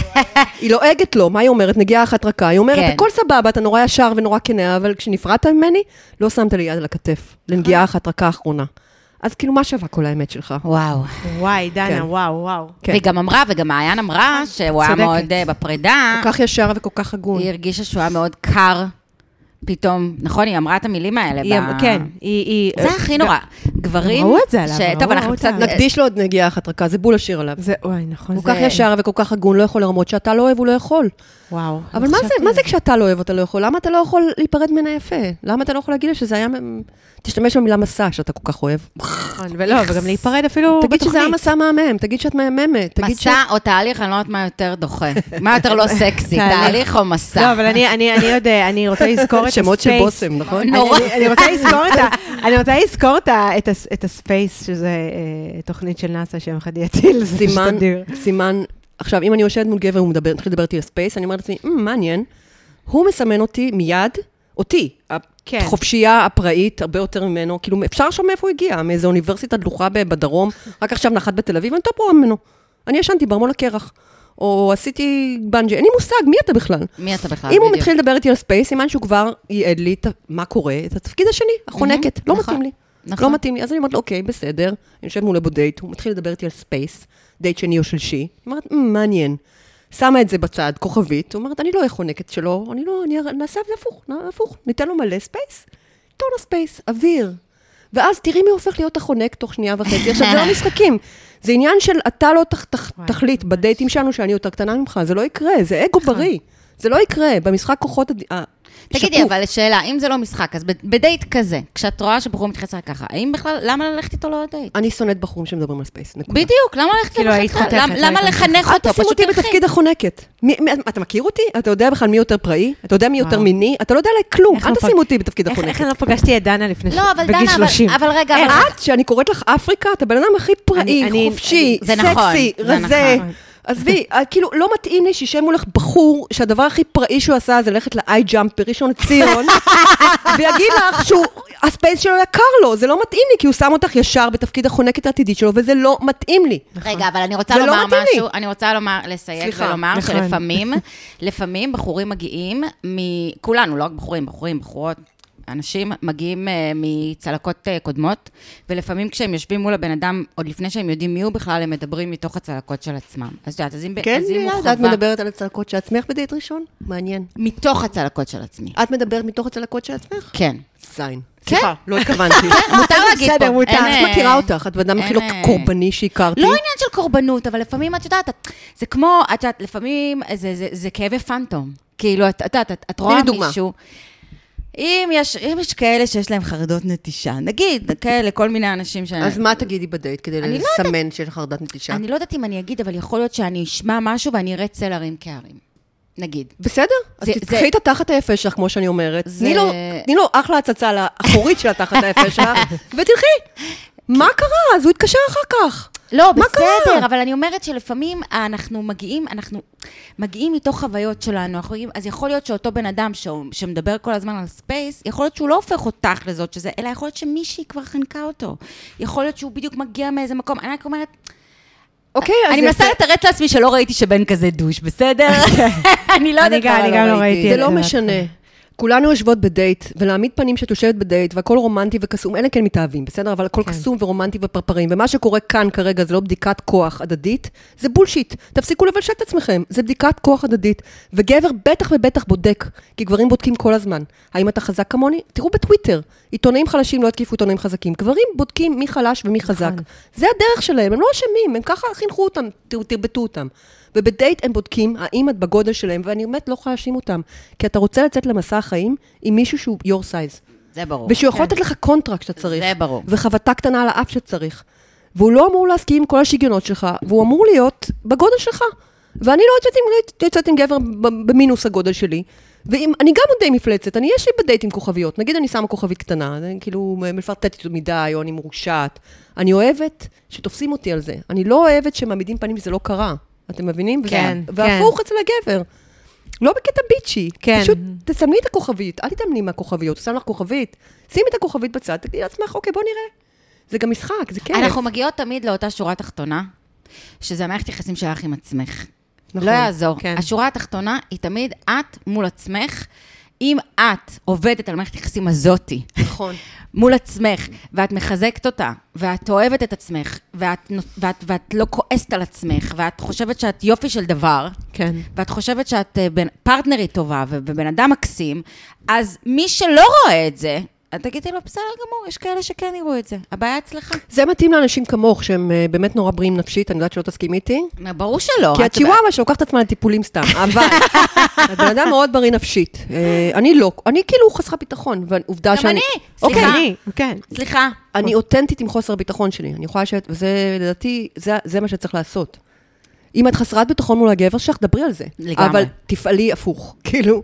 [SPEAKER 3] היא לועגת לו, מה היא אומרת? נגיעה אחת רכה. היא אומרת,
[SPEAKER 1] כן.
[SPEAKER 3] הכל סבבה, אתה נורא ישר ונורא כנה, אבל כשנפרדת ממני, לא שמת לי יד על הכתף,
[SPEAKER 1] אה.
[SPEAKER 3] לנגיעה אחת רכה האחרונה. אז כאילו, מה שווה כל האמת שלך?
[SPEAKER 1] וואו.
[SPEAKER 2] וואי,
[SPEAKER 3] כן.
[SPEAKER 2] דנה, וואו, וואו.
[SPEAKER 3] כן.
[SPEAKER 1] והיא גם אמרה, וגם מעיין אמרה, שהוא היה
[SPEAKER 2] צודקת.
[SPEAKER 1] מאוד אה, בפרידה.
[SPEAKER 3] כל כך ישר וכל כך הגון.
[SPEAKER 1] היא הרגישה שהוא היה מאוד קר פתאום. נכון, היא אמרה את המילים האלה.
[SPEAKER 2] היא אמ-
[SPEAKER 1] ב-
[SPEAKER 2] כן, היא... היא-
[SPEAKER 1] זה הכי נורא. גברים...
[SPEAKER 2] ראו את זה עליו,
[SPEAKER 1] ש-
[SPEAKER 2] ראו-
[SPEAKER 1] טוב,
[SPEAKER 2] ראו
[SPEAKER 1] אנחנו
[SPEAKER 2] את
[SPEAKER 1] קצת...
[SPEAKER 2] ה-
[SPEAKER 3] נקדיש לו עוד נגיעה אחת רכה, זה בול השיר עליו.
[SPEAKER 2] זה, וואי, נכון.
[SPEAKER 3] הוא
[SPEAKER 2] זה-
[SPEAKER 3] כל כך ישר וכל כך הגון, לא יכול לרמות, שאתה לא אוהב, הוא לא יכול.
[SPEAKER 2] וואו.
[SPEAKER 3] אבל
[SPEAKER 2] לא
[SPEAKER 3] מה
[SPEAKER 2] חשבתי
[SPEAKER 3] זה- מה
[SPEAKER 2] על
[SPEAKER 3] זה כשאתה לא אוהב, אתה לא יכול? למה אתה לא יכול להיפרד ממנה יפה? למה אתה לא יכול להגיד לה שזה היה... מ- תשתמש במילה מסע שאתה כל כך אוהב.
[SPEAKER 2] נכון, ולא, וגם להיפרד אפילו בתוכנית.
[SPEAKER 3] תגיד שזה היה מסע מהמם, תגיד שאת מהממת, תגיד ש...
[SPEAKER 1] מסע או תהליך, אני לא יודעת מה יותר דוחה. מה יותר לא סקסי,
[SPEAKER 2] תהליך.
[SPEAKER 1] תהליך או
[SPEAKER 2] לא,
[SPEAKER 1] מסע.
[SPEAKER 2] אבל אני, אני, אני עוד, אה, אני רוצה לזכור את הספייס.
[SPEAKER 3] שמות של בושם, נכון?
[SPEAKER 2] אני-
[SPEAKER 1] נורא.
[SPEAKER 2] אני, אני רוצה לזכור את ה... אני רוצה לזכור את, ה, את, הס, את הספייס, שזה אה, תוכנית של נאסא, שם אחד יטיל, זה פשוט
[SPEAKER 3] סימן,
[SPEAKER 2] אדיר.
[SPEAKER 3] סימן, עכשיו, אם אני יושבת מול גבר, הוא מדבר, מתחיל לדבר איתי על ספייס, אני אומרת לעצמי, "מ, מעניין, הוא מסמן אותי מיד, אותי,
[SPEAKER 2] כן.
[SPEAKER 3] החופשייה הפראית, הרבה יותר ממנו, כאילו, אפשר לשאול מאיפה הוא הגיע, מאיזו אוניברסיטה דלוחה ב- בדרום, רק עכשיו נחת בתל אביב, אני יותר פרועה ממנו. אני ישנתי בארמון הקרח, או עשיתי בנג'י, אין לי מושג, מי אתה בכלל?
[SPEAKER 1] מי אתה בכלל?
[SPEAKER 3] אם הוא
[SPEAKER 1] בדיוק.
[SPEAKER 3] מתחיל לדבר איתי על ספייס, סימן שהוא כבר ייעד לי את ה- מה קורה, את התפקיד השני, החונקת, לא
[SPEAKER 1] נכון,
[SPEAKER 3] מתאים לי.
[SPEAKER 1] נכון.
[SPEAKER 3] לא מתאים לי. אז אני אומרת לו, אוקיי, בסדר, אני יושבת מולו בדייט, הוא מתחיל לדבר איתי על ספייס, דייט שני או שלישי. היא אומרת, "מ, מעניין. שמה את זה בצד, כוכבית, אומרת, אני לא אהיה חונקת שלו, אני לא, אני אר- נעשה את זה הפוך, נע- הפוך, ניתן לו מלא ספייס, טון הספייס, אוויר. ואז תראי מי הופך להיות החונק תוך שנייה וחצי. עכשיו, זה לא משחקים, זה עניין של אתה לא תח- תח-
[SPEAKER 2] וואי,
[SPEAKER 3] תחליט בדייטים שלנו שאני יותר קטנה ממך, זה לא יקרה, זה אגו בריא. זה לא יקרה, במשחק כוחות... הד- ה-
[SPEAKER 1] תגידי,
[SPEAKER 3] שקוף.
[SPEAKER 1] אבל שאלה, אם זה לא משחק, אז ב- בדייט כזה, כשאת רואה שבחור מתייחס אליי ככה, האם בכלל, למה ללכת איתו לעוד דייט?
[SPEAKER 3] אני שונאת בחורים שמדברים על ספייס, נקודה.
[SPEAKER 1] בדיוק, למה ללכת
[SPEAKER 2] כאילו,
[SPEAKER 1] איתו
[SPEAKER 2] היית
[SPEAKER 1] לכתחילה?
[SPEAKER 2] חותכת,
[SPEAKER 1] למה-
[SPEAKER 2] לא
[SPEAKER 1] למה
[SPEAKER 2] היית
[SPEAKER 1] לחנך אותו?
[SPEAKER 3] אל תשים
[SPEAKER 1] פשוט
[SPEAKER 3] אותי
[SPEAKER 1] תלכי.
[SPEAKER 3] בתפקיד החונקת. מי- מי- אתה מכיר אותי? אתה יודע בכלל מי יותר פראי? אתה יודע מי יותר
[SPEAKER 2] וואו.
[SPEAKER 3] מיני? אתה לא יודע עליי כלום.
[SPEAKER 2] איך
[SPEAKER 3] אל
[SPEAKER 2] לא
[SPEAKER 3] תשים
[SPEAKER 2] פג-
[SPEAKER 3] אותי בתפקיד
[SPEAKER 2] איך- איך
[SPEAKER 3] החונקת.
[SPEAKER 2] אני לא פגשתי את דנה לפני, ש-
[SPEAKER 1] לא, אבל
[SPEAKER 2] בגיל
[SPEAKER 1] דנה, אבל-
[SPEAKER 2] 30?
[SPEAKER 1] אבל רגע, אבל...
[SPEAKER 3] אה, את, שאני קוראת לך אפריקה, את הבן אדם הכי
[SPEAKER 2] אני- אני-
[SPEAKER 3] פראי, חופשי,
[SPEAKER 1] זה נכון,
[SPEAKER 3] סקסי,
[SPEAKER 1] זה
[SPEAKER 3] רזה.
[SPEAKER 1] נכון.
[SPEAKER 3] עזבי, אה, כאילו, לא מתאים לי שישב מולך בחור שהדבר הכי פראי שהוא עשה זה ללכת לאיי ג'אמפ בראשון לציון, ויגיד לך שהוא, הספייס שלו יקר לו, זה לא מתאים לי, כי הוא שם אותך ישר בתפקיד החונקת העתידית שלו, וזה לא מתאים לי.
[SPEAKER 1] רגע, אבל אני רוצה
[SPEAKER 3] זה לא
[SPEAKER 1] לומר
[SPEAKER 3] מתאים לי.
[SPEAKER 1] משהו, אני רוצה לומר, לסייג
[SPEAKER 3] סליחה,
[SPEAKER 1] ולומר
[SPEAKER 2] נכון.
[SPEAKER 1] שלפעמים, לפעמים בחורים מגיעים מ... כולנו, לא רק בחורים, בחורים, בחורות. אנשים מגיעים אה, מצלקות אה, קודמות, ולפעמים כשהם יושבים מול הבן אדם, עוד לפני שהם יודעים מי הוא בכלל, הם מדברים מתוך הצלקות של עצמם. אז את יודעת, אז אם, ב- אז אם הוא חווה...
[SPEAKER 3] כן, את מדברת על הצלקות של עצמך בדייט ראשון? מעניין.
[SPEAKER 1] מתוך הצלקות של עצמי.
[SPEAKER 3] את מדברת מתוך הצלקות של עצמך?
[SPEAKER 1] כן.
[SPEAKER 3] זין.
[SPEAKER 1] כן.
[SPEAKER 3] סליחה, לא התכוונתי.
[SPEAKER 1] מותר להגיד פה.
[SPEAKER 2] בסדר, מותר.
[SPEAKER 1] אין,
[SPEAKER 3] את
[SPEAKER 1] אה,
[SPEAKER 3] מכירה אותך, את בן אדם הכי לא
[SPEAKER 1] אין, אה,
[SPEAKER 3] קורבני שהכרתי.
[SPEAKER 1] לא עניין של קורבנות, אבל לפעמים, את יודעת, את- זה כמו, את יודעת, לפעמים זה- זה- זה כאבי פנטום. כאילו, את את יודעת, את- את רואה
[SPEAKER 3] לי דוגמה.
[SPEAKER 1] מישהו... אם יש, אם יש כאלה שיש להם חרדות נטישה, נגיד, כאלה, כל מיני אנשים ש...
[SPEAKER 3] אז מה תגידי בדייט כדי
[SPEAKER 1] אני לא
[SPEAKER 3] לסמן שיש לך חרדת נטישה?
[SPEAKER 1] אני לא יודעת אם אני אגיד, אבל יכול להיות שאני אשמע משהו ואני אראה צל הרים כהרים. נגיד.
[SPEAKER 3] בסדר, אז
[SPEAKER 1] זה-
[SPEAKER 3] תקחי
[SPEAKER 1] זה-
[SPEAKER 3] את התחת היפה שלך, כמו שאני אומרת.
[SPEAKER 1] זה-
[SPEAKER 3] תני לו- תני לו אחלה הצצה לאחורית של התחת היפה שלך, ותלכי. מה קרה? אז הוא יתקשר אחר כך.
[SPEAKER 1] לא,
[SPEAKER 3] מה
[SPEAKER 1] בסדר,
[SPEAKER 3] קרה?
[SPEAKER 1] אבל אני אומרת שלפעמים אנחנו מגיעים, אנחנו מגיעים מתוך חוויות שלנו, אנחנו מגיעים, אז יכול להיות שאותו בן אדם ש... שמדבר כל הזמן על ספייס, יכול להיות שהוא לא הופך אותך לזאת שזה, אלא יכול להיות שמישהי כבר חנקה אותו. יכול להיות שהוא בדיוק מגיע מאיזה מקום, אני רק אומרת,
[SPEAKER 3] אוקיי, אז...
[SPEAKER 1] אני
[SPEAKER 3] זה-
[SPEAKER 1] מנסה
[SPEAKER 3] זה-
[SPEAKER 1] לתרץ לעצמי שלא ראיתי שבן כזה דוש, בסדר? אני לא
[SPEAKER 2] אני
[SPEAKER 1] יודעת
[SPEAKER 2] גם- אני גם לא ראיתי
[SPEAKER 3] זה
[SPEAKER 2] את
[SPEAKER 3] לא
[SPEAKER 2] זה.
[SPEAKER 3] משנה. כולנו יושבות בדייט, ולהעמיד פנים שאת יושבת בדייט, והכל רומנטי וקסום, אלא כן מתאהבים, בסדר? אבל הכל קסום ורומנטי ופרפרים, ומה שקורה כאן כרגע זה לא בדיקת כוח הדדית, זה בולשיט. תפסיקו לבלשט את עצמכם, זה בדיקת כוח הדדית. וגבר בטח ובטח בודק, כי גברים בודקים כל הזמן. האם אתה חזק כמוני? תראו בטוויטר, עיתונאים חלשים לא יתקיפו עיתונאים חזקים. גברים בודקים מי חלש ומי חזק.
[SPEAKER 2] נכון.
[SPEAKER 3] זה הדרך שלהם, הם לא אשמים, הם ככה חינכו אותם, ת- תרבטו אותם. ובדייט הם בודקים האם את בגודל שלהם, ואני באמת לא יכולה להאשים אותם, כי אתה רוצה לצאת למסע החיים עם מישהו שהוא your size,
[SPEAKER 1] זה ברור. כן.
[SPEAKER 3] ושהוא יכול לתת לך קונטרקט שאתה צריך,
[SPEAKER 1] זה ברור.
[SPEAKER 3] וחבטה קטנה על האף שצריך, והוא לא אמור להסכים עם כל השיגיונות שלך, והוא אמור להיות בגודל שלך. ואני לא יוצאת עם, לא יוצאת עם גבר ב- במינוס הגודל שלי, ואם, אני גם עוד די מפלצת, אני יש לי בדייט עם כוכביות, נגיד אני שמה כוכבית קטנה, אני כאילו מפרטטת מדי, או אני מרושעת. אני אוהבת שתופסים אותי על זה, אני לא אוהבת שמעמידים פנים שזה לא קרה, אתם מבינים?
[SPEAKER 1] כן,
[SPEAKER 3] וזה- והפוך אצל הגבר. לא בקטע ביצ'י,
[SPEAKER 2] כן.
[SPEAKER 3] פשוט תסמני את הכוכבית, אל תתאמני מהכוכביות, הוא שם לך כוכבית, שימי את הכוכבית בצד, תגידי לעצמך, אוקיי, בוא נראה. זה גם משחק, זה כיף.
[SPEAKER 1] אנחנו מגיעות תמיד לאותה שורה תחתונה, שזה המערכת יחסים שלך עם עצמך.
[SPEAKER 3] נכון,
[SPEAKER 1] נכון, לא יעזור.
[SPEAKER 2] כן.
[SPEAKER 1] כן. השורה התחתונה היא תמיד את מול עצמך. אם את עובדת על מערכת היחסים הזאתי,
[SPEAKER 3] נכון.
[SPEAKER 1] מול עצמך, ואת מחזקת אותה, ואת אוהבת את עצמך, ואת, נות- ואת, ואת לא כועסת על עצמך, ואת חושבת שאת יופי של דבר,
[SPEAKER 2] כן.
[SPEAKER 1] ואת חושבת שאת אה, בן, פרטנרית טובה ו- ובן אדם מקסים, אז מי שלא רואה את זה, את תגידי לו, בסדר גמור, יש כאלה שכן יראו את זה. הבעיה אצלך.
[SPEAKER 3] זה מתאים לאנשים כמוך, שהם אה, באמת נורא בריאים נפשית, אני יודעת שלא תסכימי
[SPEAKER 1] לא,
[SPEAKER 3] איתי.
[SPEAKER 1] ברור שלא.
[SPEAKER 3] כי
[SPEAKER 1] את-
[SPEAKER 3] הצ'יוואווה שלוקחת את עצמה לטיפולים סתם, אבל את בן אדם מאוד בריא נפשית. אה, אני לא, אני כאילו חסכה ביטחון, ועובדה
[SPEAKER 1] גם
[SPEAKER 3] שאני...
[SPEAKER 1] אני,
[SPEAKER 3] אוקיי,
[SPEAKER 1] סליחה.
[SPEAKER 2] אני, כן.
[SPEAKER 1] סליחה.
[SPEAKER 3] אני אותנטית עם חוסר הביטחון שלי. אני יכולה ש... וזה, לדעתי, זה, זה מה שצריך לעשות. אם את חסרת ביטחון מול הגבר שלך, דברי על זה.
[SPEAKER 1] לגמרי.
[SPEAKER 3] אבל תפעלי הפוך. כאילו,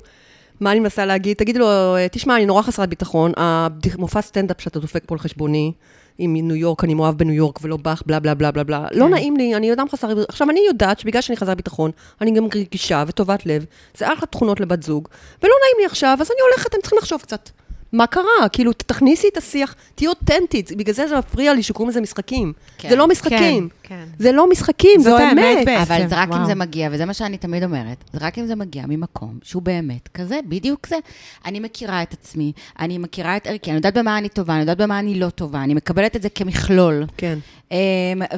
[SPEAKER 3] מה אני מנסה להגיד? תגידי לו, תשמע, אני נורא חסרת ביטחון, המופע סטנדאפ שאתה דופק פה על חשבוני, עם ניו יורק, אני מאוהב בניו יורק ולא בך, בלה בלה בלה בלה בלה.
[SPEAKER 2] כן.
[SPEAKER 3] לא נעים לי, אני אדם חסר... ביטחון. עכשיו, אני יודעת שבגלל שאני חסר ביטחון, אני גם רגישה וטובת לב, זה אחלה תכונות לבת זוג, ולא נעים לי עכשיו, אז אני הולכת, אתם צריכים לחשוב קצת. מה קרה? כאילו, תכניסי את השיח, תהיי אותנטית. בגלל זה זה מפריע לי שקוראים לזה משחקים.
[SPEAKER 1] כן.
[SPEAKER 3] זה לא משחקים.
[SPEAKER 2] כן, כן.
[SPEAKER 3] זה לא משחקים,
[SPEAKER 2] זאת
[SPEAKER 3] זאת
[SPEAKER 2] האמת
[SPEAKER 3] האמת.
[SPEAKER 2] בעצם.
[SPEAKER 1] אבל זה רק
[SPEAKER 2] וואו.
[SPEAKER 1] אם זה מגיע, וזה מה שאני תמיד אומרת, זה רק אם זה מגיע ממקום שהוא באמת כזה, בדיוק זה. אני מכירה את עצמי, אני מכירה את ערכי, אני יודעת במה אני טובה, אני יודעת במה אני לא טובה, אני מקבלת את זה כמכלול.
[SPEAKER 3] כן.
[SPEAKER 1] אמ,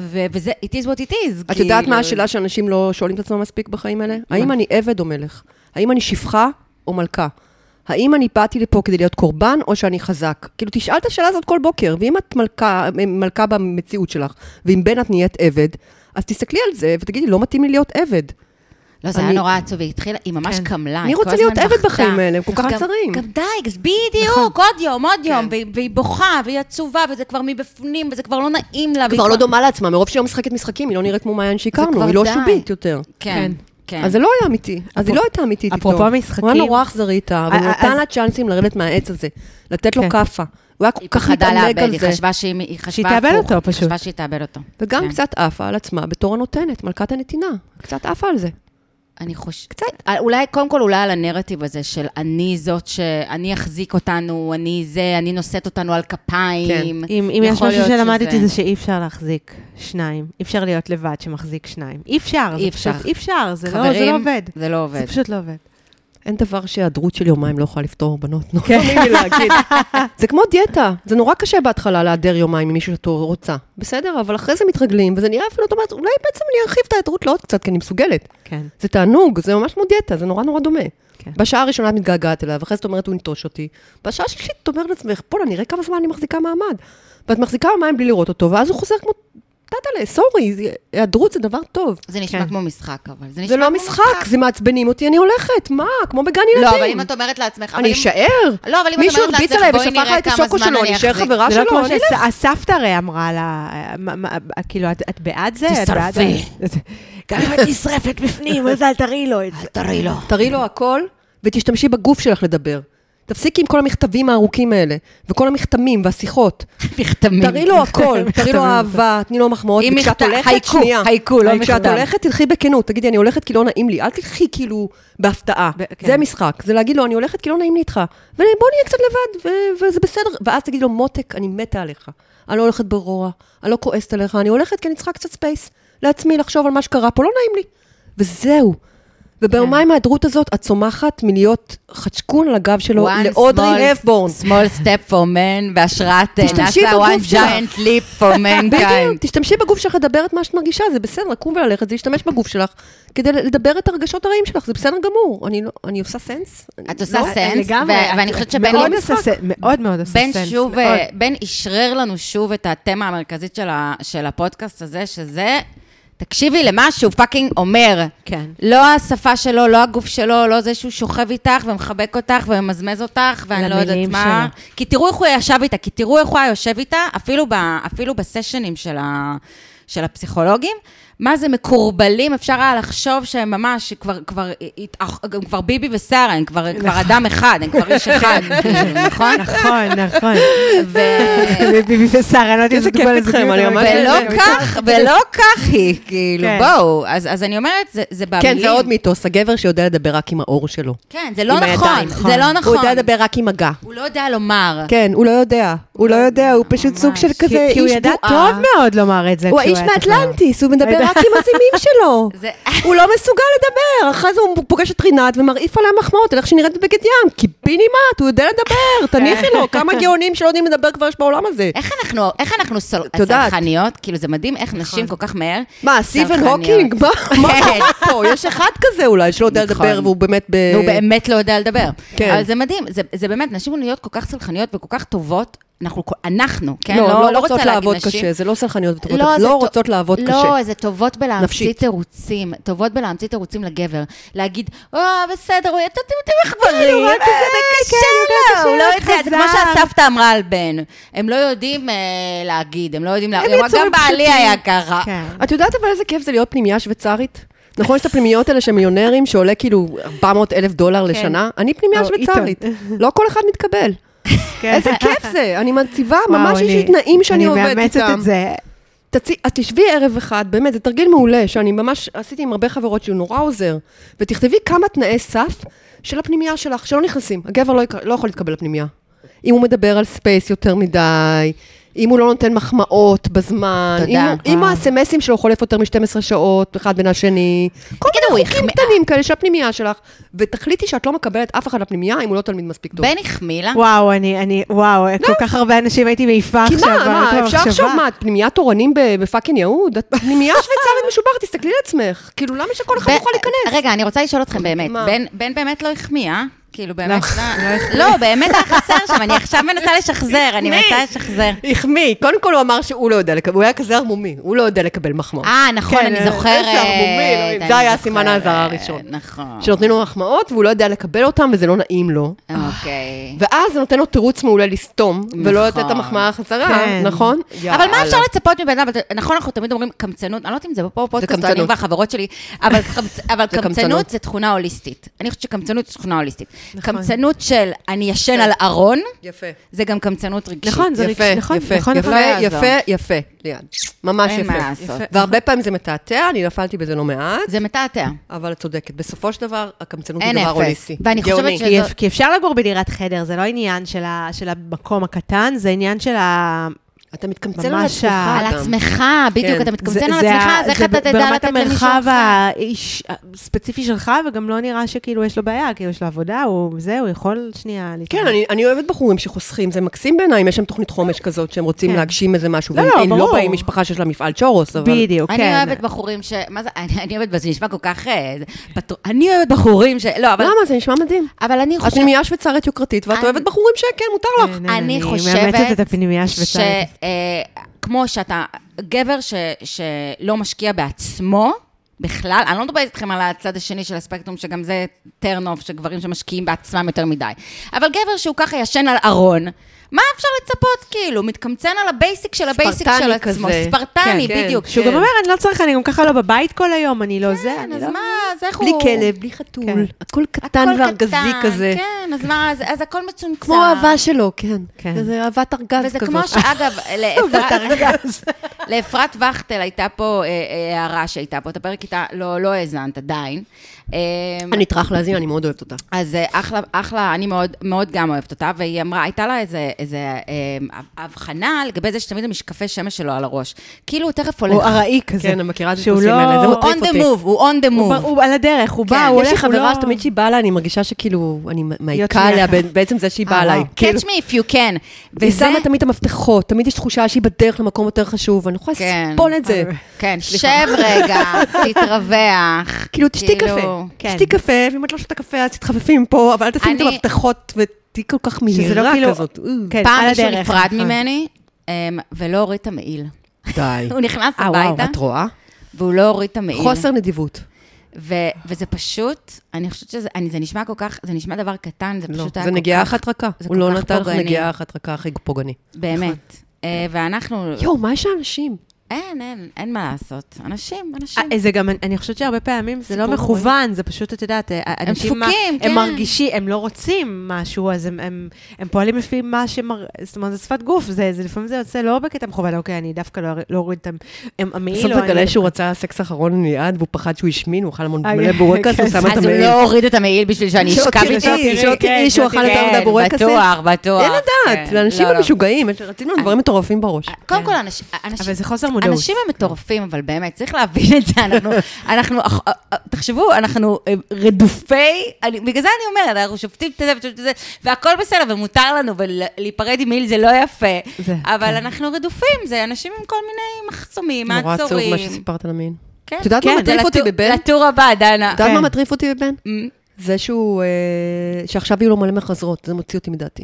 [SPEAKER 1] ו- וזה, it is what it is.
[SPEAKER 3] את יודעת
[SPEAKER 1] כאילו.
[SPEAKER 3] מה השאלה שאנשים לא שואלים את עצמם מספיק בחיים האלה? האם אני עבד או מלך? האם אני שפחה או מלכה? האם אני באתי לפה כדי להיות קורבן או שאני חזק? כאילו, תשאל את השאלה הזאת כל בוקר, ואם את מלכה, מלכה במציאות שלך, ואם בין את נהיית עבד, אז תסתכלי על זה ותגידי, לא מתאים לי להיות עבד.
[SPEAKER 1] לא, זה היה
[SPEAKER 3] אני-
[SPEAKER 1] נורא עצוב, והיא התחילה, היא ממש
[SPEAKER 2] כן.
[SPEAKER 1] קמלה,
[SPEAKER 3] מי
[SPEAKER 1] היא כל
[SPEAKER 3] רוצה
[SPEAKER 1] הזמן
[SPEAKER 3] להיות עבד
[SPEAKER 1] בכתה.
[SPEAKER 3] בחיים האלה? הם כל כך
[SPEAKER 1] גם-
[SPEAKER 3] קצרים. נכון. כן.
[SPEAKER 1] גם די, בדיוק, עוד יום, עוד יום, והיא- והיא בוכה, והיא עצובה, וזה כבר מבפנים, וזה כבר לא נעים לה.
[SPEAKER 3] היא
[SPEAKER 1] והיא
[SPEAKER 3] כבר לא דומה לעצמה, מרוב שהיא לא משחקת משחקים, היא לא נראית כמו מעיין שיקרנו,
[SPEAKER 1] כבר
[SPEAKER 3] היא לא
[SPEAKER 1] די.
[SPEAKER 3] שובית יותר.
[SPEAKER 1] כן, כן.
[SPEAKER 3] אז זה לא היה אמיתי, אז היא לא הייתה אמיתית איתו.
[SPEAKER 2] אפרופו משחקים-
[SPEAKER 3] הוא היה נורא אכזרי איתה, אבל הוא
[SPEAKER 2] אה,
[SPEAKER 3] נתן
[SPEAKER 2] אז-
[SPEAKER 3] לה צ'אנסים לרדת מהעץ הזה, לתת לו
[SPEAKER 2] כן.
[SPEAKER 3] כאפה. הוא היה כל
[SPEAKER 1] היא
[SPEAKER 3] כך
[SPEAKER 1] פחדה
[SPEAKER 3] מתענג
[SPEAKER 1] לאבד,
[SPEAKER 3] על
[SPEAKER 1] היא
[SPEAKER 3] זה,
[SPEAKER 1] חשבה שהיא היא
[SPEAKER 2] שהיא
[SPEAKER 1] חשבה
[SPEAKER 2] תאבד
[SPEAKER 1] הפוך,
[SPEAKER 2] אותו,
[SPEAKER 1] היא
[SPEAKER 2] פשוט.
[SPEAKER 1] חשבה שהיא תאבד אותו.
[SPEAKER 3] וגם
[SPEAKER 1] כן.
[SPEAKER 3] קצת עפה על עצמה בתור הנותנת, מלכת הנתינה. קצת עפה על זה.
[SPEAKER 1] אני חושבת, קצת, אולי, קודם כל, אולי על הנרטיב הזה של אני זאת ש... אני אחזיק אותנו, אני זה, אני נושאת אותנו על כפיים.
[SPEAKER 3] כן.
[SPEAKER 2] אם, אם
[SPEAKER 1] יכול
[SPEAKER 2] יש
[SPEAKER 1] להיות
[SPEAKER 2] משהו שלמדתי
[SPEAKER 1] שזה-
[SPEAKER 2] זה שאי אפשר להחזיק שניים. אי אפשר להיות לבד שמחזיק שניים. אי אפשר, זה
[SPEAKER 1] אי אפשר.
[SPEAKER 2] פשוט אי אפשר, זה, לא, זה
[SPEAKER 1] חברים,
[SPEAKER 2] לא עובד.
[SPEAKER 1] זה לא
[SPEAKER 2] זה
[SPEAKER 1] עובד.
[SPEAKER 2] פשוט לא עובד.
[SPEAKER 3] אין דבר שהיעדרות של יומיים לא יכולה לפתור, בנות. נורא נעים לי להגיד. זה כמו דיאטה, זה נורא קשה בהתחלה להיעדר יומיים ממישהו שאת רוצה. בסדר, אבל אחרי זה מתרגלים, וזה נראה אפילו, את אומרת, אולי בעצם אני ארחיב את ההיעדרות לעוד קצת, כי אני מסוגלת.
[SPEAKER 2] כן.
[SPEAKER 3] זה תענוג, זה ממש כמו דיאטה, זה נורא נורא דומה.
[SPEAKER 2] כן.
[SPEAKER 3] בשעה הראשונה את מתגעגעת אליו, אחרי זה את אומרת, הוא ינטוש אותי. בשעה השלישית את אומרת לעצמך, בוא'נה, נראה כמה זמן אני מחזיקה מעמד. ואת מחזיקה מעמד בלי לראות אותו, ואז הוא חוזר כמו, טאטלה, סורי, זה- היעדרות זה דבר טוב.
[SPEAKER 1] זה נשמע
[SPEAKER 2] כן.
[SPEAKER 1] כמו משחק, אבל. זה נשמע
[SPEAKER 3] זה לא
[SPEAKER 1] כמו
[SPEAKER 3] משחק, זה מעצבנים אותי, אני הולכת, מה? כמו בגן ילדים.
[SPEAKER 1] לא, אבל אם את אומרת לעצמך... אבל
[SPEAKER 3] אני
[SPEAKER 1] אם-
[SPEAKER 3] אשאר.
[SPEAKER 1] לא, אבל אם את
[SPEAKER 3] מישהו
[SPEAKER 1] אומרת
[SPEAKER 3] הרביץ
[SPEAKER 1] לעצמך,
[SPEAKER 3] עליי
[SPEAKER 1] "בואי
[SPEAKER 3] ושפך
[SPEAKER 1] נראה
[SPEAKER 3] עליי את
[SPEAKER 1] כמה
[SPEAKER 3] השוקו
[SPEAKER 1] זמן
[SPEAKER 3] שלו,
[SPEAKER 1] אני
[SPEAKER 3] אני אשאר
[SPEAKER 1] אחזיק".
[SPEAKER 3] חברה
[SPEAKER 2] זה לא
[SPEAKER 3] שלו,
[SPEAKER 2] כמו
[SPEAKER 3] אני אלך.
[SPEAKER 2] שהסבתא הרי אמרה לה, מה- מה- כאילו, את- את בעד זה? את בעד זה?" גם אם את נשרפת בפנים, אז אל תראי לו את זה.
[SPEAKER 1] תראי לו.
[SPEAKER 3] תראי לו הכל, ותשתמשי בגוף שלך לדבר. תפסיקי עם כל המכתבים הארוכים האלה, וכל המכתמים והשיחות.
[SPEAKER 1] מכתמים.
[SPEAKER 3] תראי לו הכל, תראי לו
[SPEAKER 2] מכתבים.
[SPEAKER 3] אהבה, תני לו מחמאות,
[SPEAKER 1] אם
[SPEAKER 3] וכשאת
[SPEAKER 1] מכת-
[SPEAKER 3] הולכת,
[SPEAKER 1] הייקו,
[SPEAKER 3] שנייה. אה,
[SPEAKER 1] הייקו, לא
[SPEAKER 3] כשאת
[SPEAKER 1] מכתב.
[SPEAKER 3] הולכת, תלכי בכנות, תגידי, אני הולכת כי לא נעים לי, אל תלכי כאילו בהפתעה.
[SPEAKER 2] ב- כן.
[SPEAKER 3] זה משחק, זה להגיד לו, אני הולכת כי לא נעים לי איתך, ובוא נהיה קצת לבד, ו- וזה בסדר. ואז תגידי לו, מותק, אני מתה עליך. אני לא הולכת ברוע, אני לא כועסת עליך, אני הולכת כי אני צריכה קצת ספייס לעצמי, לחשוב על מה שקרה פה, לא נעים לי. וזהו.
[SPEAKER 1] כן.
[SPEAKER 3] וביומיים ההיעדרות הזאת, את צומחת מלהיות חצ'קון על הגב שלו
[SPEAKER 1] One
[SPEAKER 3] לאודרי
[SPEAKER 1] small-
[SPEAKER 3] אפבורן.
[SPEAKER 1] small step for man בהשראת אה,
[SPEAKER 3] תשתמשי
[SPEAKER 1] נאסא,
[SPEAKER 3] בגוף
[SPEAKER 1] one
[SPEAKER 3] שלך.
[SPEAKER 1] giant leap for
[SPEAKER 3] בדיוק,
[SPEAKER 1] mankind.
[SPEAKER 3] תשתמשי בגוף שלך לדבר את מה שאת מרגישה, זה בסדר, לקום וללכת, זה להשתמש בגוף שלך, כדי לדבר את הרגשות הרעים שלך, זה בסדר גמור. אני לא, אני עושה סנס?
[SPEAKER 1] את עושה
[SPEAKER 3] לא?
[SPEAKER 1] סנס,
[SPEAKER 2] אה, לגמרי,
[SPEAKER 1] ו-
[SPEAKER 2] את-
[SPEAKER 1] ואני חושבת שבן
[SPEAKER 2] מאוד
[SPEAKER 1] אם-
[SPEAKER 2] עושה סנס, מאוד מאוד עושה
[SPEAKER 1] בן
[SPEAKER 2] סנס.
[SPEAKER 1] שוב,
[SPEAKER 2] מאוד.
[SPEAKER 1] אה, בן אשרר לנו שוב את התמה המרכזית של ה- של הפודקאסט הזה, שזה, תקשיבי למה שהוא פאקינג אומר.
[SPEAKER 2] כן.
[SPEAKER 1] לא השפה שלו, לא הגוף שלו, לא זה שהוא שוכב איתך ומחבק אותך וממזמז אותך, ואני לא יודעת
[SPEAKER 2] למילים
[SPEAKER 1] מה. כי תראו איך הוא ישב איתה, כי תראו איך הוא היה יושב איתה, אפילו, ב, אפילו בסשנים של, ה, של הפסיכולוגים. מה זה מקורבלים, אפשר היה לחשוב שהם ממש כבר, כבר, התאח- גם כבר ביבי ושרה, הם כבר, כבר אדם אחד, הם כבר איש אחד, כאילו, נכון?
[SPEAKER 2] נכון, נכון.
[SPEAKER 1] ו-
[SPEAKER 2] ביבי ושרה, אני לא יודעת אם
[SPEAKER 3] איזה
[SPEAKER 2] זה
[SPEAKER 3] כיף
[SPEAKER 2] דוגמה לזוגיות.
[SPEAKER 3] איתכם, אני
[SPEAKER 2] לא, אבל-
[SPEAKER 1] ולא
[SPEAKER 3] ממש- לא זה-
[SPEAKER 1] כך, ולא כך היא, כאילו,
[SPEAKER 2] כן.
[SPEAKER 1] בואו. אז אז אני אומרת, זה- זה במילים.
[SPEAKER 3] כן, זה עוד מיתוס, הגבר שיודע לדבר רק עם העור שלו.
[SPEAKER 1] כן, זה לא
[SPEAKER 3] עם
[SPEAKER 1] נכון,
[SPEAKER 3] הידיים.
[SPEAKER 1] זה לא נכון.
[SPEAKER 3] הוא יודע לדבר רק עם מגע.
[SPEAKER 1] הוא לא יודע לומר.
[SPEAKER 3] כן, הוא לא יודע, הוא לא יודע, הוא פשוט סוג של
[SPEAKER 2] כי-
[SPEAKER 3] כזה
[SPEAKER 2] כי הוא
[SPEAKER 3] איש
[SPEAKER 2] ידע
[SPEAKER 3] בועה.
[SPEAKER 2] טוב מאוד לומר את זה.
[SPEAKER 3] הוא
[SPEAKER 2] כשהוא
[SPEAKER 3] האיש
[SPEAKER 2] היה צריך לומר.
[SPEAKER 3] מאטלנטיס, הוא מדבר רק עם הזימים שלו.
[SPEAKER 1] לא זה-
[SPEAKER 3] הוא לא מסוגל לדבר. אחרי זה הוא פוגש את רינת ומרעיף עליה מחמאות על איך שהיא נראית בבגד ים. קיבינימט, הוא יודע לדבר, תניחי לו. כמה גאונים שלא יודעים לדבר כבר יש בעולם הזה.
[SPEAKER 1] כן. איך אנחנו, איך אנחנו סול-
[SPEAKER 3] את יודעת. נכון.
[SPEAKER 1] סלחניות? כאילו, זה מדהים איך נשים כל כך מהר כן.
[SPEAKER 3] מה, סטיבן
[SPEAKER 1] סלחניות.
[SPEAKER 3] הוקינג? מה מה קורה פה? יש אחד כזה אולי שלא יודע
[SPEAKER 1] נכון.
[SPEAKER 3] לדבר והוא באמת ב...
[SPEAKER 1] והוא באמת לא יודע לדבר.
[SPEAKER 3] כן.
[SPEAKER 1] אבל זה מדהים, זה, זה באמת, נשים להיות כל כך סלחניות וכל כך טובות, אנחנו, כל- אנחנו, כן?
[SPEAKER 3] לא, לא
[SPEAKER 1] רוצה
[SPEAKER 3] רוצות
[SPEAKER 1] להגיד
[SPEAKER 3] לעבוד
[SPEAKER 1] נשים.
[SPEAKER 3] קשה, זה לא סלחניות וטובות,
[SPEAKER 1] זה
[SPEAKER 3] לא
[SPEAKER 1] טוב-
[SPEAKER 3] רוצות לעבוד קשה.
[SPEAKER 1] לא, זה טובות בלהמציא
[SPEAKER 3] נפשית.
[SPEAKER 1] תירוצים. טובות בלהמציא תירוצים לגבר. להגיד, או, בסדר, הוא אתה תראו איך בריא, הוא
[SPEAKER 2] רק כזה,
[SPEAKER 1] קשה
[SPEAKER 2] כן,
[SPEAKER 1] לו, הוא לא
[SPEAKER 2] קשה,
[SPEAKER 1] יודע, זה כמו
[SPEAKER 2] חזר.
[SPEAKER 1] שהסבתא אמרה על בן. הם לא יודעים אה, להגיד, הם לא יודעים להגיד.
[SPEAKER 3] יצורים
[SPEAKER 1] גם בעלי
[SPEAKER 3] פשוטים.
[SPEAKER 1] היה
[SPEAKER 3] אה,
[SPEAKER 1] ככה.
[SPEAKER 2] כן.
[SPEAKER 3] את יודעת אבל איזה כיף זה להיות פנימייה שוויצרית? נכון, יש את הפנימיות האלה של מיליונרים, שעולה כאילו 400 אלף דולר
[SPEAKER 2] כן.
[SPEAKER 3] לשנה? אני פנימייה
[SPEAKER 2] או
[SPEAKER 3] שוויצרית.
[SPEAKER 2] עיתון.
[SPEAKER 3] לא כל אחד מתקבל.
[SPEAKER 2] כן.
[SPEAKER 3] אה, איזה כיף זה, אני מציבה
[SPEAKER 2] וואו,
[SPEAKER 3] ממש
[SPEAKER 2] אני-
[SPEAKER 3] אישית תנאים שאני עובדת
[SPEAKER 2] אני מאמצת
[SPEAKER 3] איתם. אה.
[SPEAKER 2] את זה.
[SPEAKER 3] תצי, אז תשבי ערב אחד, באמת, זה תרגיל מעולה, שאני ממש עשיתי עם הרבה חברות שהוא נורא עוזר, ותכתבי כמה תנאי סף של הפנימייה שלך, שלא נכנסים. הגבר לא, יק- לא יכול להתקבל לפנימייה. אם הוא מדבר על ספייס יותר מדי, אם הוא לא נותן מחמאות בזמן,
[SPEAKER 1] תודה,
[SPEAKER 3] אם, הוא- אם
[SPEAKER 1] וואו.
[SPEAKER 3] הסמסים שלו חולף יותר מ-12 שעות, אחד בין השני, כל
[SPEAKER 1] תגידו, הוא
[SPEAKER 3] מיני חוקים
[SPEAKER 1] החמיא-
[SPEAKER 3] קטנים כאלה של הפנימייה שלך, ותחליטי שאת לא מקבלת אף אחד לפנימייה אם הוא לא תלמיד מספיק טוב.
[SPEAKER 1] בן החמיא לה.
[SPEAKER 2] וואו, אני, אני, וואו, כל כך הרבה אנשים הייתי מעיפה
[SPEAKER 3] לא. כי
[SPEAKER 2] עכשיו.
[SPEAKER 3] מה,
[SPEAKER 2] כבר,
[SPEAKER 3] מה,
[SPEAKER 2] כל
[SPEAKER 3] אפשר
[SPEAKER 2] המחשבה.
[SPEAKER 3] עכשיו, מה, את פנימיית תורנים ב- בפאקינג יהוד? את פנימייה שוויצרית משובחת, תסתכלי על עצמך. כאילו, למה שכל אחד
[SPEAKER 1] בן-
[SPEAKER 3] יוכל להיכנס?
[SPEAKER 1] רגע, אני רוצה לשאול אתכם באמת.
[SPEAKER 3] מה?
[SPEAKER 1] בן- בן באמת לא החמיא, אה? כאילו, באמת, לא, לא, באמת היה חסר שם, אני עכשיו מנסה לשחזר, אני מנסה לשחזר.
[SPEAKER 3] החמיא, קודם כל הוא אמר שהוא לא יודע לקבל, הוא היה כזה ערמומי, הוא לא יודע לקבל מחמאות.
[SPEAKER 1] אה, נכון,
[SPEAKER 3] כן,
[SPEAKER 1] אני
[SPEAKER 3] אה,
[SPEAKER 1] זוכרת.
[SPEAKER 3] איזה ערמומי, אלוהים.
[SPEAKER 1] אני
[SPEAKER 3] זה היה
[SPEAKER 1] זוכרת,
[SPEAKER 3] סימן האזהרה הראשון.
[SPEAKER 1] נכון.
[SPEAKER 3] שנותנים לו מחמאות והוא לא יודע לקבל אותן וזה לא נעים לו.
[SPEAKER 1] אוקיי.
[SPEAKER 3] ואז זה נותן לו תירוץ מעולה לסתום, ולא לתת
[SPEAKER 1] נכון.
[SPEAKER 3] את המחמאה החזרה,
[SPEAKER 2] כן.
[SPEAKER 3] נכון?
[SPEAKER 1] אבל מה
[SPEAKER 3] יאללה.
[SPEAKER 1] אפשר לצפות מבן אדם? נכון, אנחנו תמיד אומרים קמצנות, אני לא יודעת אם זה פה פודקאסט, או אני
[SPEAKER 3] קמצנות.
[SPEAKER 1] והחברות שלי, אבל קמצ- אבל קמצנות
[SPEAKER 3] קמצנות.
[SPEAKER 1] זה תכונה הוליסטית. אני חושבת שקמצנות זו תכונה הוליסטית. קמצנות של אני ישן על ארון,
[SPEAKER 3] יפה.
[SPEAKER 1] זה גם קמצנות רגשית.
[SPEAKER 2] נכון, זה
[SPEAKER 3] יפה,
[SPEAKER 2] רגשי, נכון,
[SPEAKER 3] יפה,
[SPEAKER 2] נכון,
[SPEAKER 3] יפה,
[SPEAKER 2] נכון.
[SPEAKER 1] יעזור.
[SPEAKER 3] יפה, יפה, ליעד. ממש
[SPEAKER 1] אין מה
[SPEAKER 3] יפה.
[SPEAKER 1] לעשות.
[SPEAKER 3] יפה. והרבה פעמים זה מתעתע, אני נפלתי בזה לא מעט,
[SPEAKER 1] זה מתעתע.
[SPEAKER 3] אבל את צודקת. בסופו של דבר, הקמצנות היא
[SPEAKER 1] אין
[SPEAKER 3] דבר
[SPEAKER 1] אפס.
[SPEAKER 3] הוליסטי.
[SPEAKER 1] ואני חושבת
[SPEAKER 3] גאוני.
[SPEAKER 1] ש-
[SPEAKER 2] כי,
[SPEAKER 1] שזאת-
[SPEAKER 2] אפ- כי אפשר לגור בדירת חדר, זה לא עניין של, ה, של המקום הקטן, זה עניין של ה...
[SPEAKER 3] אתה מתקמצן על
[SPEAKER 2] ממש
[SPEAKER 3] עצמך.
[SPEAKER 2] ה-
[SPEAKER 1] על
[SPEAKER 3] גם.
[SPEAKER 1] עצמך, בדיוק,
[SPEAKER 3] אה, כן.
[SPEAKER 1] אתה מתקמצן
[SPEAKER 2] זה-
[SPEAKER 1] על
[SPEAKER 2] זה
[SPEAKER 1] עצמך,
[SPEAKER 2] ה-
[SPEAKER 1] אז איך אתה
[SPEAKER 2] ב-
[SPEAKER 1] תדע לתת
[SPEAKER 2] ברמת
[SPEAKER 1] למישהו
[SPEAKER 2] המרחב
[SPEAKER 1] אחר?
[SPEAKER 2] האיש- הספציפי שלך, וגם לא נראה שכאילו יש לו בעיה, כאילו יש לו עבודה, הוא זה, הוא יכול שנייה להתאמן.
[SPEAKER 3] כן, אני, אני אוהבת בחורים שחוסכים, זה מקסים בעיניי, אם יש שם תוכנית חומש כזאת שהם רוצים
[SPEAKER 2] כן.
[SPEAKER 3] להגשים איזה משהו,
[SPEAKER 2] לא,
[SPEAKER 3] והם
[SPEAKER 2] לא,
[SPEAKER 3] הם לא
[SPEAKER 2] ברור.
[SPEAKER 3] באים משפחה שיש לה מפעל צ'ורוס, אבל...
[SPEAKER 2] בדיוק, כן.
[SPEAKER 1] אני אוהבת בחורים ש... מה זה? אני אני אוהבת, וזה נשמע כל כך... אה, זה- פטר- אני אוהבת בחורים ש... לא, אבל-
[SPEAKER 3] למה? זה נשמע מדהים.
[SPEAKER 1] אבל אני
[SPEAKER 3] את
[SPEAKER 1] חושבת...
[SPEAKER 3] פנימייה שוויצרית יוקרתית, ואת
[SPEAKER 1] אני-
[SPEAKER 3] אוהבת בחורים שכן, מותר לך.
[SPEAKER 2] כן,
[SPEAKER 1] אני חושבת
[SPEAKER 2] אני מאמצת את הפנימייה השוויצרית.
[SPEAKER 1] שכמו שאתה, גבר ש, שלא משקיע בעצמו, בכלל, אני לא מדברת איתכם על הצד השני של הספקטרום, שגם זה turn off, שגברים שמשקיעים בעצמם יותר מדי. אבל גבר שהוא ככה ישן על ארון, מה אפשר לצפות, כאילו? מתקמצן על הבייסיק של הבייסיק
[SPEAKER 3] ספרטני
[SPEAKER 1] של עצמו.
[SPEAKER 3] כזה.
[SPEAKER 1] ספרטני,
[SPEAKER 3] כן, כן.
[SPEAKER 1] בדיוק.
[SPEAKER 2] שהוא גם אומר, אני לא צריך, אני גם ככה לא בבית כל היום, אני לא זה,
[SPEAKER 1] כן,
[SPEAKER 2] אני
[SPEAKER 1] אז
[SPEAKER 2] לא...
[SPEAKER 1] מה, אז איך
[SPEAKER 3] בלי
[SPEAKER 1] הוא...
[SPEAKER 3] כלב, בלי חתול,
[SPEAKER 2] כן.
[SPEAKER 3] הכל קטן
[SPEAKER 1] הכל
[SPEAKER 3] וארגזי
[SPEAKER 1] קטן,
[SPEAKER 3] כזה.
[SPEAKER 1] כן, אז מה, אז, אז הכל מצומצם.
[SPEAKER 3] כמו האהבה שלו, כן.
[SPEAKER 2] כן.
[SPEAKER 3] זה אהבת ארגז
[SPEAKER 1] וזה
[SPEAKER 3] כזאת.
[SPEAKER 1] כמו שאגב, לאפרת, לאפרת וכטל הייתה פה אה, אה, הערה שהייתה פה, את הפרק איתה לא לא האזנת עדיין. אה,
[SPEAKER 3] אני אטרח להאזין, אני מאוד אוהבת אותה.
[SPEAKER 2] כן.
[SPEAKER 1] אז אה, אחלה, אחלה, אני מאוד, מאוד גם אוהבת אותה, והיא אמרה, הייתה לה איזה, איזה אה, הבחנה לגבי זה שתמיד המשקפי שמש שלו על הראש. כאילו, הוא תכף הולך.
[SPEAKER 2] הוא ארעי כזה.
[SPEAKER 3] כן, אני מכירה את
[SPEAKER 2] שהוא
[SPEAKER 3] הטיפוסים
[SPEAKER 2] לא-
[SPEAKER 3] האלה, זה
[SPEAKER 1] הוא
[SPEAKER 3] מטריף
[SPEAKER 1] on the
[SPEAKER 3] אותי.
[SPEAKER 1] move, הוא on the
[SPEAKER 2] הוא
[SPEAKER 1] move.
[SPEAKER 2] בא- הוא על הדרך,
[SPEAKER 1] כן,
[SPEAKER 2] הוא בא, הוא
[SPEAKER 3] יש לי
[SPEAKER 2] הולך, הוא לא...
[SPEAKER 3] חברה שתמיד שהיא באה אליי, אני מרגישה שכאילו, אני מעיקה
[SPEAKER 2] שנייה
[SPEAKER 3] עליה
[SPEAKER 2] אחת.
[SPEAKER 3] ב- בעצם זה שהיא באה
[SPEAKER 2] אה,
[SPEAKER 3] אליי.
[SPEAKER 2] וואו.
[SPEAKER 3] כאילו,
[SPEAKER 1] catch me if you can.
[SPEAKER 3] היא
[SPEAKER 1] כן, וזה-
[SPEAKER 3] שמה תמיד את המפתחות, תמיד יש תחושה שהיא בדרך למקום יותר חשוב, אני לא יכולה
[SPEAKER 1] כן.
[SPEAKER 3] לסבול את זה.
[SPEAKER 1] כן, שב רגע, תתרווח.
[SPEAKER 3] כאילו, תשתי קפה.
[SPEAKER 1] כאילו,
[SPEAKER 2] כן.
[SPEAKER 3] תשתי קפה, ואם את לא שותה קפה, אז תתחפפי מפה, אבל אל תשימי את
[SPEAKER 1] אני-
[SPEAKER 3] המפתחות ותהיי כל כך
[SPEAKER 2] שזה לא
[SPEAKER 3] מהירה
[SPEAKER 2] כאילו-
[SPEAKER 3] כזאת. אה,
[SPEAKER 2] כן,
[SPEAKER 1] פעם
[SPEAKER 2] על
[SPEAKER 1] מישהו
[SPEAKER 2] הדרך.
[SPEAKER 1] נפרד
[SPEAKER 2] נכון.
[SPEAKER 1] ממני, אמ, ולא הוריד את המעיל.
[SPEAKER 3] די.
[SPEAKER 1] הוא נכנס
[SPEAKER 2] אה, וואו,
[SPEAKER 1] הביתה,
[SPEAKER 3] את רואה?
[SPEAKER 1] והוא לא הוריד את המעיל.
[SPEAKER 3] חוסר נדיבות.
[SPEAKER 1] ו- וזה פשוט, אני חושבת שזה אני- זה נשמע כל כך, זה נשמע דבר קטן, זה
[SPEAKER 3] לא,
[SPEAKER 1] פשוט היה
[SPEAKER 3] זה
[SPEAKER 1] כל
[SPEAKER 3] נגיעה
[SPEAKER 1] כך-
[SPEAKER 3] אחת רכה.
[SPEAKER 1] זה
[SPEAKER 3] הוא
[SPEAKER 1] כל
[SPEAKER 3] לא
[SPEAKER 1] כך
[SPEAKER 3] נתן לך
[SPEAKER 1] פוגעני.
[SPEAKER 3] נגיעה אחת רכה הכי פוגעני.
[SPEAKER 1] באמת. אה, ואנחנו,
[SPEAKER 3] יואו, מה יש לאנשים?
[SPEAKER 1] אין, אין, אין מה לעשות. אנשים, אנשים.
[SPEAKER 2] אה, זה גם, אני חושבת שהרבה פעמים זה לא
[SPEAKER 3] סיפור
[SPEAKER 2] מכוון, זה פשוט, את יודעת, אה, אנשים, מה-
[SPEAKER 1] דפוקים, כן.
[SPEAKER 2] הם מרגישים, הם לא רוצים משהו, אז הם- הם- הם פועלים לפי מה שמר... זאת אומרת, זה שפת גוף, זה זה לפעמים זה יוצא לא בקטע מכוון, אוקיי, אני דווקא לא אור- לא אוריד את המ- המעיל.
[SPEAKER 3] בסוף
[SPEAKER 1] לא
[SPEAKER 2] או אני-
[SPEAKER 3] מגלה שהוא רצה סקס אחרון עם ליעד, והוא פחד שהוא השמין, הוא אכל המון
[SPEAKER 2] אה,
[SPEAKER 3] מלא
[SPEAKER 2] כן,
[SPEAKER 3] בורקס, הוא
[SPEAKER 2] כן.
[SPEAKER 3] שם את
[SPEAKER 1] אז הוא
[SPEAKER 3] המעיל.
[SPEAKER 1] לא הוריד את המעיל בשביל שאני
[SPEAKER 3] שלא
[SPEAKER 1] אשכב
[SPEAKER 3] תראי,
[SPEAKER 1] איתו.
[SPEAKER 2] תראי,
[SPEAKER 3] שלא
[SPEAKER 2] כן,
[SPEAKER 3] תראי שהוא אכל יותר
[SPEAKER 1] כן,
[SPEAKER 3] מדי בורקסים.
[SPEAKER 1] בטוח, בטוח.
[SPEAKER 3] אין לדעת,
[SPEAKER 1] כן,
[SPEAKER 3] לאנשים
[SPEAKER 1] לא, אה, לא.
[SPEAKER 3] המשוגעים, כן. יש- רצינו דברים מטורפים בראש.
[SPEAKER 1] קודם כל, אנשים...
[SPEAKER 2] אבל זה חוסר מודעות.
[SPEAKER 1] אנשים הם מטורפים, אבל באמת, צריך להבין את זה. אנחנו, אנחנו, אה, תחשבו, אנחנו אה, רדופי, אני, בגלל זה אני אומרת, אנחנו שופטים את זה ושופטים את זה, והכל בסדר, ומותר לנו, ולהיפרד עם מיל זה לא יפה.
[SPEAKER 2] זה,
[SPEAKER 1] אבל
[SPEAKER 2] כן.
[SPEAKER 1] אנחנו רדופים, זה אנשים עם כל מיני מחסומים,
[SPEAKER 3] נורא עצוב מה
[SPEAKER 1] מעצורים.
[SPEAKER 3] שסיפרת על המין.
[SPEAKER 1] כן.
[SPEAKER 3] את יודעת מה
[SPEAKER 2] כן,
[SPEAKER 3] מטריף אותי
[SPEAKER 1] לטור-
[SPEAKER 3] בבן? את
[SPEAKER 1] לטור הבא, דנה.
[SPEAKER 3] יודעת
[SPEAKER 2] כן.
[SPEAKER 3] מה מטריף אותי בבן?
[SPEAKER 1] מ,
[SPEAKER 3] זה שהוא, אה, שעכשיו יהיו לו מלא מחזרות, זה מוציא אותי מדעתי.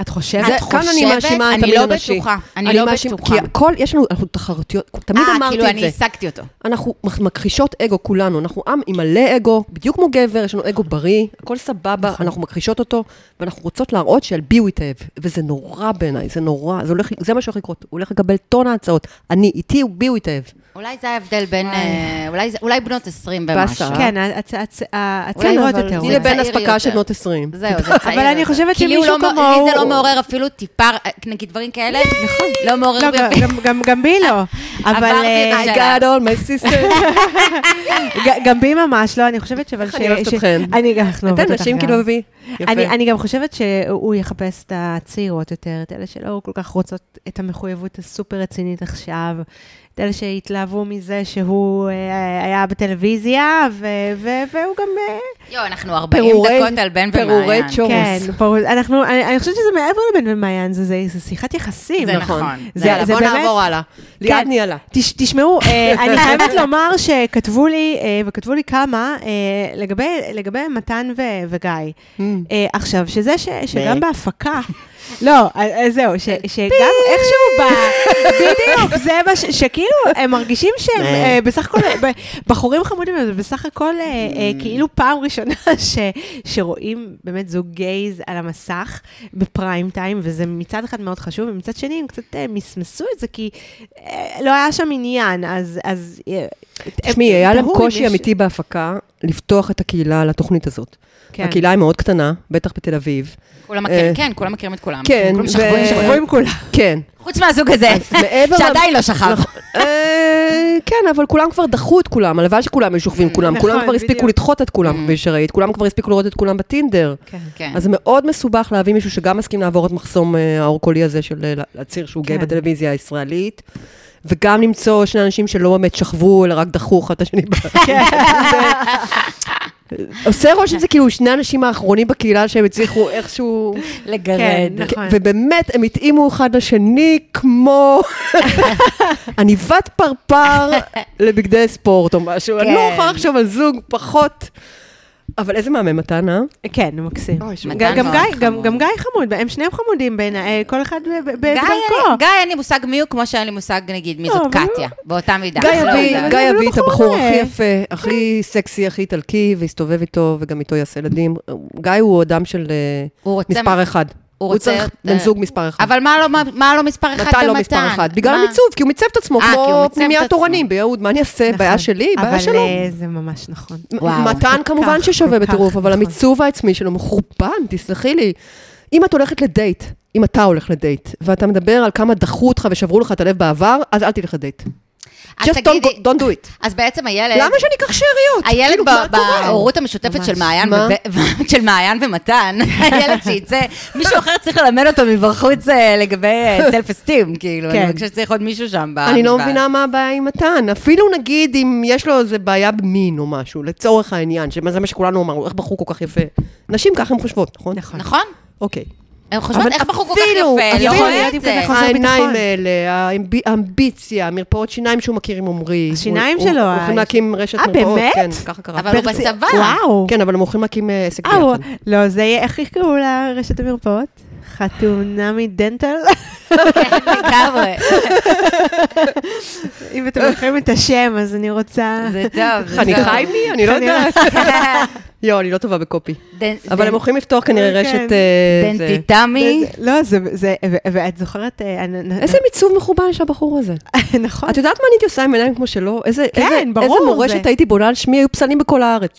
[SPEAKER 2] את חושבת?
[SPEAKER 1] זה-
[SPEAKER 3] זה- כאן אני מאשימה את
[SPEAKER 1] אני
[SPEAKER 3] המין
[SPEAKER 1] לא
[SPEAKER 3] הנשי.
[SPEAKER 1] בטוחה, אני לא
[SPEAKER 3] מאשים-
[SPEAKER 1] בטוחה.
[SPEAKER 3] כי הכל, יש לנו, אנחנו תחרותיות, תמיד
[SPEAKER 1] אה, כאילו,
[SPEAKER 3] אמרתי
[SPEAKER 1] אני
[SPEAKER 3] את זה.
[SPEAKER 1] השגתי אותו.
[SPEAKER 3] אנחנו מח- מכחישות אגו כולנו, אנחנו עם עם מלא אגו, בדיוק כמו גבר, יש לנו אגו בריא, הכל סבבה, אנחנו מכחישות אותו, ואנחנו רוצות להראות שעל בי הוא התאהב. וזה נורא בעיניי, זה נורא, זה הולך- זה מה שהולך לקרות, הוא הולך לקבל טון ההצעות. אני, איתי, בי הוא התאהב.
[SPEAKER 1] אולי זה ההבדל בין,
[SPEAKER 2] וואי.
[SPEAKER 1] אה, אולי זה- אולי בנות 20 במשהו.
[SPEAKER 3] בעשרה.
[SPEAKER 2] כן, הצ- הצ-
[SPEAKER 1] אולי,
[SPEAKER 2] הצעירות
[SPEAKER 1] אבל
[SPEAKER 2] יותר.
[SPEAKER 1] זה
[SPEAKER 3] אני לבין
[SPEAKER 1] צעיר יותר.
[SPEAKER 3] אספקה של בנות 20.
[SPEAKER 1] זהו, זה צעיר.
[SPEAKER 2] אבל אני
[SPEAKER 1] יותר.
[SPEAKER 2] חושבת
[SPEAKER 1] כי לי
[SPEAKER 2] שמישהו
[SPEAKER 1] הוא לא מ-
[SPEAKER 2] כמוהו-
[SPEAKER 1] לי זה לא מעורר אפילו טיפה, נגיד דברים כאלה, נכון. לא מעורר
[SPEAKER 2] לא,
[SPEAKER 1] בי.
[SPEAKER 2] גם- גם- גם- גם בי לא. אבל
[SPEAKER 1] עברתי
[SPEAKER 2] אה,
[SPEAKER 1] את
[SPEAKER 3] I
[SPEAKER 1] השלב.
[SPEAKER 3] got all my sisters.
[SPEAKER 2] ג- גם בי ממש לא, אני חושבת שאבל ש...
[SPEAKER 3] אני אוהבת
[SPEAKER 2] ש-
[SPEAKER 3] אתכן.
[SPEAKER 2] אני גם, לא אנחנו אוהבות
[SPEAKER 3] אתן
[SPEAKER 2] אותך
[SPEAKER 3] נשים
[SPEAKER 2] גם.
[SPEAKER 3] כאילו אבי.
[SPEAKER 2] כן. אני, אני גם חושבת שהוא יחפש את הצעירות יותר, את אלה שלא כל כך רוצות את המחויבות הסופר רצינית עכשיו, את אלה שהתלהבו מזה שהוא אה, היה בטלוויזיה, ו- ו- והוא גם... אה,
[SPEAKER 1] יואו, אנחנו 40 דקות על בן ומעיין.
[SPEAKER 4] פירורי צ'ורס.
[SPEAKER 2] כן, פה- אנחנו, אני אני חושבת שזה מעבר לבן ומעיין, זה- זה זה שיחת יחסים.
[SPEAKER 1] זה נכון.
[SPEAKER 2] זה-
[SPEAKER 1] זה
[SPEAKER 3] יאללה,
[SPEAKER 2] זה
[SPEAKER 3] בוא
[SPEAKER 2] באמת-
[SPEAKER 3] נעבור הלאה. ליעד
[SPEAKER 2] כן.
[SPEAKER 3] ניהלה.
[SPEAKER 2] תש, תשמעו, אה, אני חייבת לומר שכתבו לי, אה, וכתבו לי כמה, אה, לגבי, לגבי מתן ו, וגיא.
[SPEAKER 3] Mm.
[SPEAKER 2] אה, עכשיו, שזה ש, שגם בהפקה, לא, אז אז זהו, ש, שגם איכשהו ב... בדיוק, זה מה ש... שכאילו, הם מרגישים שהם אה, בסך הכל, ב- בחורים חמודים, אבל זה בסך הכל אה, אה, כאילו פעם ראשונה ש, שרואים באמת זוג גייז על המסך בפריים טיים, וזה מצד אחד מאוד חשוב, ומצד שני הם קצת אה, מסמסו את זה, כי אה, לא היה שם עניין, אז... אז אה,
[SPEAKER 3] תשמעי,
[SPEAKER 2] הם-
[SPEAKER 3] היה להם
[SPEAKER 2] תהו אם
[SPEAKER 3] קושי
[SPEAKER 2] יש-
[SPEAKER 3] אמיתי בהפקה לפתוח את הקהילה לתוכנית הזאת.
[SPEAKER 2] כן.
[SPEAKER 3] הקהילה היא מאוד קטנה, בטח בתל אביב.
[SPEAKER 1] כולם מכירים,
[SPEAKER 3] אה,
[SPEAKER 1] כן, כולם מכירים את כולם.
[SPEAKER 3] כן,
[SPEAKER 1] כולם
[SPEAKER 3] ו-
[SPEAKER 1] שכבו עם
[SPEAKER 2] שכבו עם כולם.
[SPEAKER 3] כן.
[SPEAKER 1] חוץ מהזוג הזה,
[SPEAKER 3] מעבר ל- נכון.
[SPEAKER 1] שעדיין לא שכב.
[SPEAKER 2] נכון.
[SPEAKER 3] אה, כן, אבל כולם כבר דחו את כולם, הלוואי שכולם היו שוכבים עם כולם.
[SPEAKER 2] נכון,
[SPEAKER 3] כולם כבר הספיקו
[SPEAKER 2] בדיוק. אה.
[SPEAKER 3] לדחות את כולם, כפי שראית, כולם כבר הספיקו לראות את כולם בטינדר.
[SPEAKER 2] כן.
[SPEAKER 1] כן.
[SPEAKER 3] אז זה מאוד מסובך להביא מישהו שגם מסכים לעבור את מחסום אה, האור קולי הזה של אה, להצהיר שהוא גיי
[SPEAKER 2] כן.
[SPEAKER 3] בטלוויזיה הישראלית, וגם למצוא שני אנשים שלא באמת שכבו, אלא רק דחו אחד את השני. ב-
[SPEAKER 2] כן.
[SPEAKER 3] זה- עושה רושם זה כאילו שני האנשים האחרונים בקהילה שהם הצליחו איכשהו...
[SPEAKER 2] כן,
[SPEAKER 1] לגרד.
[SPEAKER 2] נכון.
[SPEAKER 3] ובאמת, הם התאימו אחד לשני כמו עניבת פרפר לבגדי ספורט או משהו. אני לא
[SPEAKER 1] כן.
[SPEAKER 3] יכולה לחשוב על זוג פחות. אבל איזה מהמם מתן, אה?
[SPEAKER 2] כן, מקסים.
[SPEAKER 1] מתן
[SPEAKER 2] גם, גם,
[SPEAKER 1] מאוד
[SPEAKER 2] גיא, גם,
[SPEAKER 1] חמוד.
[SPEAKER 2] גם גיא חמוד, הם שניהם חמודים בעיניי, כל אחד ב- ב-
[SPEAKER 3] כן,
[SPEAKER 1] גיא,
[SPEAKER 2] בדרכו. נכון.
[SPEAKER 1] גיא, אין לי מושג מי הוא, כמו שאין לי מושג, נגיד, מי
[SPEAKER 2] לא,
[SPEAKER 1] זאת
[SPEAKER 2] אבל הוא-
[SPEAKER 1] קטיה, באותה מידה.
[SPEAKER 3] גיא
[SPEAKER 1] לא
[SPEAKER 3] יביא,
[SPEAKER 1] יודעת.
[SPEAKER 3] גיא
[SPEAKER 2] אבל
[SPEAKER 3] יביא את
[SPEAKER 2] בחור
[SPEAKER 3] הבחור
[SPEAKER 2] מעולה.
[SPEAKER 3] הכי יפה, הכי סקסי, הכי איטלקי, ויסתובב איתו, וגם איתו יעשה ילדים. גיא הוא אדם של אה,
[SPEAKER 1] הוא רוצה-
[SPEAKER 3] מספר אחד.
[SPEAKER 1] הוא
[SPEAKER 3] הוא
[SPEAKER 1] רוצה-
[SPEAKER 3] צריך בן זוג מספר אחד.
[SPEAKER 1] אבל מה לא- מה- מה לא מספר אחד
[SPEAKER 3] נתן
[SPEAKER 1] במתן?
[SPEAKER 3] לו מספר אחד. בגלל
[SPEAKER 1] מה?
[SPEAKER 3] המיצוב, כי הוא מיצב את עצמו,
[SPEAKER 1] אה, כי הוא
[SPEAKER 3] כמו
[SPEAKER 1] מיצב את
[SPEAKER 3] פנימיית
[SPEAKER 1] עצמו.
[SPEAKER 3] תורנים ביהוד. מה אני אעשה?
[SPEAKER 2] נכון.
[SPEAKER 3] בעיה שלי, בעיה שלו.
[SPEAKER 2] אבל אה, זה ממש נכון.
[SPEAKER 1] וואו,
[SPEAKER 3] מתן
[SPEAKER 2] כל
[SPEAKER 3] כמובן
[SPEAKER 2] כך,
[SPEAKER 3] ששווה
[SPEAKER 2] כל כך,
[SPEAKER 3] בטירוף, אבל
[SPEAKER 2] נכון.
[SPEAKER 3] המיצוב העצמי שלו מחורבן, תסלחי לי. אם את הולכת לדייט, אם אתה הולך לדייט, ואתה מדבר על כמה דחו אותך ושברו לך את הלב בעבר, אז אל תלך לדייט.
[SPEAKER 1] אז
[SPEAKER 3] Just don't
[SPEAKER 1] תגידי,
[SPEAKER 3] go- don't do it.
[SPEAKER 1] אז בעצם הילד...
[SPEAKER 3] למה שאני אקח שאריות?
[SPEAKER 1] הילד
[SPEAKER 3] כאילו,
[SPEAKER 1] ב-
[SPEAKER 3] מה קורה?
[SPEAKER 1] בהורות המשותפת של מעיין
[SPEAKER 3] מה?
[SPEAKER 1] וב- של מעיין ומתן, הילד שיצא, מישהו אחר צריך ללמד אותו מבחוץ אה, לגבי סלף אסטים, כאילו, אני
[SPEAKER 2] כן.
[SPEAKER 1] חושבת שצריך עוד מישהו שם. ב-
[SPEAKER 3] אני לא
[SPEAKER 1] ב-
[SPEAKER 3] מבינה מה הבעיה עם מתן. אפילו נגיד אם יש לו איזה בעיה במין או משהו, לצורך העניין, שזה מה שכולנו אמרנו, איך בחור כל כך יפה. נשים ככה הן חושבות, נכון?
[SPEAKER 2] נכון.
[SPEAKER 1] נכון?
[SPEAKER 3] אוקיי.
[SPEAKER 1] הן חושבות,
[SPEAKER 3] אבל
[SPEAKER 1] איך בחור כל כך
[SPEAKER 3] אפילו-
[SPEAKER 1] יפה,
[SPEAKER 3] אפילו
[SPEAKER 1] לא רואה
[SPEAKER 2] ילד
[SPEAKER 1] את
[SPEAKER 2] עם
[SPEAKER 1] זה.
[SPEAKER 2] כזה חוסר ביטחון.
[SPEAKER 3] אה, העיניים האלה, האמב- האמביציה, המרפאות שיניים שהוא מכיר עם עמרי.
[SPEAKER 2] השיניים
[SPEAKER 3] הוא- הוא-
[SPEAKER 2] שלו,
[SPEAKER 3] הולכים
[SPEAKER 2] ה-
[SPEAKER 3] להקים רשת
[SPEAKER 2] אה,
[SPEAKER 3] מרפאות.
[SPEAKER 2] באמת?
[SPEAKER 3] כן, ככה קרה.
[SPEAKER 1] אבל הוא
[SPEAKER 2] פרצי-
[SPEAKER 1] בצבא.
[SPEAKER 2] וואו.
[SPEAKER 3] כן, אבל הם הולכים להקים אה, עסק
[SPEAKER 2] אה, הוא-
[SPEAKER 3] ביחד.
[SPEAKER 2] לא, זה יהיה, איך יקראו לרשת המרפאות? חתונה מדנטל?
[SPEAKER 1] כן, לגמרי.
[SPEAKER 2] אם אתם זוכרים את השם, אז אני רוצה...
[SPEAKER 1] זה טוב. זה טוב.
[SPEAKER 3] חניכה עם מי? אני לא יודעת. יואו, אני לא טובה בקופי.
[SPEAKER 1] דנ-
[SPEAKER 3] אבל הם הולכים לפתוח כנראה
[SPEAKER 2] כן.
[SPEAKER 3] רשת... אה, זה.
[SPEAKER 1] דנטיטמי.
[SPEAKER 2] זה- לא, זה... זה- ו- ואת זוכרת... אה, אני- אני-
[SPEAKER 3] איזה מיצוב מחורבן יש לבחור הזה.
[SPEAKER 2] נכון.
[SPEAKER 3] את יודעת מה אני הייתי עושה עם עיניים כמו שלו? איזה,
[SPEAKER 2] כן,
[SPEAKER 3] איזה,
[SPEAKER 2] ברור,
[SPEAKER 3] איזה מורשת
[SPEAKER 2] זה-
[SPEAKER 3] הייתי בונה על שמי, היו פסלים בכל הארץ.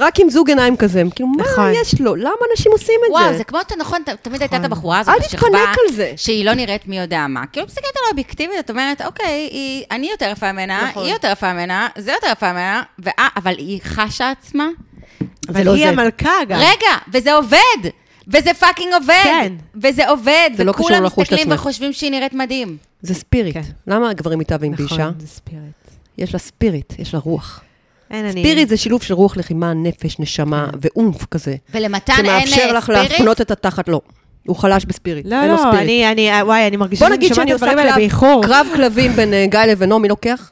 [SPEAKER 3] רק עם זוג עיניים כזה. כאילו, מה
[SPEAKER 2] נכון.
[SPEAKER 3] יש לו? למה אנשים עושים את זה?
[SPEAKER 1] וואו, זה כמו, אתה נכון, ת- תמיד הייתה את
[SPEAKER 2] נכון.
[SPEAKER 1] הבחורה הזאת
[SPEAKER 3] אל
[SPEAKER 1] בשכבה,
[SPEAKER 3] תתפנק על זה.
[SPEAKER 1] שהיא לא נראית מי יודע מה. כאילו, מסתכלת על האובייקטיבית, את אומרת, אוקיי, היא- אני יותר יפה ממנה,
[SPEAKER 3] נכון.
[SPEAKER 1] היא יותר יפה ממנה, זה יותר יפה ממנה, ואה, אבל היא חשה עצמה.
[SPEAKER 2] אבל
[SPEAKER 3] לא
[SPEAKER 2] היא
[SPEAKER 3] זה.
[SPEAKER 2] המלכה גם.
[SPEAKER 1] רגע, וזה עובד! וזה פאקינג עובד!
[SPEAKER 2] כן.
[SPEAKER 1] וזה עובד,
[SPEAKER 3] זה לא קשור
[SPEAKER 1] וכולם
[SPEAKER 3] לחוש
[SPEAKER 1] מסתכלים
[SPEAKER 3] לעצמך.
[SPEAKER 1] וחושבים שהיא נראית מדהים.
[SPEAKER 3] זה ספיריט.
[SPEAKER 2] כן.
[SPEAKER 3] למה הגברים מתאהבים באישה?
[SPEAKER 2] נכון, זה ספיריט.
[SPEAKER 3] יש לה ספיריט, יש לה רוח.
[SPEAKER 2] אין, אני... כן.
[SPEAKER 3] ספיריט זה שילוב של רוח לחימה, נפש, נשמה ואומף כזה.
[SPEAKER 1] ולמתן אין אה,
[SPEAKER 3] שמאפשר לך
[SPEAKER 1] ספיריט?
[SPEAKER 3] להפנות את התחת, לא. הוא חלש בספיריט,
[SPEAKER 2] לא,
[SPEAKER 3] אין לו
[SPEAKER 2] לא,
[SPEAKER 3] ספיריט.
[SPEAKER 2] אני, אני, וואי, אני מרגישה
[SPEAKER 3] בוא
[SPEAKER 2] שאני
[SPEAKER 3] נגיד
[SPEAKER 2] שומעת
[SPEAKER 3] שאני
[SPEAKER 2] את
[SPEAKER 3] עושה
[SPEAKER 2] הדברים האלה
[SPEAKER 3] קרב-
[SPEAKER 2] באיחור.
[SPEAKER 3] קרב כלבים בין אה, גיא לבינו, מי לוקח?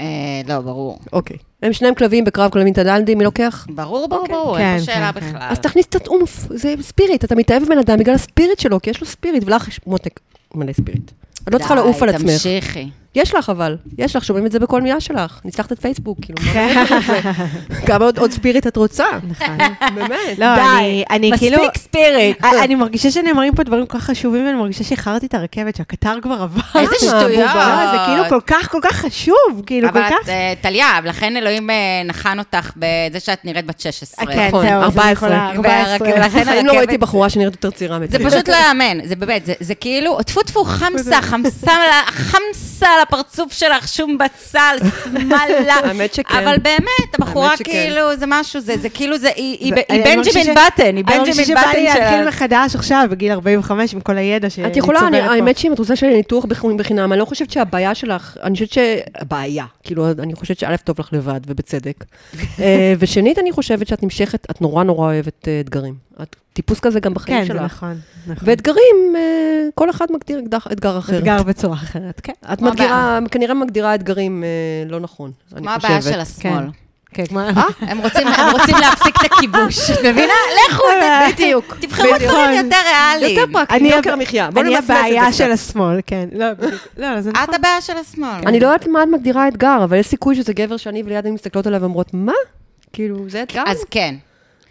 [SPEAKER 1] אה, לא, ברור.
[SPEAKER 3] אוקיי. הם שניהם כלבים בקרב כלבים תדלדי, מי לוקח?
[SPEAKER 1] ברור, ברור,
[SPEAKER 3] אוקיי.
[SPEAKER 1] ברור,
[SPEAKER 2] כן,
[SPEAKER 1] אין פה שאלה
[SPEAKER 2] כן, כן.
[SPEAKER 1] בכלל.
[SPEAKER 3] אז תכניס קצת אומף, זה ספיריט, אתה מתאהב בבן אדם בגלל הספיריט שלו, כי יש לו ספיריט, ולך יש מותק מלא ספיריט. את לא צריכה
[SPEAKER 1] די,
[SPEAKER 3] לעוף על עצמך.
[SPEAKER 1] תמשיכי.
[SPEAKER 3] יש לך אבל, יש לך, שומעים את זה בכל מילה שלך. ניצחת את פייסבוק, כאילו,
[SPEAKER 2] כן.
[SPEAKER 3] מה מעבר לזה? כמה עוד- עוד ספיריט את רוצה? באמת.
[SPEAKER 2] נכון. לא, אני, אני כאילו... אה,
[SPEAKER 1] מספיק ספיריט.
[SPEAKER 3] אה,
[SPEAKER 2] אני- אני מרגישה שנאמרים פה דברים כל כך חשובים, ואני מרגישה שאיחרתי את הרכבת, שהקטר כבר עבר.
[SPEAKER 1] איזה
[SPEAKER 3] בובה?
[SPEAKER 1] שטויות.
[SPEAKER 2] לא, זה כאילו כל כך, כל כך חשוב, כאילו, כל
[SPEAKER 1] אבל את,
[SPEAKER 2] כך...
[SPEAKER 1] אה, טליה, לכן אלוהים אה, נחן אותך בזה שאת נראה בת
[SPEAKER 2] אה,
[SPEAKER 1] 16.
[SPEAKER 2] כן,
[SPEAKER 3] נכון,
[SPEAKER 2] זהו, אז אני
[SPEAKER 3] 14.
[SPEAKER 2] יכולה-
[SPEAKER 1] והרכ-
[SPEAKER 2] 14.
[SPEAKER 1] ולכן
[SPEAKER 3] בחיים לא
[SPEAKER 1] הרכבת-
[SPEAKER 3] ראיתי בחורה שנראית יותר צעירה
[SPEAKER 1] זה
[SPEAKER 3] מצעירה.
[SPEAKER 1] פשוט לא יאמן, זה באמת, זה- זה כאילו, טפו טפו חמסה, חמסה, על ה- חמסה על הפרצוף שלך, שום בצל, שמאללה.
[SPEAKER 3] האמת שכן.
[SPEAKER 1] אבל באמת, הבחורה
[SPEAKER 3] האמת שכן.
[SPEAKER 1] כאילו, זה משהו, זה זה כאילו, זה, היא- היא
[SPEAKER 2] זה-
[SPEAKER 1] היא
[SPEAKER 2] אני מרגישה ש-
[SPEAKER 1] בנג'מין בטן, היא
[SPEAKER 2] אני חושבת
[SPEAKER 1] בנג'מין
[SPEAKER 2] שבא לי
[SPEAKER 1] בטן
[SPEAKER 2] להתחיל
[SPEAKER 1] של...
[SPEAKER 2] מחדש עכשיו, בגיל 45, עם כל הידע שאני
[SPEAKER 3] את
[SPEAKER 2] צוברת פה.
[SPEAKER 3] יכולה, אני, האמת שאם את רוצה שיהיה ניתוח בחינם, בחינם, אני לא חושבת שהבעיה שלך, אני חושבת שהבעיה, כאילו, אני חושבת שא', טוב לך לבד, ובצדק. אה, ושנית, אני חושבת שאת נמשכת, את נורא נורא אוהבת אה, אתגרים. את טיפוס כזה גם בחיים
[SPEAKER 2] כן, זה
[SPEAKER 3] שלך.
[SPEAKER 2] נכון. נכון.
[SPEAKER 3] ואתגרים, אה, כל אחד מגדיר אתגר- אתגר אוקיי. אחר.
[SPEAKER 2] אתגר בצורה אחרת, כן.
[SPEAKER 3] את
[SPEAKER 1] מה
[SPEAKER 3] מגדירה, כנראה מגדירה אתגרים אה, לא נכון, אני
[SPEAKER 1] מה
[SPEAKER 3] חושבת.
[SPEAKER 1] הבעיה של השמאל?
[SPEAKER 2] כן. כן, כמו...
[SPEAKER 3] אה,
[SPEAKER 1] הם רוצים הם רוצים להפסיק את הכיבוש, את מבינה? לכו,
[SPEAKER 3] אה,
[SPEAKER 1] ת-
[SPEAKER 3] בדיוק.
[SPEAKER 1] תבחרו דברים יותר ריאליים.
[SPEAKER 3] נכון. יותר פרקטי,
[SPEAKER 2] אני
[SPEAKER 3] יוקר
[SPEAKER 2] הב-
[SPEAKER 3] המחיה. בוא
[SPEAKER 2] אני
[SPEAKER 3] נמסמס את זה
[SPEAKER 2] הבעיה
[SPEAKER 3] קצת. אה,
[SPEAKER 2] של השמאל, כן. לא, בדיוק. לא, לא, זה נכון.
[SPEAKER 1] את הבעיה של השמאל.
[SPEAKER 3] אני לא יודעת מה את מגדירה אתגר, אבל יש סיכוי שזה גבר שאני וליד אני מסתכלות עליו ואומרות, מה? כאילו, זה אתגר?
[SPEAKER 1] אז כן.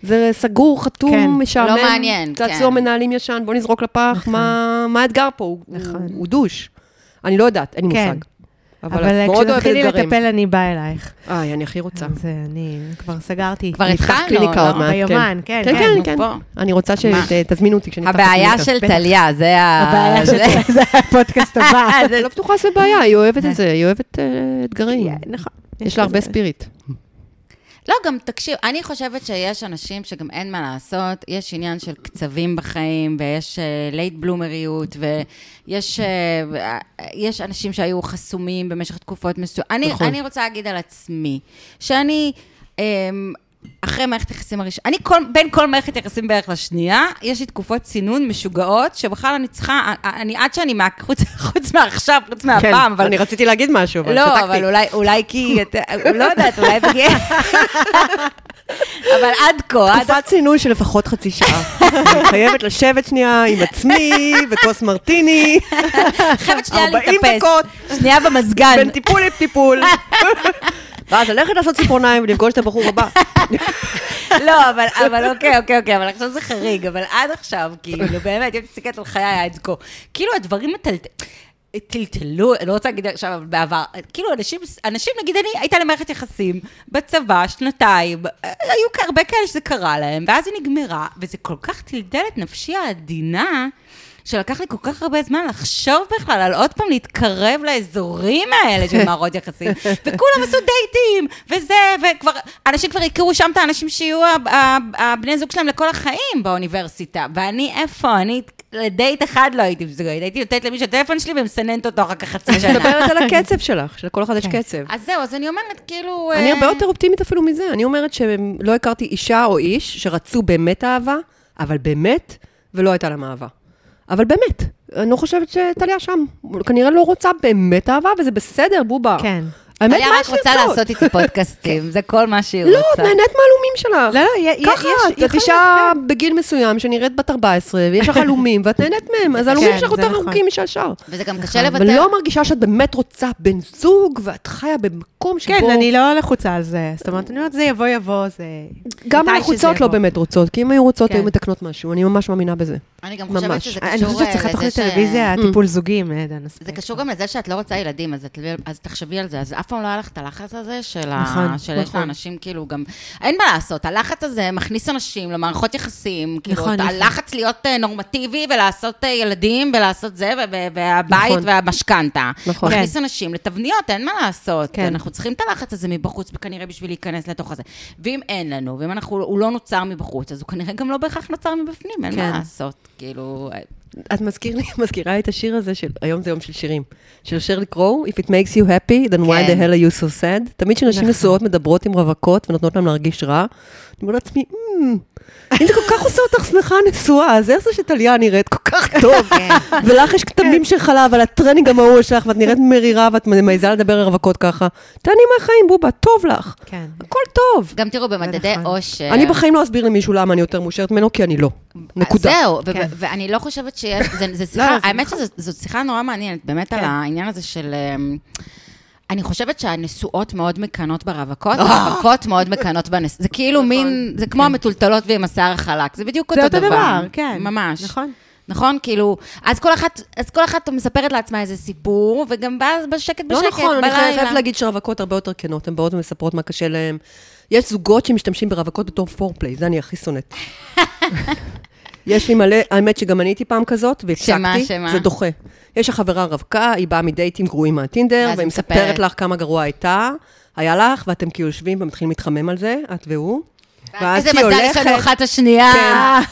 [SPEAKER 3] זה סגור, חתום,
[SPEAKER 2] כן.
[SPEAKER 3] משעמם.
[SPEAKER 1] לא מעניין, כן. נכון.
[SPEAKER 3] תעצור מנהלים ישן, בוא נזרוק לפח, מה מה האתגר פה? הוא-
[SPEAKER 2] נכון.
[SPEAKER 3] הוא- הוא דוש. אני לא יודעת, אין לי
[SPEAKER 2] כן.
[SPEAKER 3] מושג. אבל
[SPEAKER 2] אבל אה,
[SPEAKER 3] את מאוד אוהבת
[SPEAKER 2] כשתתחילי
[SPEAKER 3] אתגרים.
[SPEAKER 2] לטפל, אני באה אלייך.
[SPEAKER 3] איי, אני הכי רוצה.
[SPEAKER 2] זה אני כבר סגרתי.
[SPEAKER 1] כבר
[SPEAKER 3] נפתח
[SPEAKER 1] התחלנו,
[SPEAKER 3] קליניקה
[SPEAKER 1] לא?
[SPEAKER 3] עוד מעט, כן.
[SPEAKER 2] ביומן, כן,
[SPEAKER 3] כן,
[SPEAKER 2] כן.
[SPEAKER 3] כן,
[SPEAKER 1] אנחנו
[SPEAKER 3] כן.
[SPEAKER 1] פה.
[SPEAKER 3] אני רוצה
[SPEAKER 1] מה?
[SPEAKER 3] שתזמינו אותי כשנפתח את
[SPEAKER 1] הבעיה
[SPEAKER 3] הקליניקה.
[SPEAKER 1] של טליה, זה ה...
[SPEAKER 2] הבעיה
[SPEAKER 1] זה-
[SPEAKER 2] של... זה הפודקאסט הבא.
[SPEAKER 3] אני לא בטוחה שזה בעיה, היא אוהבת את זה, היא אוהבת אה, אתגרים.
[SPEAKER 2] נכון.
[SPEAKER 3] יש לה הרבה ספיריט.
[SPEAKER 1] לא, גם תקשיב, אני חושבת שיש אנשים שגם אין מה לעשות, יש עניין של קצבים בחיים, ויש לייט בלומריות, ויש אה, אה, יש אנשים שהיו חסומים במשך תקופות מסוימות. אני,
[SPEAKER 3] נכון.
[SPEAKER 1] אני רוצה להגיד על עצמי, שאני... אה, אחרי מערכת יחסים הראשונה, אני כל, בין כל מערכת יחסים בערך לשנייה, יש לי תקופות צינון משוגעות, שבכלל אני צריכה, אה, אני עד שאני, מה, חוץ, חוץ מעכשיו, חוץ מהפעם, אבל
[SPEAKER 3] כן, אני רציתי להגיד משהו, אבל
[SPEAKER 1] לא,
[SPEAKER 3] שתקתי.
[SPEAKER 1] אבל אולי, אולי כי, אתה- לא יודעת, אולי בגלל... אבל עד כה, עד...
[SPEAKER 3] תקופת צינון של לפחות חצי שעה. אני חייבת לשבת שנייה עם עצמי וכוס מרטיני,
[SPEAKER 1] חייבת שנייה
[SPEAKER 3] 40
[SPEAKER 1] להתאפס.
[SPEAKER 3] דקות
[SPEAKER 1] שנייה במזגן.
[SPEAKER 3] בין טיפול לטיפול. ואז ללכת לעשות ציפורניים ולפגוש את הבחור הבא.
[SPEAKER 1] לא, אבל, אבל אוקיי, אוקיי, אוקיי, אבל עכשיו זה חריג, אבל עד עכשיו, כאילו, באמת, אם תסתכלת על חיי עד כה, כאילו הדברים מטלט... טלטלו, אני לא רוצה להגיד עכשיו, אבל בעבר, כאילו אנשים, אנשים, נגיד אני, הייתה לי מערכת יחסים בצבא, שנתיים, אה, היו הרבה כאלה שזה קרה להם, ואז היא נגמרה, וזה כל כך טלטל את נפשי העדינה, שלקח לי כל כך הרבה זמן לחשוב בכלל על עוד פעם להתקרב לאזורים האלה של מערות יחסים. וכולם עשו דייטים, וזה, וכבר, אנשים כבר הכירו שם את האנשים שיהיו ה- ה- הבני זוג שלהם לכל החיים באוניברסיטה. ואני איפה? אני לדייט אחד לא הייתי מסוגלת, הייתי נותנת למישהו את הטלפון שלי ומסננת אותו אחר כך חצי
[SPEAKER 3] את
[SPEAKER 1] שנה.
[SPEAKER 3] מדברת על הקצב שלך, שלכל אחד יש קצב.
[SPEAKER 1] אז זהו, אז כן. אני אומרת, כאילו...
[SPEAKER 3] אני
[SPEAKER 1] אה,
[SPEAKER 3] הרבה יותר אופטימית אפילו מזה. אני אומרת שלא הכרתי אישה או איש שרצו באמת אהבה, אבל באמת, ולא הייתה להם אהבה. אבל באמת, אני לא חושבת שטליה שם. כנראה לא רוצה באמת אהבה, וזה בסדר, בובה.
[SPEAKER 2] כן.
[SPEAKER 3] האמת, מה יש
[SPEAKER 1] טליה רק
[SPEAKER 3] לרצות?
[SPEAKER 1] רוצה לעשות איתי פודקאסטים, זה כל מה שהיא
[SPEAKER 3] לא,
[SPEAKER 1] רוצה.
[SPEAKER 3] את נהנית מהלומים שלה.
[SPEAKER 2] לא, לא, יה- יה-
[SPEAKER 3] ככה,
[SPEAKER 2] יש-
[SPEAKER 3] את
[SPEAKER 2] יכול
[SPEAKER 3] אישה בגיל מסוים שנראית בת 14, ויש לך הלומים, ואת נהנית מהם, אז הלומים
[SPEAKER 2] כן,
[SPEAKER 3] שלך
[SPEAKER 2] זה
[SPEAKER 3] יותר
[SPEAKER 2] נכון.
[SPEAKER 3] ארוכים משל שאר.
[SPEAKER 1] וזה גם קשה
[SPEAKER 3] אבל
[SPEAKER 1] לוותר.
[SPEAKER 3] לא מרגישה שאת באמת רוצה בן זוג, ואת חיה במקום שבו...
[SPEAKER 2] כן, אני לא לחוצה על זה. זאת אומרת, אני אומרת, זה יבוא, יבוא, זה...
[SPEAKER 3] גם
[SPEAKER 2] מתי שזה
[SPEAKER 3] הלחוצות לא
[SPEAKER 2] יבוא.
[SPEAKER 3] באמת רוצות, כי אם היו רוצות,
[SPEAKER 2] כן.
[SPEAKER 3] היו מתקנות משהו, אני ממש מאמינה בזה.
[SPEAKER 1] אני גם חושבת
[SPEAKER 3] ממש.
[SPEAKER 1] שזה קשור...
[SPEAKER 2] אני חושבת
[SPEAKER 1] אה,
[SPEAKER 2] שצריך
[SPEAKER 1] לזה
[SPEAKER 2] לתוכנית
[SPEAKER 1] ש-
[SPEAKER 2] טלוויזיה, טיפול זוגים, אה, דנה
[SPEAKER 1] זה
[SPEAKER 2] ספיק.
[SPEAKER 1] קשור גם לזה שאת לא רוצה ילדים, אז, את, אז תחשבי על זה. אז אף פעם לא היה לך את הלחץ הזה של ה-
[SPEAKER 2] נכון,
[SPEAKER 1] של יש
[SPEAKER 2] נכון.
[SPEAKER 1] לאנשים, כאילו גם... אין מה לעשות, הלחץ הזה מכניס אנשים למערכות יחסים. כאילו,
[SPEAKER 2] נכון,
[SPEAKER 1] נכון,
[SPEAKER 2] נכון.
[SPEAKER 1] הלחץ להיות אה, נורמטיבי ולעשות אה, ילדים ולעשות זה, ו- ו- והבית
[SPEAKER 3] נכון.
[SPEAKER 1] נכון. והמשכנתה.
[SPEAKER 3] נכון.
[SPEAKER 1] מכניס אנשים לתבניות, אין מה לעשות.
[SPEAKER 2] כן.
[SPEAKER 1] כן. אנחנו צריכים את הלחץ הזה מבחוץ, כנראה בשביל להיכנס לתוך הזה. ואם אין לנו, ואם אנחנו, הוא לא נוצר מבחוץ, אז הוא כנראה גם לא בהכרח נוצר מבפנים, אין
[SPEAKER 2] כן.
[SPEAKER 1] מה לעשות. כאילו... אה,
[SPEAKER 3] את מזכיר לי, מזכירה לי את השיר הזה של, היום זה יום של שירים, של שרלי קרואו, If it makes you happy, then why the
[SPEAKER 1] כן.
[SPEAKER 3] hell are you so sad? תמיד כשנשים נשואות מדברות עם רווקות ונותנות להן להרגיש רע, אני אומרת לעצמי, "אמ, אם זה כל כך עושה אותך שמחה נשואה, אז איך זה שטליה נראית כל כך טוב, ולך יש כתמים של חלב על הטרנינג המהול שלך, ואת נראית מרירה ואת מעיזה לדבר על רווקות ככה, תעני מהחיים, בובה, טוב לך,
[SPEAKER 2] כן.
[SPEAKER 3] הכל טוב.
[SPEAKER 1] גם תראו, במדדי
[SPEAKER 2] נכון.
[SPEAKER 1] אושר...
[SPEAKER 3] אני בחיים לא אסביר למישהו למה אני יותר מאושרת ממנו, כי אני לא. נקודה.
[SPEAKER 1] זהו, ו-
[SPEAKER 2] כן.
[SPEAKER 1] ואני לא חושבת שיש, זה- זה שיחה,
[SPEAKER 2] זה
[SPEAKER 1] האמת
[SPEAKER 3] נכון.
[SPEAKER 1] שזאת שיחה נורא מעניינת, באמת על
[SPEAKER 2] כן.
[SPEAKER 1] העניין הזה של... אמ, אני חושבת שהנשואות מאוד מקנאות ברווקות,
[SPEAKER 3] אה!
[SPEAKER 1] הרווקות מאוד מקנאות בנשואות. זה כאילו
[SPEAKER 3] נכון.
[SPEAKER 1] מין, זה
[SPEAKER 3] כן.
[SPEAKER 1] כמו המטולטלות ועם השיער החלק, זה בדיוק אותו
[SPEAKER 2] זה
[SPEAKER 1] דבר.
[SPEAKER 2] אותו דבר, כן.
[SPEAKER 1] ממש.
[SPEAKER 2] נכון.
[SPEAKER 1] נכון? כאילו, אז כל אחת, אז כל אחת מספרת לעצמה איזה סיפור, וגם ואז בשקט בשקט,
[SPEAKER 3] לא
[SPEAKER 1] בלילה.
[SPEAKER 3] נכון, אני חייבת חייבת להגיד שרווקות הרבה יותר כנות, הן באות ומספרות מה קשה להן. יש זוגות שמשתמשים ברווקות בתור פורפליי, זה אני הכי שונאת. יש לי מלא, האמת שגם אני הייתי פעם כזאת, והפסקתי.
[SPEAKER 1] שמה, שמה?
[SPEAKER 3] זה דוחה. יש לך חברה רווקה, היא באה מדייטים גרועים מהטינדר,
[SPEAKER 1] ואז
[SPEAKER 3] והיא
[SPEAKER 1] היא
[SPEAKER 3] מספרת
[SPEAKER 1] מספרת.
[SPEAKER 3] לך כמה גרוע הייתה, היה לך, ואתם כאילו יושבים ומתחילים להתחמם על זה, את והוא. ואז
[SPEAKER 1] איזה
[SPEAKER 3] היא
[SPEAKER 1] מזל יש לנו
[SPEAKER 3] הולכת,
[SPEAKER 1] אחת השנייה.
[SPEAKER 3] כן.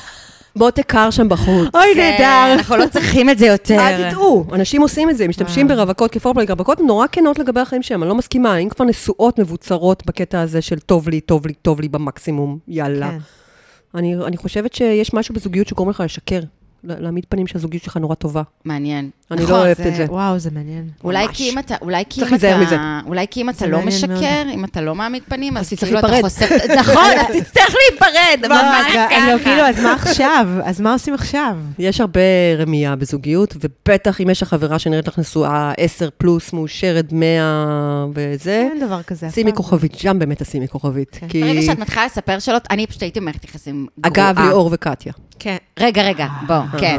[SPEAKER 3] מותק קר שם בחוץ.
[SPEAKER 2] אוי,
[SPEAKER 1] כן,
[SPEAKER 2] נהדר.
[SPEAKER 1] אנחנו לא צריכים את זה יותר.
[SPEAKER 3] אל תטעו, אנשים עושים את זה, הם
[SPEAKER 1] אה.
[SPEAKER 3] משתמשים ברווקות כפורפלייק, רווקות הן נורא כנות לגבי החיים שלהם, אני לא מסכימה, הן כבר נשואות מבוצרות בקטע הזה של טוב לי, טוב לי, טוב לי במקסימום, יאללה.
[SPEAKER 2] כן.
[SPEAKER 3] אני, אני חושבת שיש משהו בזוגיות שגורם לך לשקר, ל- להעמיד פנים שהזוגיות שלך נורא טובה.
[SPEAKER 1] מעניין.
[SPEAKER 3] אני
[SPEAKER 1] נכון,
[SPEAKER 3] לא אוהבת
[SPEAKER 1] זה-
[SPEAKER 3] את זה.
[SPEAKER 2] וואו, זה מעניין.
[SPEAKER 1] אולי
[SPEAKER 3] ממש.
[SPEAKER 1] כי אם אתה, אולי כי
[SPEAKER 3] צריך
[SPEAKER 1] אם
[SPEAKER 3] להיזהר
[SPEAKER 1] אתה,
[SPEAKER 3] מזה.
[SPEAKER 1] אולי כי אם אתה
[SPEAKER 2] זה
[SPEAKER 1] לא
[SPEAKER 2] מעניין
[SPEAKER 1] משקר, אם אתה לא מעמיד פנים, אז
[SPEAKER 3] תצטרך
[SPEAKER 1] כאילו אתה
[SPEAKER 3] להיפרד.
[SPEAKER 1] חושף, נכון, אז תצטרך להיפרד, כן? ממש
[SPEAKER 2] לא,
[SPEAKER 1] ככה.
[SPEAKER 2] כאילו, אז מה עכשיו? אז מה עושים עכשיו?
[SPEAKER 3] יש הרבה רמייה בזוגיות, ובטח אם יש לך חברה שנראית לך נשואה 10 פלוס, מאושרת 100 וזה,
[SPEAKER 1] כן,
[SPEAKER 2] אין כן, דבר כזה. נכון.
[SPEAKER 3] שימי כוכבית, שם באמת תשימי כוכבית.
[SPEAKER 2] כן.
[SPEAKER 3] כי,
[SPEAKER 1] ברגע שאת מתחילה לספר שלא, אני פשוט הייתי במערכת יחסים גרועה.
[SPEAKER 3] אגב, ליאור אה. וקטיה.
[SPEAKER 2] כן.
[SPEAKER 1] רגע, רגע, בוא, כן.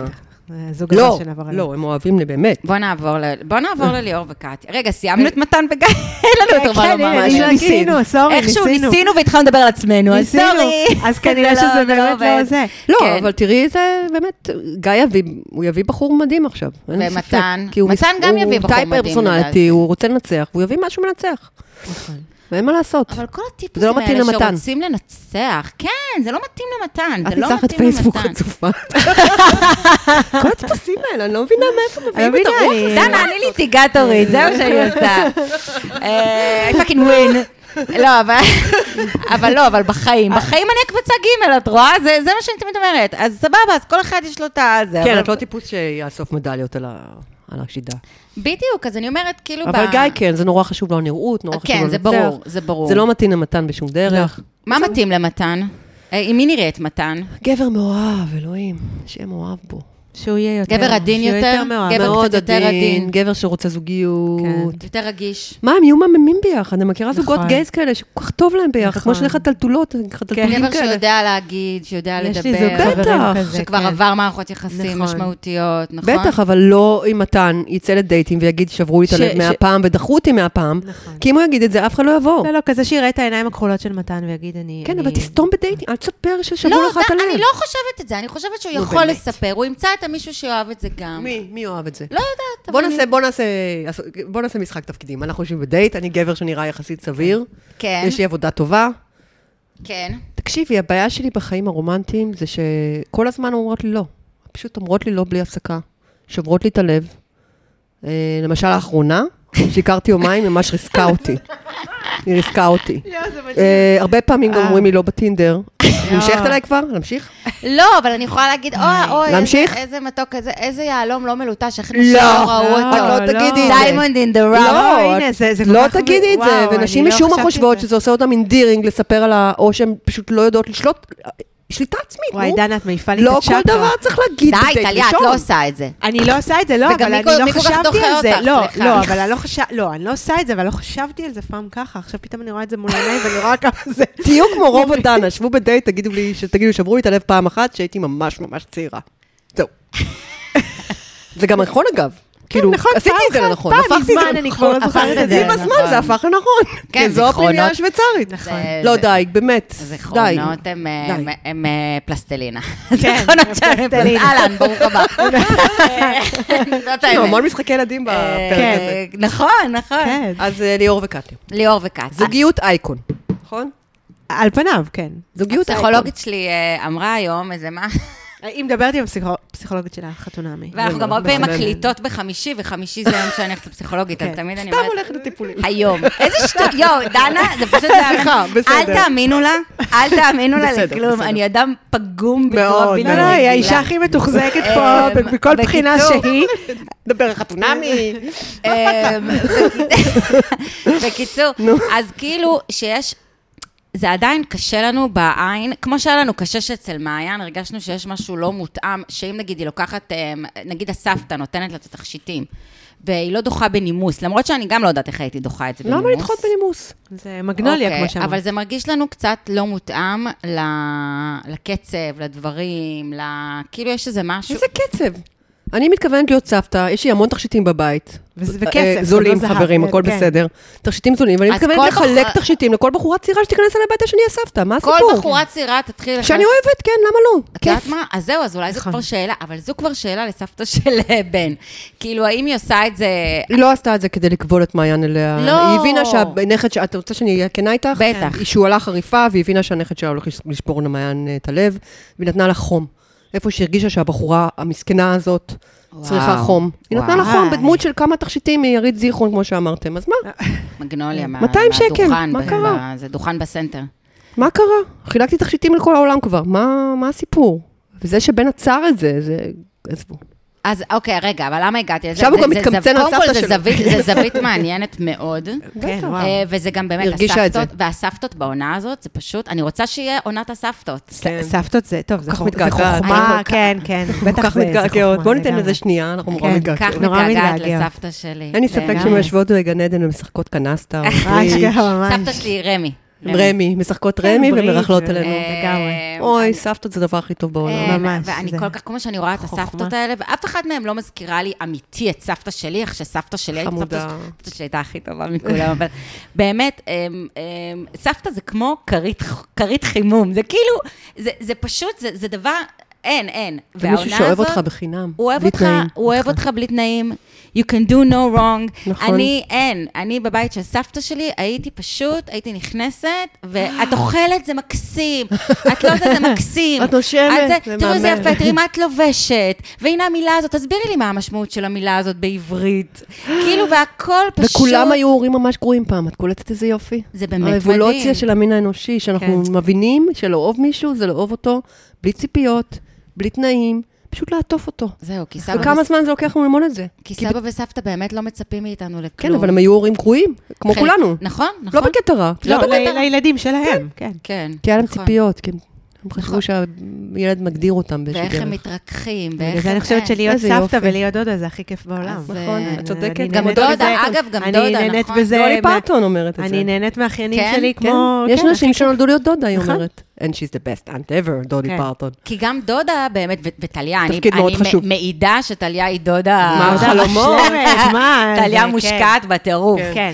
[SPEAKER 2] הזוג הזה
[SPEAKER 3] לא,
[SPEAKER 2] שנעבר עליו.
[SPEAKER 3] לא, הם אוהבים לי באמת.
[SPEAKER 1] בוא נעבור ל- בוא נעבור
[SPEAKER 3] אה.
[SPEAKER 1] לליאור וקטיה. רגע, סיימנו את מתן וגיא? אין לנו יותר מה
[SPEAKER 2] כן,
[SPEAKER 1] לומר.
[SPEAKER 2] הנה,
[SPEAKER 3] לא
[SPEAKER 1] מה
[SPEAKER 2] ניסינו,
[SPEAKER 1] להגיד.
[SPEAKER 2] ניסינו, סורי,
[SPEAKER 1] איכשהו
[SPEAKER 2] ניסינו.
[SPEAKER 1] ניסינו והתחלנו לדבר על עצמנו, אז
[SPEAKER 2] ניסינו.
[SPEAKER 1] סורי.
[SPEAKER 2] אז
[SPEAKER 3] כן,
[SPEAKER 2] כנראה
[SPEAKER 1] זה לא-
[SPEAKER 2] שזה
[SPEAKER 1] זה
[SPEAKER 2] באמת לא
[SPEAKER 1] עובד.
[SPEAKER 2] זה.
[SPEAKER 3] לא,
[SPEAKER 1] כן.
[SPEAKER 3] אבל תראי, זה באמת, גיא יביא, הוא יביא בחור מדהים עכשיו. אין לי
[SPEAKER 1] ומתן?
[SPEAKER 3] ספק. כי הוא
[SPEAKER 1] מתן
[SPEAKER 3] מס-
[SPEAKER 1] גם יביא בחור מדהים,
[SPEAKER 3] הוא טייפ פרסונליטי,
[SPEAKER 1] לדעתי. נכון.
[SPEAKER 3] הוא רוצה לנצח, הוא יביא משהו מנצח. ואין מה לעשות.
[SPEAKER 1] אבל כל
[SPEAKER 3] זה לא
[SPEAKER 1] הטיפוסים
[SPEAKER 3] מתאים
[SPEAKER 1] האלה
[SPEAKER 3] למתן.
[SPEAKER 1] שרוצים לנצח, כן, זה לא מתאים למתן,
[SPEAKER 3] את
[SPEAKER 1] זה לא
[SPEAKER 3] ניצחת
[SPEAKER 1] מתאים
[SPEAKER 3] פייסבוק
[SPEAKER 1] למתן.
[SPEAKER 3] חצופה. כל הטיפוסים האלה, אני לא מבינה מאיפה
[SPEAKER 2] אני
[SPEAKER 3] מביאים את
[SPEAKER 2] לא מבינה,
[SPEAKER 3] הרוח.
[SPEAKER 2] אני-
[SPEAKER 1] דנה, אני ליטיגטורית, זה מה שאני עושה. אה, I fucking win. לא, אבל... אבל לא, אבל בחיים. בחיים אני הקבצה ג', את רואה? זה זה מה שאני תמיד אומרת. אז סבבה, אז כל אחד יש לו את ה... זה,
[SPEAKER 3] כן,
[SPEAKER 1] אבל-
[SPEAKER 3] את לא טיפוס שיאסוף מדליות על ה- על השידה.
[SPEAKER 1] בדיוק, אז אני אומרת, כאילו...
[SPEAKER 3] אבל
[SPEAKER 1] ב-
[SPEAKER 3] גיא כן, זה נורא חשוב לו הנראות, נורא חשוב לו
[SPEAKER 1] כן, זה
[SPEAKER 3] לנצח.
[SPEAKER 1] ברור, זה ברור. לא.
[SPEAKER 3] זה לא מתאים למתן בשום דרך.
[SPEAKER 1] מה מתאים למתן? אה, עם מי נראית מתן?
[SPEAKER 3] גבר מאוהב, אלוהים, שיהיה מאוהב בו.
[SPEAKER 2] שהוא יהיה יותר...
[SPEAKER 1] גבר עדין
[SPEAKER 2] שהוא
[SPEAKER 1] יותר?
[SPEAKER 2] מאוהב.
[SPEAKER 1] גבר-
[SPEAKER 3] מאוד
[SPEAKER 1] קצת יותר
[SPEAKER 3] עדין,
[SPEAKER 1] עדין. כן.
[SPEAKER 3] גבר שרוצה זוגיות.
[SPEAKER 1] יותר רגיש.
[SPEAKER 3] מה, הם יהיו מהממים ביחד, אני מכירה זוגות
[SPEAKER 2] נכון.
[SPEAKER 3] גייז כאלה שכל כך טוב להם ביחד,
[SPEAKER 2] נכון. כן.
[SPEAKER 3] כמו שני חתלתולות, חתלתולים
[SPEAKER 1] גבר
[SPEAKER 3] כאלה.
[SPEAKER 1] שיודע להגיד, שיודע
[SPEAKER 2] יש
[SPEAKER 1] לדבר.
[SPEAKER 2] לי זוג חברים
[SPEAKER 3] בטח,
[SPEAKER 2] כזה,
[SPEAKER 1] שכבר
[SPEAKER 2] כן.
[SPEAKER 1] עבר מערכות יחסים
[SPEAKER 2] נכון.
[SPEAKER 1] משמעותיות, נכון?
[SPEAKER 3] בטח, אבל לא אם מתן יצא לדייטים ויגיד, שברו לי את
[SPEAKER 2] ש-
[SPEAKER 3] הלב
[SPEAKER 2] ש-
[SPEAKER 3] מאה פעם ודחו אותי מאה פעם,
[SPEAKER 2] נכון.
[SPEAKER 3] כי אם הוא יגיד את זה, אף אחד לא יבוא.
[SPEAKER 2] לא, לא, כזה שיראה את העיניים הכחולות של מתן ויגיד, אני...
[SPEAKER 3] כן,
[SPEAKER 2] אני-
[SPEAKER 3] אבל תסתום בדייטים, אל תספר ששברו
[SPEAKER 1] לא,
[SPEAKER 3] לך את
[SPEAKER 1] אתה-
[SPEAKER 3] הלב.
[SPEAKER 1] אני לא חושבת את זה, אני חושבת שהוא
[SPEAKER 3] נו,
[SPEAKER 1] יכול
[SPEAKER 3] באמת.
[SPEAKER 1] לספר, הוא ימצא את המישהו שאוהב את זה גם.
[SPEAKER 3] מי, מי אוהב את זה?
[SPEAKER 1] לא יודעת,
[SPEAKER 3] בוא
[SPEAKER 1] אבל
[SPEAKER 3] נעשה, בוא נעשה, בוא נעשה משחק תפקידים. אנחנו יושבים בדייט, אני גבר שנראה יחסית סביר,
[SPEAKER 1] אני- כן,
[SPEAKER 3] יש לי עבודה טובה.
[SPEAKER 1] כן.
[SPEAKER 3] תקשיבי, הבעיה שלי בחיים הרומנטיים זה שכל הזמן אומרות לי לא. פשוט אומרות לי לא בלי הפסקה. שוברות לי את הלב. אה, למשל, האחרונה, שהכרתי יומיים, ממש ריסקה אותי. היא ריסקה אותי. אה, הרבה פעמים גם אומרים לי לא בטינדר. נמשכת אליי כבר? להמשיך?
[SPEAKER 1] לא, אבל אני יכולה להגיד, אוי, אוי,
[SPEAKER 3] להמשיך?
[SPEAKER 1] איזה- איזה מתוק, איזה- איזה יהלום לא מלוטש, איך נשים
[SPEAKER 3] לא,
[SPEAKER 1] לא ראו אותו.
[SPEAKER 3] את לא תגידי את זה.
[SPEAKER 1] Diamond in the rough.
[SPEAKER 3] לא,
[SPEAKER 2] לא, הנה,
[SPEAKER 3] את-
[SPEAKER 2] זה- זה כל
[SPEAKER 3] לא
[SPEAKER 2] כך מ-
[SPEAKER 3] תגידי את זה,
[SPEAKER 2] וואו,
[SPEAKER 3] ונשים
[SPEAKER 2] אני לא
[SPEAKER 3] משום מה
[SPEAKER 2] חשבתי
[SPEAKER 3] חושבות
[SPEAKER 2] על זה.
[SPEAKER 3] שזה עושה אותם אינדירינג לספר על ה... או שהן פשוט לא יודעות לשלוט, שליטה עצמית,
[SPEAKER 2] וואי,
[SPEAKER 3] נו.
[SPEAKER 2] דנה, את מעיפה לי את
[SPEAKER 3] לא
[SPEAKER 2] הצ'קרה.
[SPEAKER 3] כל דבר צריך להגיד
[SPEAKER 1] די,
[SPEAKER 3] בדייט
[SPEAKER 1] טליה, את
[SPEAKER 3] ראשון.
[SPEAKER 1] לא עושה את זה.
[SPEAKER 2] אני לא עושה את זה, לא,
[SPEAKER 1] וגם
[SPEAKER 2] אבל
[SPEAKER 1] מי
[SPEAKER 2] אני
[SPEAKER 1] כל-
[SPEAKER 2] לא
[SPEAKER 1] מי כל כך
[SPEAKER 2] חשבתי
[SPEAKER 1] דוחה
[SPEAKER 2] על זה.
[SPEAKER 1] אותך?
[SPEAKER 2] לא,
[SPEAKER 1] סליחה.
[SPEAKER 2] לא, אבל אני לא חשב- לא, אני לא עושה את זה, אבל לא חשבתי על זה פעם ככה. עכשיו פתאום אני רואה את זה מול העיניים ואני רואה כמה זה...
[SPEAKER 3] תהיו כמו רוב הדנה, שבו בדייט, תגידו לי, תגידו, שברו לי את הלב פעם אחת, שהייתי ממש ממש צעירה. זהו. זה גם נכון אגב. כאילו,
[SPEAKER 2] נכון,
[SPEAKER 3] עשיתי
[SPEAKER 2] פעם
[SPEAKER 3] את זה
[SPEAKER 2] אחת,
[SPEAKER 3] לנכון,
[SPEAKER 2] פעם
[SPEAKER 3] הפכתי את
[SPEAKER 2] מזמן,
[SPEAKER 3] זה
[SPEAKER 2] אני כבר לא
[SPEAKER 3] לנכון.
[SPEAKER 2] זוכרת את
[SPEAKER 3] הפכתי
[SPEAKER 1] זה,
[SPEAKER 3] עם הזמן
[SPEAKER 1] נכון.
[SPEAKER 3] זה הפך לנכון.
[SPEAKER 1] כן,
[SPEAKER 3] כי זו
[SPEAKER 1] זיכרונות.
[SPEAKER 3] הפנייה השוויצרית.
[SPEAKER 1] זה-
[SPEAKER 3] לא,
[SPEAKER 1] זה-
[SPEAKER 3] די, באמת. די.
[SPEAKER 1] זיכרונות הם, אה,
[SPEAKER 3] די.
[SPEAKER 1] הם-
[SPEAKER 3] כן,
[SPEAKER 1] הם אה, פלסטלינה. זיכרונות שלהם הם פלסטלינה.
[SPEAKER 2] פלסטלינה.
[SPEAKER 1] אהלן, ברוך הבא. זאת
[SPEAKER 3] יש לנו
[SPEAKER 1] האמת.
[SPEAKER 3] המון משחקי ילדים
[SPEAKER 1] אה,
[SPEAKER 3] בפרק הזה.
[SPEAKER 1] נכון, נכון.
[SPEAKER 2] כן.
[SPEAKER 3] אז אה, ליאור וקטיה.
[SPEAKER 1] ליאור וכץ. אה,
[SPEAKER 3] זוגיות אייקון, נכון?
[SPEAKER 2] על פניו, כן.
[SPEAKER 3] זוגיות אייקון.
[SPEAKER 1] הפסיכולוגית שלי אה, אמרה היום איזה מה,
[SPEAKER 2] היא מדברת עם הפסיכולוגית של החתונמי.
[SPEAKER 1] ואנחנו
[SPEAKER 3] לא,
[SPEAKER 1] גם הרבה פעמים
[SPEAKER 3] מחמם.
[SPEAKER 1] מקליטות בחמישי, וחמישי זה היום שאני הולכת לפסיכולוגית, אז
[SPEAKER 2] כן.
[SPEAKER 1] תמיד אני
[SPEAKER 3] סתם
[SPEAKER 1] אומרת...
[SPEAKER 3] הולכת לטיפולים.
[SPEAKER 1] היום. איזה שטות, יואו, דנה, זה פשוט... זה-
[SPEAKER 3] סליחה, בסדר.
[SPEAKER 1] אל תאמינו לה, אל תאמינו לה
[SPEAKER 3] בסדר,
[SPEAKER 1] לכלום,
[SPEAKER 3] בסדר.
[SPEAKER 1] אני אדם פגום
[SPEAKER 3] מאוד,
[SPEAKER 1] בצורה
[SPEAKER 3] מאוד.
[SPEAKER 1] בלתי
[SPEAKER 2] לא, לא,
[SPEAKER 1] רגילה.
[SPEAKER 2] היא האישה הכי מתוחזקת
[SPEAKER 1] אה,
[SPEAKER 2] פה, מכל
[SPEAKER 1] בקיצור.
[SPEAKER 2] בחינה שהיא.
[SPEAKER 3] נדבר על חתונמי.
[SPEAKER 1] אמ, בקיצור, אז כאילו שיש... זה עדיין קשה לנו בעין, כמו שהיה לנו קשה שאצל מעיין, הרגשנו שיש משהו לא מותאם, שאם נגיד היא לוקחת, אמ, נגיד הסבתא נותנת לה את התכשיטים, והיא לא דוחה בנימוס, למרות שאני גם לא יודעת איך הייתי דוחה את זה בנימוס.
[SPEAKER 3] למה לא לדחות בנימוס?
[SPEAKER 2] זה מגנוליה,
[SPEAKER 1] אוקיי,
[SPEAKER 2] כמו שאמרת.
[SPEAKER 1] אבל זה מרגיש לנו קצת לא מותאם ל... לקצב, לדברים, ל... כאילו יש איזה משהו...
[SPEAKER 3] איזה קצב. אני מתכוונת להיות סבתא, יש לי המון תכשיטים בבית.
[SPEAKER 2] וזה- וכסף,
[SPEAKER 3] אה, זולים,
[SPEAKER 2] זה לא זהב,
[SPEAKER 3] חברים,
[SPEAKER 2] כן,
[SPEAKER 3] הכל
[SPEAKER 2] כן.
[SPEAKER 3] בסדר. תכשיטים זולים, ואני
[SPEAKER 1] אז
[SPEAKER 3] מתכוונת
[SPEAKER 1] כל
[SPEAKER 3] לחלק
[SPEAKER 1] בחורה-
[SPEAKER 3] תכשיטים לכל בחורה צעירה שתיכנס אל הביתה שאני אהיה סבתא, מה
[SPEAKER 1] כל
[SPEAKER 3] הסיפור?
[SPEAKER 1] בחורה צעירה תתחיל...
[SPEAKER 3] שאני
[SPEAKER 1] לחלק-
[SPEAKER 3] אוהבת, כן, למה לא?
[SPEAKER 1] את יודעת
[SPEAKER 3] כיף.
[SPEAKER 1] מה? אז זהו, אז אולי זו
[SPEAKER 2] נכון.
[SPEAKER 1] כבר שאלה, אבל זו כבר שאלה לסבתא של אה, בן. כאילו, האם היא עושה את זה...
[SPEAKER 3] היא לא עשתה את זה כדי לכבול את מעיין אליה.
[SPEAKER 1] לא.
[SPEAKER 3] היא הבינה שהנכד, ש- את רוצה שאני אהיה כנה איתך?
[SPEAKER 1] בטח.
[SPEAKER 3] היא שהועלה חריפה, והיא הבינה שהנכד שלה הולך לש- לשבור למעיין אה, את הלב, והיא נתנה לה חום. איפה שהרגישה שהבחורה המסכנה הזאת
[SPEAKER 1] וואו.
[SPEAKER 3] צריכה חום. היא נתנה לה
[SPEAKER 1] וואו.
[SPEAKER 3] חום בדמות של כמה תכשיטים מיריד זיכרון, כמו שאמרתם. אז מה?
[SPEAKER 1] מגנוליה, מה-
[SPEAKER 3] 200 שקל,
[SPEAKER 1] מהדוכן
[SPEAKER 3] מה
[SPEAKER 1] ב-
[SPEAKER 3] קרה?
[SPEAKER 1] ב- זה דוכן בסנטר.
[SPEAKER 3] מה קרה? חילקתי תכשיטים לכל העולם כבר, מה, מה הסיפור? וזה שבן עצר את זה, זה... עזבו.
[SPEAKER 1] אז אוקיי, רגע, אבל למה הגעתי לזה?
[SPEAKER 3] עכשיו הוא
[SPEAKER 1] זה-
[SPEAKER 3] גם
[SPEAKER 1] זה- זה-
[SPEAKER 3] מתקמצן על
[SPEAKER 1] קודם כל,
[SPEAKER 3] סבתא
[SPEAKER 1] זה
[SPEAKER 3] שלו.
[SPEAKER 1] זווית- זה זווית מעניינת מאוד.
[SPEAKER 2] כן,
[SPEAKER 3] בטח.
[SPEAKER 2] וואו.
[SPEAKER 1] אה, וזה גם באמת,
[SPEAKER 3] הרגישה את
[SPEAKER 1] הסבתות, והסבתות בעונה הזאת, זה פשוט, אני רוצה שיהיה עונת הסבתות.
[SPEAKER 3] כן.
[SPEAKER 2] סבתות זה, טוב, זה
[SPEAKER 3] כך
[SPEAKER 2] חוכ- זה
[SPEAKER 3] מתגעגעת.
[SPEAKER 2] חוכמה,
[SPEAKER 1] אה, אני כל
[SPEAKER 2] כן, כן,
[SPEAKER 3] כל
[SPEAKER 2] בטח
[SPEAKER 3] כך
[SPEAKER 2] זה- זה
[SPEAKER 3] מתגעגעות.
[SPEAKER 2] חוכמה,
[SPEAKER 3] בואו ניתן
[SPEAKER 2] לגמרי.
[SPEAKER 3] לזה שנייה, אנחנו נורא
[SPEAKER 2] כן,
[SPEAKER 1] כך
[SPEAKER 3] מתגעגעות.
[SPEAKER 2] נורא
[SPEAKER 1] מתגעגעת
[SPEAKER 2] מתגעגע.
[SPEAKER 1] לסבתא שלי.
[SPEAKER 3] אין לי ספק שהן
[SPEAKER 1] לגמרי.
[SPEAKER 3] יושבות בגנדן ומשחקות קנסטה.
[SPEAKER 2] אה, אשכרה, ממש.
[SPEAKER 1] כן. סבתא שלי היא רמי.
[SPEAKER 3] רמי, משחקות
[SPEAKER 2] כן,
[SPEAKER 3] רמי
[SPEAKER 2] בריא,
[SPEAKER 3] ומרכלות
[SPEAKER 2] זה-
[SPEAKER 3] עלינו.
[SPEAKER 1] אה,
[SPEAKER 2] לגמרי.
[SPEAKER 3] אוי, סבתות זה הדבר הכי טוב בעולם.
[SPEAKER 1] אין,
[SPEAKER 2] ממש,
[SPEAKER 1] אה, ואני
[SPEAKER 2] זה
[SPEAKER 1] כל כך, כמו שאני רואה את
[SPEAKER 2] חוכמה.
[SPEAKER 1] הסבתות האלה, ואף אחת מהן לא מזכירה לי אמיתי את סבתא שלי, איך שסבתא שלי הייתה סבתא
[SPEAKER 3] חמודה.
[SPEAKER 1] סבתא שלי הייתה הכי טובה מכולם, אבל באמת, אמ, אמ, סבתא זה כמו כרית ח- כרית חימום, זה כאילו, זה- זה פשוט, זה זה דבר, אין, אין.
[SPEAKER 3] ומישהו
[SPEAKER 1] והעונה
[SPEAKER 3] שאוהב
[SPEAKER 1] הזאת-
[SPEAKER 3] אותך בחינם.
[SPEAKER 1] הוא אוהב
[SPEAKER 3] בלי
[SPEAKER 1] אותך,
[SPEAKER 3] תנאים.
[SPEAKER 1] הוא אוהב אותך בלי תנאים, you can do no wrong.
[SPEAKER 3] נכון.
[SPEAKER 1] אני, אין, אני בבית של סבתא שלי, הייתי פשוט, הייתי נכנסת, ואת אוכלת, זה מקסים, את לא יודעת, זה מקסים.
[SPEAKER 2] את נושמת,
[SPEAKER 1] את
[SPEAKER 2] זה
[SPEAKER 1] אה, תראו איזה
[SPEAKER 2] מהמם."
[SPEAKER 1] יפה, תראי מה את לובשת, והנה המילה הזאת, תסבירי לי מה המשמעות של המילה הזאת בעברית. כאילו, והכל פשוט...
[SPEAKER 3] וכולם היו הורים ממש גרועים פעם, את קולטת איזה יופי.
[SPEAKER 1] זה באמת מדהים.
[SPEAKER 3] האבולוציה של המין האנושי, שאנחנו
[SPEAKER 1] כן.
[SPEAKER 3] מבינים שלאהוב מישהו זה לאהוב אותו בלי ציפיות, בלי תנאים, פשוט לעטוף אותו.
[SPEAKER 1] זהו, כי סבא
[SPEAKER 3] וכמה
[SPEAKER 1] וס-
[SPEAKER 3] זמן זה לוקח לנו ללמוד את זה?
[SPEAKER 1] כי סבא וסבתא באמת לא מצפים מאיתנו לכלום.
[SPEAKER 3] כן, אבל הם היו הורים גרועים, כמו
[SPEAKER 1] חלק-
[SPEAKER 3] כולנו.
[SPEAKER 1] נכון, נכון.
[SPEAKER 3] לא בקטע רע. פשוט
[SPEAKER 1] לא,
[SPEAKER 3] בקטע-
[SPEAKER 1] בקטע.
[SPEAKER 2] ל- לילדים שלהם, כן.
[SPEAKER 1] כן.
[SPEAKER 3] כי היה להם
[SPEAKER 1] נכון.
[SPEAKER 3] ציפיות, כי הם- הם
[SPEAKER 1] נכון.
[SPEAKER 3] חשבו שהילד מגדיר אותם באיזושהי דרך.
[SPEAKER 1] ואיך הם מתרככים, ואיך הם...
[SPEAKER 2] בגלל זה אני חושבת
[SPEAKER 1] אה,
[SPEAKER 2] שלהיות
[SPEAKER 3] איזה
[SPEAKER 2] סבתא
[SPEAKER 3] יופי.
[SPEAKER 2] ולהיות דודה זה הכי כיף בעולם.
[SPEAKER 1] אז, אה,
[SPEAKER 3] נכון, את צודקת.
[SPEAKER 2] אני
[SPEAKER 3] גם
[SPEAKER 2] נהנית
[SPEAKER 1] דודה,
[SPEAKER 2] בזה-
[SPEAKER 1] אגב, גם
[SPEAKER 2] אני
[SPEAKER 1] דודה,
[SPEAKER 2] נהנית
[SPEAKER 1] נכון.
[SPEAKER 2] בזה.
[SPEAKER 3] נורלי
[SPEAKER 2] מה-
[SPEAKER 3] פרטון אומרת את זה.
[SPEAKER 2] אני נהנית מהאחיינים
[SPEAKER 1] כן?
[SPEAKER 2] שלי
[SPEAKER 1] כן.
[SPEAKER 2] כמו...
[SPEAKER 3] יש
[SPEAKER 2] כן,
[SPEAKER 3] נשים שנולדו להיות דודה, היא
[SPEAKER 2] נכון.
[SPEAKER 3] אומרת. And she's the best aunt ever, דודי
[SPEAKER 2] כן.
[SPEAKER 3] פרטון.
[SPEAKER 1] כי גם דודה באמת, ו- וטליה, אני,
[SPEAKER 3] תפקיד מאוד
[SPEAKER 1] אני
[SPEAKER 3] חשוב.
[SPEAKER 1] מ- מעידה שטליה היא דודה...
[SPEAKER 3] מה,
[SPEAKER 1] דודה
[SPEAKER 3] חלומות?
[SPEAKER 1] מושלמת.
[SPEAKER 2] מה, זה,
[SPEAKER 1] טליה
[SPEAKER 2] כן.
[SPEAKER 1] מושקעת בטירוף.
[SPEAKER 2] כן. כן.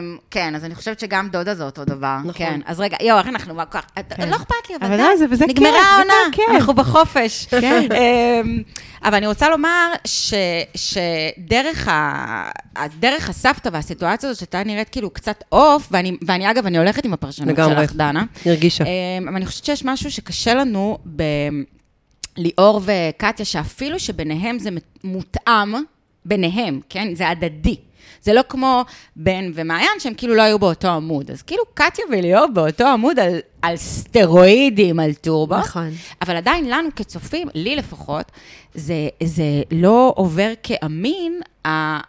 [SPEAKER 1] אמ, כן, אז אני חושבת שגם דודה זה אותו דבר.
[SPEAKER 3] נכון.
[SPEAKER 1] כן. אז רגע, יואו, איך אנחנו... מה- כל כך- את-
[SPEAKER 2] כן.
[SPEAKER 1] לא אכפת לי, אבל...
[SPEAKER 2] אבל
[SPEAKER 1] די,
[SPEAKER 2] לא, זה- וזה כיף,
[SPEAKER 1] נגמרה
[SPEAKER 2] זה
[SPEAKER 1] העונה,
[SPEAKER 2] כיף.
[SPEAKER 1] אנחנו בחופש.
[SPEAKER 2] כן.
[SPEAKER 1] אמ, אבל אני רוצה לומר ש- שדרך ה- אז דרך הסבתא והסיטואציה הזו, שאתה נראית כאילו קצת עוף, ואני, ואני, אגב, אני הולכת עם הפרשנות
[SPEAKER 3] לגמרי.
[SPEAKER 1] שלך, דנה.
[SPEAKER 3] היא הרגישה.
[SPEAKER 1] אמ, אבל אני חושבת שיש משהו שקשה לנו ב... ליאור וקטיה, שאפילו שביניהם זה מותאם, ביניהם, כן? זה הדדי. זה לא כמו בן ומעיין, שהם כאילו לא היו באותו עמוד. אז כאילו קטיה וליאור באותו עמוד על, על סטרואידים, על טורבו.
[SPEAKER 2] נכון.
[SPEAKER 1] אבל עדיין לנו כצופים, לי לפחות, זה, זה לא עובר כאמין, ה- ה-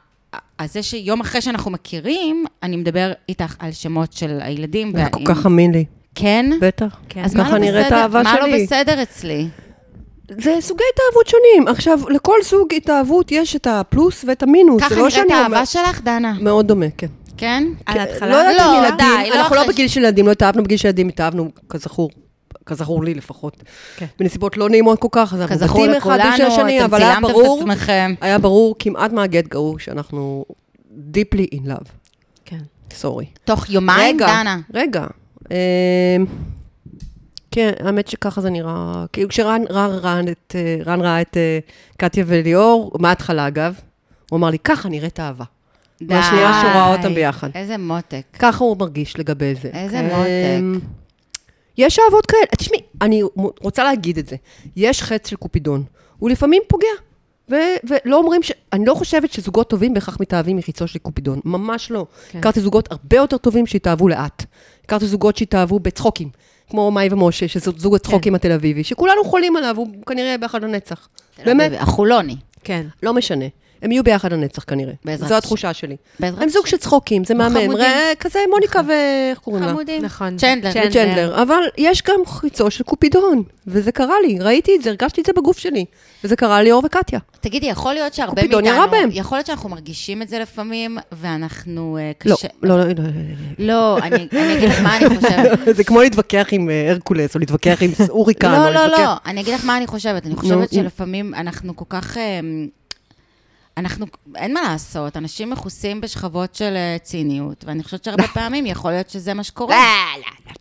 [SPEAKER 1] הזה שיום אחרי שאנחנו מכירים, אני מדבר איתך על שמות של הילדים.
[SPEAKER 3] זה כל
[SPEAKER 1] והאם-
[SPEAKER 3] כך אמ- אמין לי.
[SPEAKER 1] כן?
[SPEAKER 3] בטח.
[SPEAKER 1] אז מה
[SPEAKER 3] ככה
[SPEAKER 1] לא
[SPEAKER 3] נראית
[SPEAKER 1] בסדר-
[SPEAKER 3] האהבה
[SPEAKER 1] מה לא
[SPEAKER 3] שלי.
[SPEAKER 1] בסדר אצלי?
[SPEAKER 3] זה סוגי התאהבות שונים. עכשיו, לכל סוג התאהבות יש את הפלוס ואת המינוס.
[SPEAKER 1] ככה
[SPEAKER 3] זה לא
[SPEAKER 1] נראית
[SPEAKER 3] שאני
[SPEAKER 1] האהבה
[SPEAKER 3] אומרת-
[SPEAKER 1] שלך, דנה?
[SPEAKER 3] מאוד דומה, כן.
[SPEAKER 1] כן?
[SPEAKER 2] על
[SPEAKER 3] לא
[SPEAKER 2] ההתחלה?
[SPEAKER 3] יודעת
[SPEAKER 1] לא,
[SPEAKER 3] אם ילדים,
[SPEAKER 1] די, לא
[SPEAKER 3] אנחנו לא
[SPEAKER 1] אחרי-
[SPEAKER 3] בגיל של ילדים, לא התאהבנו בגיל של ילדים, התאהבנו, כזכור, כזכור לי לפחות.
[SPEAKER 2] כן.
[SPEAKER 3] בנסיבות לא נעימות כל כך, אז אנחנו
[SPEAKER 1] כזכור
[SPEAKER 3] בתים אחד
[SPEAKER 1] לכולנו,
[SPEAKER 3] בשביל השני,
[SPEAKER 1] אתם
[SPEAKER 3] אבל היה
[SPEAKER 1] צילמתם
[SPEAKER 3] ברור,
[SPEAKER 1] את עצמכם.
[SPEAKER 3] היה ברור כמעט מהגט גאו שאנחנו deeply in love.
[SPEAKER 2] כן.
[SPEAKER 3] סורי.
[SPEAKER 1] תוך יומיים, דנה.
[SPEAKER 3] רגע. אמ, כן, האמת שככה זה נראה. כאילו כשרן רן, רן את, אה, רן ראה את אה, קטיה וליאור, מההתחלה אגב, הוא אמר לי, ככה נראית אהבה.
[SPEAKER 1] די.
[SPEAKER 3] מהשנייה שהוא ראה אותם ביחד.
[SPEAKER 1] איזה מותק.
[SPEAKER 3] ככה הוא מרגיש לגבי זה.
[SPEAKER 1] איזה
[SPEAKER 3] אמ,
[SPEAKER 1] מותק.
[SPEAKER 3] יש אהבות כאלה. תשמעי, אני מ- רוצה להגיד את זה. יש חץ של קופידון. הוא לפעמים פוגע. ו- ולא אומרים ש... אני לא חושבת שזוגות טובים בהכרח מתאהבים מחיצו של קופידון. ממש לא.
[SPEAKER 1] כן.
[SPEAKER 3] הכרתי זוגות הרבה יותר טובים שהתאהבו לאט. הכרתי זוגות שהתאהבו בצחוקים. כמו מאי ומשה, שזה זוג
[SPEAKER 1] כן.
[SPEAKER 3] הצחוקים התל
[SPEAKER 1] לא,
[SPEAKER 3] אביבי, שכולנו חולים עליו, הוא כנראה יהיה ביחד לנצח. באמת,
[SPEAKER 1] החולוני.
[SPEAKER 2] כן.
[SPEAKER 3] לא משנה. הם יהיו ביחד לנצח כנראה.
[SPEAKER 1] בעזרת השם.
[SPEAKER 3] זו התחושה שלי.
[SPEAKER 1] בעזרת
[SPEAKER 3] הם זוג
[SPEAKER 1] השם.
[SPEAKER 3] של צחוקים, זה
[SPEAKER 1] הם
[SPEAKER 3] מהמם.
[SPEAKER 1] חמודים. נכון.
[SPEAKER 3] ראה, כזה מוניקה ו... איך קוראים לה?
[SPEAKER 1] חמודים.
[SPEAKER 2] נכון.
[SPEAKER 1] צ'נדלר.
[SPEAKER 2] צ'נדלר.
[SPEAKER 3] צ'נדלר. אבל יש גם חיצו של קופידון, וזה קרה לי, ראיתי את זה, הרגשתי את זה בגוף שלי. וזה קרה לי אור וקטיה.
[SPEAKER 1] תגידי, יכול להיות שהרבה
[SPEAKER 3] קופידון ירה בהם.
[SPEAKER 1] מאיתנו, יכול להיות שאנחנו מרגישים את זה לפעמים, ואנחנו אה,
[SPEAKER 3] לא,
[SPEAKER 1] קשה...
[SPEAKER 3] לא, לא, לא, לא.
[SPEAKER 1] לא, אני אני אגיד לך מה אני חושבת.
[SPEAKER 3] זה כמו להתווכח עם אה, הרקולס, או להתווכח עם אוריקן. או
[SPEAKER 1] אה. לא, לא,
[SPEAKER 3] להתווכח-
[SPEAKER 1] לא, אני אגיד לך מה אני חושבת. אני חושבת
[SPEAKER 3] נו.
[SPEAKER 1] שלפעמים אנחנו כל כך... אמ, אנחנו, אין מה לעשות, אנשים מכוסים בשכבות של אה, ציניות, ואני חושבת שהרבה פעמים יכול להיות שזה מה שקורה.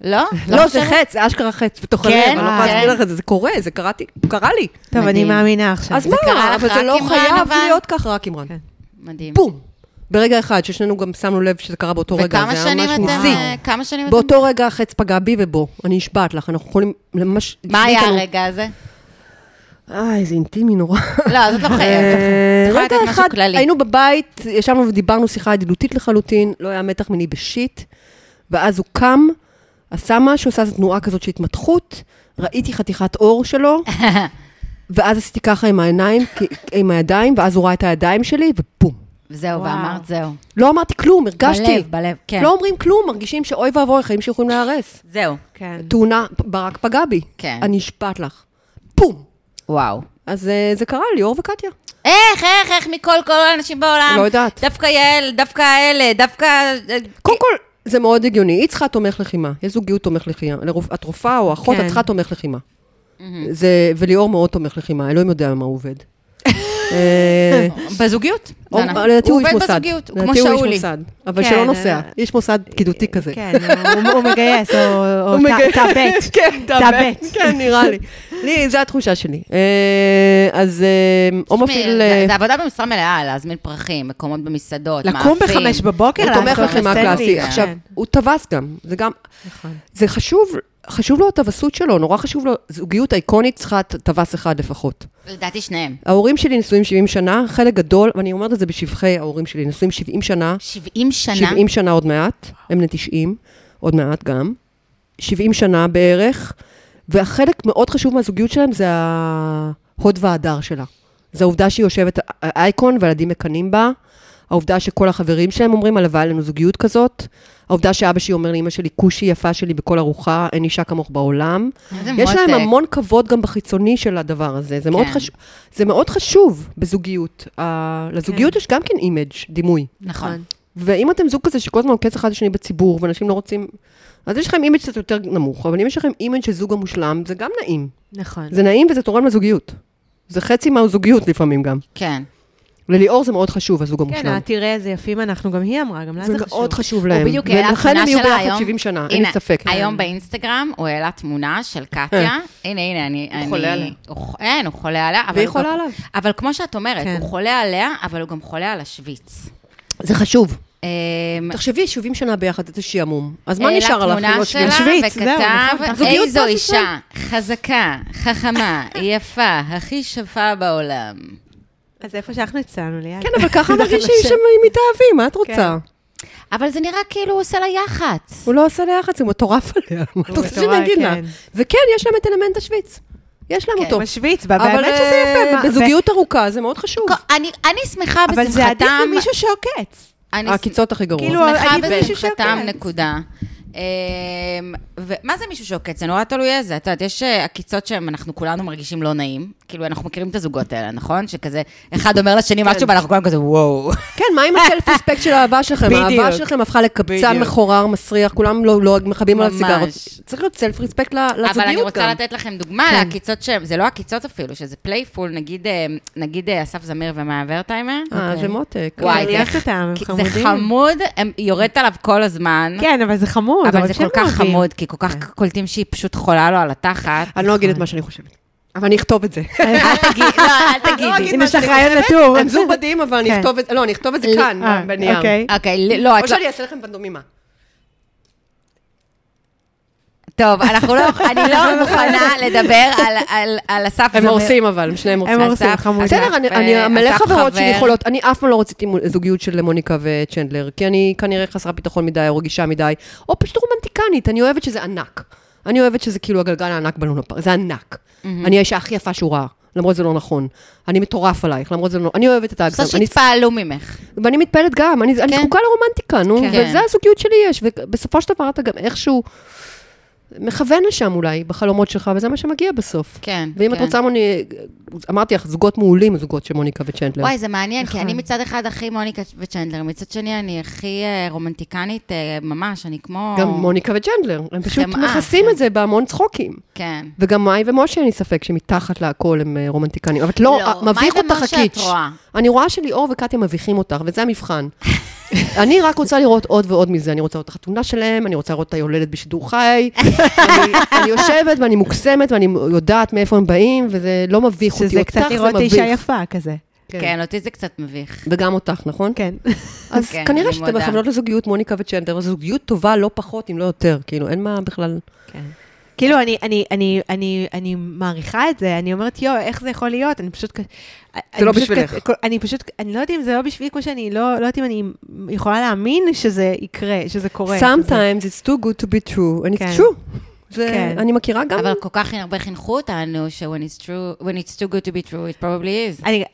[SPEAKER 1] לא?
[SPEAKER 3] לא, זה
[SPEAKER 1] חושבת?
[SPEAKER 3] חץ, זה אשכרה חץ, בתוך הלב,
[SPEAKER 1] כן,
[SPEAKER 3] אני לא יכולה
[SPEAKER 1] כן.
[SPEAKER 3] להסביר לך את זה, זה קורה, זה קראתי, קרה לי.
[SPEAKER 2] טוב, אני
[SPEAKER 1] מדהים.
[SPEAKER 2] מאמינה עכשיו.
[SPEAKER 3] אז
[SPEAKER 1] זה קרה
[SPEAKER 3] מה,
[SPEAKER 1] לך
[SPEAKER 3] אבל זה
[SPEAKER 1] רק
[SPEAKER 3] לא
[SPEAKER 1] עם רן,
[SPEAKER 3] חייב
[SPEAKER 1] אבל? כן.
[SPEAKER 3] להיות כך רק עם רן.
[SPEAKER 1] מדהים.
[SPEAKER 3] בום. ברגע אחד, ששנינו גם שמנו לב שזה קרה באותו רגע,
[SPEAKER 1] וכמה
[SPEAKER 3] זה היה
[SPEAKER 1] שנים
[SPEAKER 3] ממש
[SPEAKER 1] אתם...
[SPEAKER 3] ניסי.
[SPEAKER 1] אה, כמה שנים אתם...
[SPEAKER 3] באותו רגע החץ פגע בי ובו, אני נשבעת לך, אנחנו יכולים ממש...
[SPEAKER 1] מה היה
[SPEAKER 3] אותנו.
[SPEAKER 1] הרגע הזה?
[SPEAKER 3] אה, איזה אינטימי נורא.
[SPEAKER 1] לא, זאת לא חייבת.
[SPEAKER 3] אה,
[SPEAKER 1] את יכולה לתת
[SPEAKER 3] רגע
[SPEAKER 1] משהו
[SPEAKER 3] אחד,
[SPEAKER 1] כללי.
[SPEAKER 3] היינו בבית, ישבנו ודיברנו שיחה ידידותית לחלוטין, לא היה מתח מיני בשיט, ואז הוא קם, עשה משהו, עשה איזו תנועה כזאת של התמתחות, ראיתי חתיכת אור שלו, ואז עשיתי ככה עם העיניים, כי- עם הידיים, ואז הוא ראה את הידיים שלי, ובום.
[SPEAKER 1] זהו,
[SPEAKER 2] וואו.
[SPEAKER 1] ואמרת זהו.
[SPEAKER 3] לא אמרתי כלום, הרגשתי.
[SPEAKER 1] בלב, בלב, כן.
[SPEAKER 3] לא אומרים כלום, מרגישים שאוי ואבוי, חיים שיכולים להיהרס.
[SPEAKER 1] זהו.
[SPEAKER 2] כן.
[SPEAKER 3] תאונה, ברק פגע בי.
[SPEAKER 1] כן.
[SPEAKER 3] אני נשבעת לך. בום.
[SPEAKER 1] וואו.
[SPEAKER 3] אז אה, זה קרה לי, אור וקטיה.
[SPEAKER 1] איך, איך, איך מכל כל האנשים בעולם?
[SPEAKER 3] לא יודעת.
[SPEAKER 1] דווקא יעל, דווקא אלה, דווקא... אה,
[SPEAKER 3] קודם כל, זה מאוד הגיוני. היא צריכה תומך לחימה. יש זוגיות תומך לחימה. לרופ- את רופאה או אחות,
[SPEAKER 2] כן.
[SPEAKER 3] את צריכה תומך לחימה. זה, וליאור מאוד תומך לחימה, אלוהים יודע על מה הוא עובד. אה,
[SPEAKER 1] בזוגיות.
[SPEAKER 3] או-
[SPEAKER 1] דנה.
[SPEAKER 3] לדעתי הוא איש
[SPEAKER 1] עובד
[SPEAKER 3] מוסד.
[SPEAKER 1] בזוגיות, הוא כמו
[SPEAKER 3] לדעתי הוא איש
[SPEAKER 1] שאולי. אה,
[SPEAKER 3] מוסד, אבל
[SPEAKER 2] כן,
[SPEAKER 3] שלא
[SPEAKER 2] אה,
[SPEAKER 3] נוסע. איש מוסד פקידותי כזה.
[SPEAKER 2] כן, הוא- הוא מגייס, או- או
[SPEAKER 3] הוא מגייס.
[SPEAKER 2] תאבט.
[SPEAKER 3] כן,
[SPEAKER 2] תאבט.
[SPEAKER 3] כן, נראה לי. לי, זו התחושה שלי. אה, אז אה, או מפעיל...
[SPEAKER 1] זה-
[SPEAKER 3] אה,
[SPEAKER 1] זה עבודה במשרה מלאה, להזמין פרחים, מקומות במסעדות, מאפים.
[SPEAKER 2] לקום בחמש בבוקר,
[SPEAKER 3] הוא תומך
[SPEAKER 2] לעשות
[SPEAKER 3] לחימה
[SPEAKER 2] סנדוויץ'.
[SPEAKER 3] קלאסי.
[SPEAKER 1] כן.
[SPEAKER 3] עכשיו,
[SPEAKER 2] כן. נכון.
[SPEAKER 3] הוא טווס גם, זה גם... זה חשוב, חשוב לו הטווסות שלו, נורא חשוב לו, זוגיות אייקונית צריכה ט- טווס אחד לפחות.
[SPEAKER 1] לדעתי שניהם.
[SPEAKER 3] ההורים שלי נשואים 70 שנה, חלק גדול, ואני אומרת את זה בשבחי ההורים שלי, נשואים 70 שנה,
[SPEAKER 1] 70 שנה.
[SPEAKER 3] 70 שנה עוד מעט, הם בני 90, עוד מעט גם, 70 שנה בערך, והחלק מאוד חשוב מהזוגיות שלהם זה ההוד וההדר שלה. זה העובדה שהיא יושבת אייקון והילדים מקנאים בה, העובדה שכל החברים שלהם אומרים, הלוואי עלינו זוגיות כזאת, העובדה שאבא שלי אומר לאמא שלי, כושי יפה שלי בכל ארוחה, אין אישה כמוך בעולם.
[SPEAKER 1] איזה
[SPEAKER 3] יש להם
[SPEAKER 1] מותק.
[SPEAKER 3] המון כבוד גם בחיצוני של הדבר הזה, זה, מאוד,
[SPEAKER 1] כן.
[SPEAKER 3] חשוב, זה מאוד חשוב בזוגיות. Uh, לזוגיות יש גם כן אימג', דימוי.
[SPEAKER 1] נכון.
[SPEAKER 3] ואם אתם זוג כזה שכל הזמן עוקץ אחד לשני בציבור, ואנשים לא רוצים... אז יש לכם אימג' קצת יותר נמוך, אבל אם יש לכם אימג' של זוג המושלם, זה גם נעים.
[SPEAKER 2] נכון.
[SPEAKER 3] זה נעים וזה תורם לזוגיות. זה חצי מהזוגיות לפעמים גם.
[SPEAKER 1] כן.
[SPEAKER 3] לליאור זה מאוד חשוב, הזוג
[SPEAKER 2] כן,
[SPEAKER 3] המושלם.
[SPEAKER 2] אה, תראה איזה יפים אנחנו, גם היא אמרה, גם לה
[SPEAKER 3] זה
[SPEAKER 2] זה
[SPEAKER 3] מאוד
[SPEAKER 2] חשוב.
[SPEAKER 3] חשוב
[SPEAKER 1] הוא
[SPEAKER 3] להם.
[SPEAKER 1] בדיוק העלה תמונה שלה
[SPEAKER 3] ולכן
[SPEAKER 1] היום.
[SPEAKER 3] הם יהיו ביחד 70 שנה, אין לי
[SPEAKER 1] הנה,
[SPEAKER 3] ספק. אה.
[SPEAKER 1] היום באינסטגרם הוא העלה תמונה של קטיה. הנה, הנה, אני... אני-
[SPEAKER 3] חולה עליה.
[SPEAKER 1] הוא- אין, הוא חולה עליה. אבל
[SPEAKER 3] והיא
[SPEAKER 1] הוא
[SPEAKER 3] חולה
[SPEAKER 1] גם-
[SPEAKER 3] עליו.
[SPEAKER 1] אבל כמו שאת אומרת,
[SPEAKER 2] כן.
[SPEAKER 1] הוא חולה עליה, אבל הוא גם חולה על השוויץ.
[SPEAKER 3] זה חשוב.
[SPEAKER 1] אמ,
[SPEAKER 3] תחשבי, 70 שנה ביחד, זה שעמום. אז מה
[SPEAKER 1] העלה
[SPEAKER 3] נשאר לך?
[SPEAKER 1] תמונה
[SPEAKER 3] להיות
[SPEAKER 1] אה, שלה
[SPEAKER 2] שוויץ, זהו, נכון,
[SPEAKER 1] וכתב,
[SPEAKER 2] נכון.
[SPEAKER 1] איזו
[SPEAKER 3] זוגיות פרס
[SPEAKER 1] אישה, חזקה, חכמה, יפה, הכי שפה בעולם.
[SPEAKER 2] אז איפה שאנחנו יצאנו, ליאת.
[SPEAKER 3] כן, אבל ככה מרגישים שהם מתאהבים, מה את רוצה?
[SPEAKER 1] כן. אבל זה נראה כאילו הוא עושה לה יח"צ.
[SPEAKER 3] הוא לא עשה לה יח"צ, הוא מטורף עליה. מה את רוצה
[SPEAKER 2] מטורף,
[SPEAKER 3] שאני אגיד לה?
[SPEAKER 2] כן.
[SPEAKER 3] וכן, יש להם את אלמנט השוויץ. יש להם
[SPEAKER 1] כן.
[SPEAKER 3] אותו.
[SPEAKER 2] בשוויץ, ב-
[SPEAKER 3] אבל
[SPEAKER 2] באמת שזה
[SPEAKER 3] אה,
[SPEAKER 2] יפה. מה-
[SPEAKER 3] בזוגיות ארוכה זה מאוד חשוב.
[SPEAKER 1] כל- לא, אני אני שמחה
[SPEAKER 2] ו- אבל זה עדיף
[SPEAKER 1] בשמחתם,
[SPEAKER 2] ממישהו שעוקץ.
[SPEAKER 1] אני
[SPEAKER 3] העקיצות הכי גרוע.
[SPEAKER 2] כאילו,
[SPEAKER 1] שמחה
[SPEAKER 2] עדיף ממישהו
[SPEAKER 1] בשמחתם,
[SPEAKER 2] שעוקץ.
[SPEAKER 1] נקודה. אמ, ומה זה מישהו שעוקץ? זה נורא תלוי איזה. את יודעת, יש אה, עקיצות שאנחנו כולנו מרגישים לא נעים. כאילו, אנחנו מכירים את הזוגות האלה, נכון? שכזה, אחד אומר לשני משהו, ואנחנו כולנו כזה, וואו.
[SPEAKER 3] כן, מה עם הסלף אספקט של האהבה שלכם?
[SPEAKER 2] בדיוק.
[SPEAKER 3] האהבה שלכם הפכה לקבצן
[SPEAKER 2] בדיוק.
[SPEAKER 3] מכורר, מסריח, כולם לא לא מכבים עליו
[SPEAKER 1] ממש.
[SPEAKER 3] סיגרות. צריך להיות סלף רספקט ל- לזוגיות גם.
[SPEAKER 1] אבל אני רוצה לתת לכם דוגמה
[SPEAKER 3] כן.
[SPEAKER 1] לעקיצות שהם, זה לא עקיצות אפילו, שזה פלייפול, נגיד, אה, נגיד אה, אסף זמיר ומאיה ורטהיימר.
[SPEAKER 3] אה,
[SPEAKER 2] אוקיי.
[SPEAKER 3] זה מותק.
[SPEAKER 1] וואי,
[SPEAKER 2] אני
[SPEAKER 1] זה
[SPEAKER 2] אוהבת אותם, הם
[SPEAKER 1] כי זה
[SPEAKER 2] חמודים.
[SPEAKER 1] חמוד, הם- היא יורדת עליו כל הזמן.
[SPEAKER 2] כן, אבל זה חמוד.
[SPEAKER 1] אבל זה
[SPEAKER 2] שהם
[SPEAKER 1] כל כך
[SPEAKER 2] אוהבים.
[SPEAKER 1] חמוד, כי כל כך קולטים שהיא פשוט חולה לו על התחת.
[SPEAKER 3] כן. אני לא אגיד
[SPEAKER 2] נכון.
[SPEAKER 3] את מה שאני חושבת. אבל אני אכתוב את זה.
[SPEAKER 1] אל תגידי, לא, אל תגידי.
[SPEAKER 2] אם יש לך רעיון לטור.
[SPEAKER 3] הם זוג מדהים, אבל אני
[SPEAKER 2] כן.
[SPEAKER 3] אכתוב את זה, לא, אני אכתוב את זה
[SPEAKER 1] לי-
[SPEAKER 2] אה,
[SPEAKER 3] כאן, בנייר.
[SPEAKER 2] אוקיי.
[SPEAKER 1] אוקיי, ל- לא,
[SPEAKER 3] או
[SPEAKER 1] את לא...
[SPEAKER 3] שאני אעשה לכם פנדומימה.
[SPEAKER 1] טוב, אנחנו לא... אני לא מוכנה לדבר על- על- על אסף
[SPEAKER 3] הם
[SPEAKER 1] זמיר.
[SPEAKER 3] הורסים אבל, שניהם
[SPEAKER 2] הם
[SPEAKER 3] הורסים.
[SPEAKER 2] הורסים,
[SPEAKER 1] אסף,
[SPEAKER 2] חמוד.
[SPEAKER 1] אסף.
[SPEAKER 3] בסדר, אני-
[SPEAKER 1] ו-
[SPEAKER 3] אני, מלא
[SPEAKER 1] אסף
[SPEAKER 3] חברות שלי
[SPEAKER 1] חבר.
[SPEAKER 3] יכולות, אני אף פעם לא רציתי מו- זוגיות של מוניקה וצ'נדלר, כי אני כנראה חסרת ביטחון מדי, או רגישה מדי, או פשוט רומנטיקנית, אני אוהבת שזה ענק. אני אוהבת שזה כאילו הגלגל הענק בלונה פארק, זה ענק. אני האישה הכי יפה שהוא ראה. למרות שזה לא נכון. אני מטורף עלייך, למרות שזה לא... אני אוהבת את
[SPEAKER 1] אני
[SPEAKER 3] האגזם.
[SPEAKER 1] רוצה
[SPEAKER 3] אני- כן,
[SPEAKER 1] שיתפעלו ממך.
[SPEAKER 3] ואני מתפעלת גם, אני אני
[SPEAKER 1] כן.
[SPEAKER 3] זקוקה לרומנטיקה, נו,
[SPEAKER 1] כן.
[SPEAKER 3] וזה הזוגיות שלי יש, ובסופו של דבר אתה גם איכשהו מכוון לשם אולי, בחלומות שלך, וזה מה שמגיע בסוף.
[SPEAKER 1] כן,
[SPEAKER 3] ואם
[SPEAKER 1] כן.
[SPEAKER 3] את רוצה, מוני, אמרתי לך, זוגות מעולים, הזוגות של מוניקה וצ'נדלר.
[SPEAKER 1] וואי, זה מעניין, כי
[SPEAKER 2] נכון.
[SPEAKER 1] אני מצד אחד הכי מוניקה וצ'נדלר, מצד שני אני הכי אה, רומנטיקנית אה, ממש, אני כמו...
[SPEAKER 3] גם מוניקה וצ'נדלר, הם פשוט
[SPEAKER 1] חמאה,
[SPEAKER 3] מכסים
[SPEAKER 1] כן.
[SPEAKER 3] את זה בהמון צחוקים.
[SPEAKER 1] כן.
[SPEAKER 3] וגם מאי ומשה, אין לי ספק שמתחת להכל הם אה, רומנטיקנים. אבל את לא,
[SPEAKER 1] לא,
[SPEAKER 3] אה, מביך
[SPEAKER 1] מאי
[SPEAKER 3] אותך
[SPEAKER 1] ומשה
[SPEAKER 3] הקיץ'.
[SPEAKER 1] את רואה.
[SPEAKER 3] אני רואה שליאור וקטיה מביכים אותך, וזה המבחן. אני רק רוצה לראות עוד ועוד מזה. אני רוצה לראות את החתונה שלהם, אני רוצה לראות את היולדת בשידור חי. אני, אני יושבת ואני מוקסמת ואני יודעת מאיפה הם באים, וזה לא מביך אותי.
[SPEAKER 2] שזה
[SPEAKER 3] אותך
[SPEAKER 2] קצת
[SPEAKER 3] זה
[SPEAKER 2] לראות
[SPEAKER 3] מביך.
[SPEAKER 2] אישה יפה כזה.
[SPEAKER 1] כן, אותי זה קצת מביך.
[SPEAKER 3] וגם אותך, נכון?
[SPEAKER 2] כן.
[SPEAKER 3] אז
[SPEAKER 1] כן,
[SPEAKER 3] כנראה
[SPEAKER 1] אני
[SPEAKER 3] שאתם
[SPEAKER 1] מודה.
[SPEAKER 3] מכוונות לזוגיות מוניקה וצ'נדלר, זו זוגיות טובה לא פחות, אם לא יותר. כאילו, אין מה בכלל...
[SPEAKER 2] כאילו, אני, אני, אני, אני, אני מעריכה את זה, אני אומרת, יואו, איך זה יכול להיות? אני פשוט... זה
[SPEAKER 3] לא בשבילך.
[SPEAKER 2] אני פשוט, אני לא יודעת אם זה לא בשבילי, כמו שאני לא, לא יודעת אם אני יכולה להאמין שזה יקרה, שזה קורה. זה-
[SPEAKER 3] Sometimes it's too good to be true, and
[SPEAKER 2] כן.
[SPEAKER 3] it's true. זה,
[SPEAKER 2] כן.
[SPEAKER 3] אני מכירה גם...
[SPEAKER 1] אבל כל כך הרבה חינכו אותנו, ש-when it's true- when it's too good to be true, it probably is.
[SPEAKER 2] אני,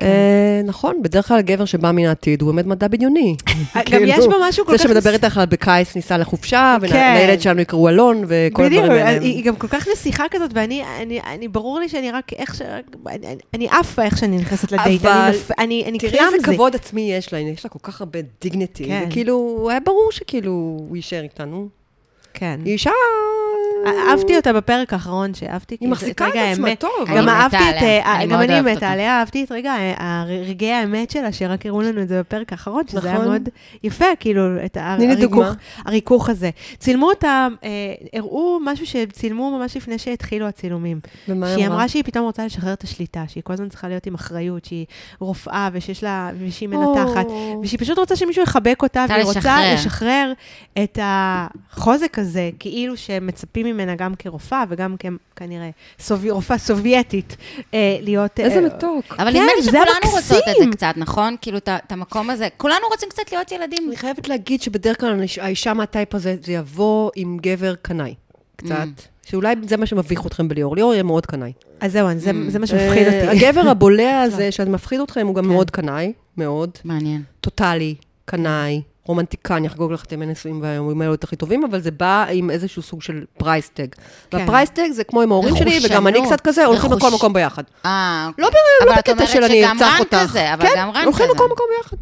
[SPEAKER 3] אה, נכון, בדרך כלל גבר שבא מן העתיד, הוא באמת מדע בדיוני.
[SPEAKER 2] גם
[SPEAKER 3] כאילו,
[SPEAKER 2] יש בו משהו כל כך...
[SPEAKER 3] זה שמדבר איתך על בקיץ ניסע לחופשה,
[SPEAKER 2] כן.
[SPEAKER 3] ולילד שלנו יקראו אלון, וכל
[SPEAKER 2] בדיוק,
[SPEAKER 3] הדברים האלה.
[SPEAKER 2] היא היא גם כל כך נסיכה כזאת, ואני, אני, אני, ברור לי שאני רק איך ש... אני- אני- אני עפה איך שאני נכנסת לדייט,
[SPEAKER 3] אבל-
[SPEAKER 2] אני נפ- אני אני
[SPEAKER 3] תראי איזה
[SPEAKER 2] קלאמזי.
[SPEAKER 3] כבוד עצמי יש לה, הנה, יש לה כל כך הרבה דיגניטי.
[SPEAKER 2] כן.
[SPEAKER 3] וכאילו, היה ברור שכאילו הוא יישאר איתנו.
[SPEAKER 2] כן.
[SPEAKER 3] היא אישה...
[SPEAKER 2] אה, אהבתי אותה בפרק האחרון שאהבתי. כי
[SPEAKER 3] היא
[SPEAKER 2] זה-
[SPEAKER 3] מחזיקה את
[SPEAKER 2] רגע
[SPEAKER 3] עצמה
[SPEAKER 2] האמת.
[SPEAKER 3] טוב.
[SPEAKER 1] אני
[SPEAKER 2] גם
[SPEAKER 1] מתה
[SPEAKER 2] אהבתי את...
[SPEAKER 1] עליה.
[SPEAKER 2] אה,
[SPEAKER 1] אני
[SPEAKER 2] גם
[SPEAKER 1] מאוד
[SPEAKER 2] אני
[SPEAKER 1] אוהבת
[SPEAKER 2] מתה
[SPEAKER 1] אותה.
[SPEAKER 2] עליה, אהבתי את רגע, אה, הרגעי האמת שלה, שרק הראו לנו את זה בפרק האחרון, שזה היה
[SPEAKER 3] נכון.
[SPEAKER 2] מאוד יפה, כאילו, את ה-
[SPEAKER 3] תני לי
[SPEAKER 2] הריכוך-
[SPEAKER 3] דוגמה.
[SPEAKER 2] הריכוך הזה. צילמו אותה, אה, הראו משהו שצילמו ממש לפני שהתחילו הצילומים.
[SPEAKER 3] ומה
[SPEAKER 2] שהיא אמרה שהיא פתאום רוצה לשחרר את השליטה, שהיא כל הזמן צריכה להיות עם אחריות, שהיא רופאה ושיש לה, ושהיא
[SPEAKER 3] לא.
[SPEAKER 2] מנתחת,
[SPEAKER 3] או.
[SPEAKER 2] ושהיא פשוט רוצה שמישהו יחבק אותה,
[SPEAKER 1] רוצה
[SPEAKER 2] והיא רוצה
[SPEAKER 1] לשחרר.
[SPEAKER 2] לשחרר את החוזק הזה, כאילו שמצפים ממנה גם כרופאה וגם כ- כנראה סובי, רופאה סובייטית, אה, להיות...
[SPEAKER 3] איזה
[SPEAKER 2] אה,
[SPEAKER 3] מתוק.
[SPEAKER 1] אבל
[SPEAKER 2] כן,
[SPEAKER 1] נדמה לי
[SPEAKER 2] זה
[SPEAKER 1] שכולנו רוצות את זה
[SPEAKER 2] מקסים.
[SPEAKER 1] קצת, נכון? כאילו, את ה- את המקום הזה, כולנו רוצים קצת להיות ילדים.
[SPEAKER 3] אני חייבת להגיד שבדרך כלל האיש- האישה מהטייפ הזה, זה יבוא עם גבר קנאי, קצת.
[SPEAKER 1] Mm.
[SPEAKER 3] שאולי זה מה שמביך אתכם בליאור. ליאור יהיה מאוד קנאי.
[SPEAKER 2] אז זהו, זה,
[SPEAKER 1] Mm.
[SPEAKER 2] זה מה שמפחיד
[SPEAKER 3] אה,
[SPEAKER 2] אותי.
[SPEAKER 3] הגבר הבולע הזה, שאת מפחיד אתכם, הוא גם
[SPEAKER 1] כן.
[SPEAKER 3] מאוד קנאי, מאוד.
[SPEAKER 1] מעניין.
[SPEAKER 3] טוטאלי, קנאי, רומנטיקן, יחגוג לך אתם נשואים והיומים האלה הכי טובים, אבל זה בא עם איזשהו סוג של פרייסטג.
[SPEAKER 1] כן.
[SPEAKER 3] והפרייסטג זה כמו עם ההורים שלי, וגם אני
[SPEAKER 1] רכושנות.
[SPEAKER 3] קצת כזה, הולכים
[SPEAKER 1] רכוש.
[SPEAKER 3] לכל מקום ביחד.
[SPEAKER 1] אה,
[SPEAKER 3] לא
[SPEAKER 1] אבל
[SPEAKER 3] ב- לא
[SPEAKER 1] את
[SPEAKER 3] בקטע
[SPEAKER 1] אומרת
[SPEAKER 3] של אני
[SPEAKER 1] שגם
[SPEAKER 3] ארצח
[SPEAKER 1] רן
[SPEAKER 3] אותך.
[SPEAKER 1] כזה, אבל
[SPEAKER 3] כן,
[SPEAKER 1] גם רן
[SPEAKER 3] הולכים
[SPEAKER 1] כזה.
[SPEAKER 3] לכל מקום ביחד.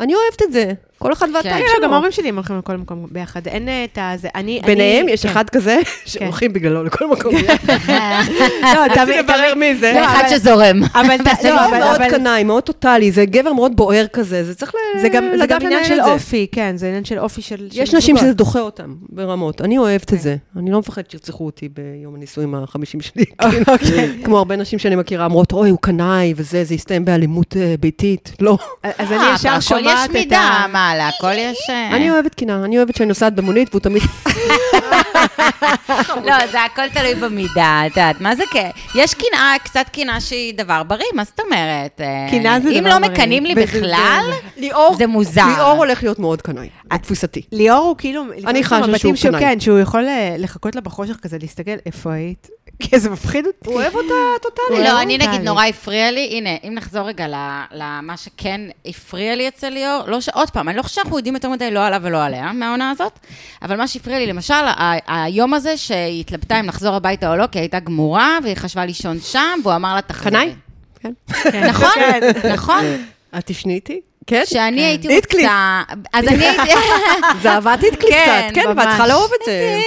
[SPEAKER 3] אני אוהבת את זה. כל אחד והטייפ
[SPEAKER 1] כן,
[SPEAKER 2] כן, גם
[SPEAKER 3] שלו.
[SPEAKER 2] ההורים שלי הם הולכים לכל מקום ביחד, אין אה, את הזה. אני...
[SPEAKER 3] ביניהם
[SPEAKER 2] אני-
[SPEAKER 3] יש
[SPEAKER 2] כן.
[SPEAKER 3] אחד כזה, שהולכים בגללו לכל מקום ביחד.
[SPEAKER 2] לא,
[SPEAKER 3] רציתי
[SPEAKER 2] תמיד,
[SPEAKER 3] לברר
[SPEAKER 2] תמיד.
[SPEAKER 3] מי
[SPEAKER 2] לא,
[SPEAKER 3] זה.
[SPEAKER 1] כן. אחד
[SPEAKER 2] אבל-
[SPEAKER 1] שזורם.
[SPEAKER 2] אבל ת-
[SPEAKER 1] זה
[SPEAKER 2] לא,
[SPEAKER 1] לא
[SPEAKER 2] אבל-
[SPEAKER 3] מאוד
[SPEAKER 2] אבל-
[SPEAKER 3] קנאי, מאוד טוטאלי, זה גבר מאוד בוער כזה, זה צריך ל-
[SPEAKER 2] זה גם, זה
[SPEAKER 3] לדעת
[SPEAKER 2] גם עניין
[SPEAKER 3] לנהל
[SPEAKER 2] של
[SPEAKER 3] את זה.
[SPEAKER 2] אופי, כן, זה עניין של אופי של של
[SPEAKER 3] יש נשים
[SPEAKER 2] זוגות.
[SPEAKER 3] שזה דוחה אותם ברמות. אני אוהבת את זה. אני לא מפחדת שירצחו אותי ביום הנישואים החמישים שלי. כאילו. כמו הרבה נשים שאני מכירה אומרות, אוי, הוא קנאי וזה, זה יסתיים באלימות אה, ביתית. לא.
[SPEAKER 2] אה, אז אני ישר שומעת
[SPEAKER 1] אה, הכל יש
[SPEAKER 2] את ה...
[SPEAKER 1] מידה, מה, להכל יש... אה,
[SPEAKER 3] אני אוהבת קנאה, אני אוהבת שאני נוסעת במונית והוא תמיד...
[SPEAKER 1] לא, זה הכל תלוי במידה, את יודעת, מה זה כ... יש קנאה, קצת קנאה שהיא דבר בריא, מה זאת אומרת? אה,
[SPEAKER 2] קנאה זה
[SPEAKER 1] אם
[SPEAKER 2] דבר
[SPEAKER 1] לא
[SPEAKER 2] בריא.
[SPEAKER 1] מקנאים לי
[SPEAKER 2] וזה-
[SPEAKER 1] בכלל,
[SPEAKER 3] ליאור...
[SPEAKER 1] זה מוזר.
[SPEAKER 3] ליאור הולך להיות מאוד קנאי, בתפיסתי.
[SPEAKER 2] ליאור הוא כאילו, לפעמים
[SPEAKER 3] חשה
[SPEAKER 2] מבטים
[SPEAKER 3] שהוא קנאי.
[SPEAKER 2] כן, שהוא יכול אה, לחכות לה בחושך כזה, להסתכל, איפה היית? כי זה מפחיד אותי.
[SPEAKER 3] הוא אוהב אותה טוטאלית.
[SPEAKER 1] לא,
[SPEAKER 2] אוהב
[SPEAKER 1] אני
[SPEAKER 2] אותה,
[SPEAKER 1] נגיד
[SPEAKER 2] לי.
[SPEAKER 1] נורא הפריע לי, הנה, אם נחזור רגע ל- למה שכן הפריע לי אצל ליאור, לא ש... עוד פעם, אני לא חושבת שאנחנו יודעים יותר מדי לא עליו ולא עליה מהעונה הזאת, אבל מה שהפריע לי, למשל, ה- היום הזה שהיא התלבטה אם לחזור הביתה או לא, כי היא הייתה גמורה, והיא חשבה לישון שם, והוא אמר לה, תחזרי.
[SPEAKER 3] קנאי? כן.
[SPEAKER 1] נכון,
[SPEAKER 2] כן.
[SPEAKER 1] נכון.
[SPEAKER 3] את תשני איתי? כן.
[SPEAKER 1] שאני הייתי
[SPEAKER 3] היטקליף.
[SPEAKER 1] רוצה... אז אני הייתי...
[SPEAKER 3] זה אהבת היטקליף
[SPEAKER 1] כן,
[SPEAKER 3] קצת, כן, ואת
[SPEAKER 2] ממש.
[SPEAKER 3] צריכה לאהוב את זה.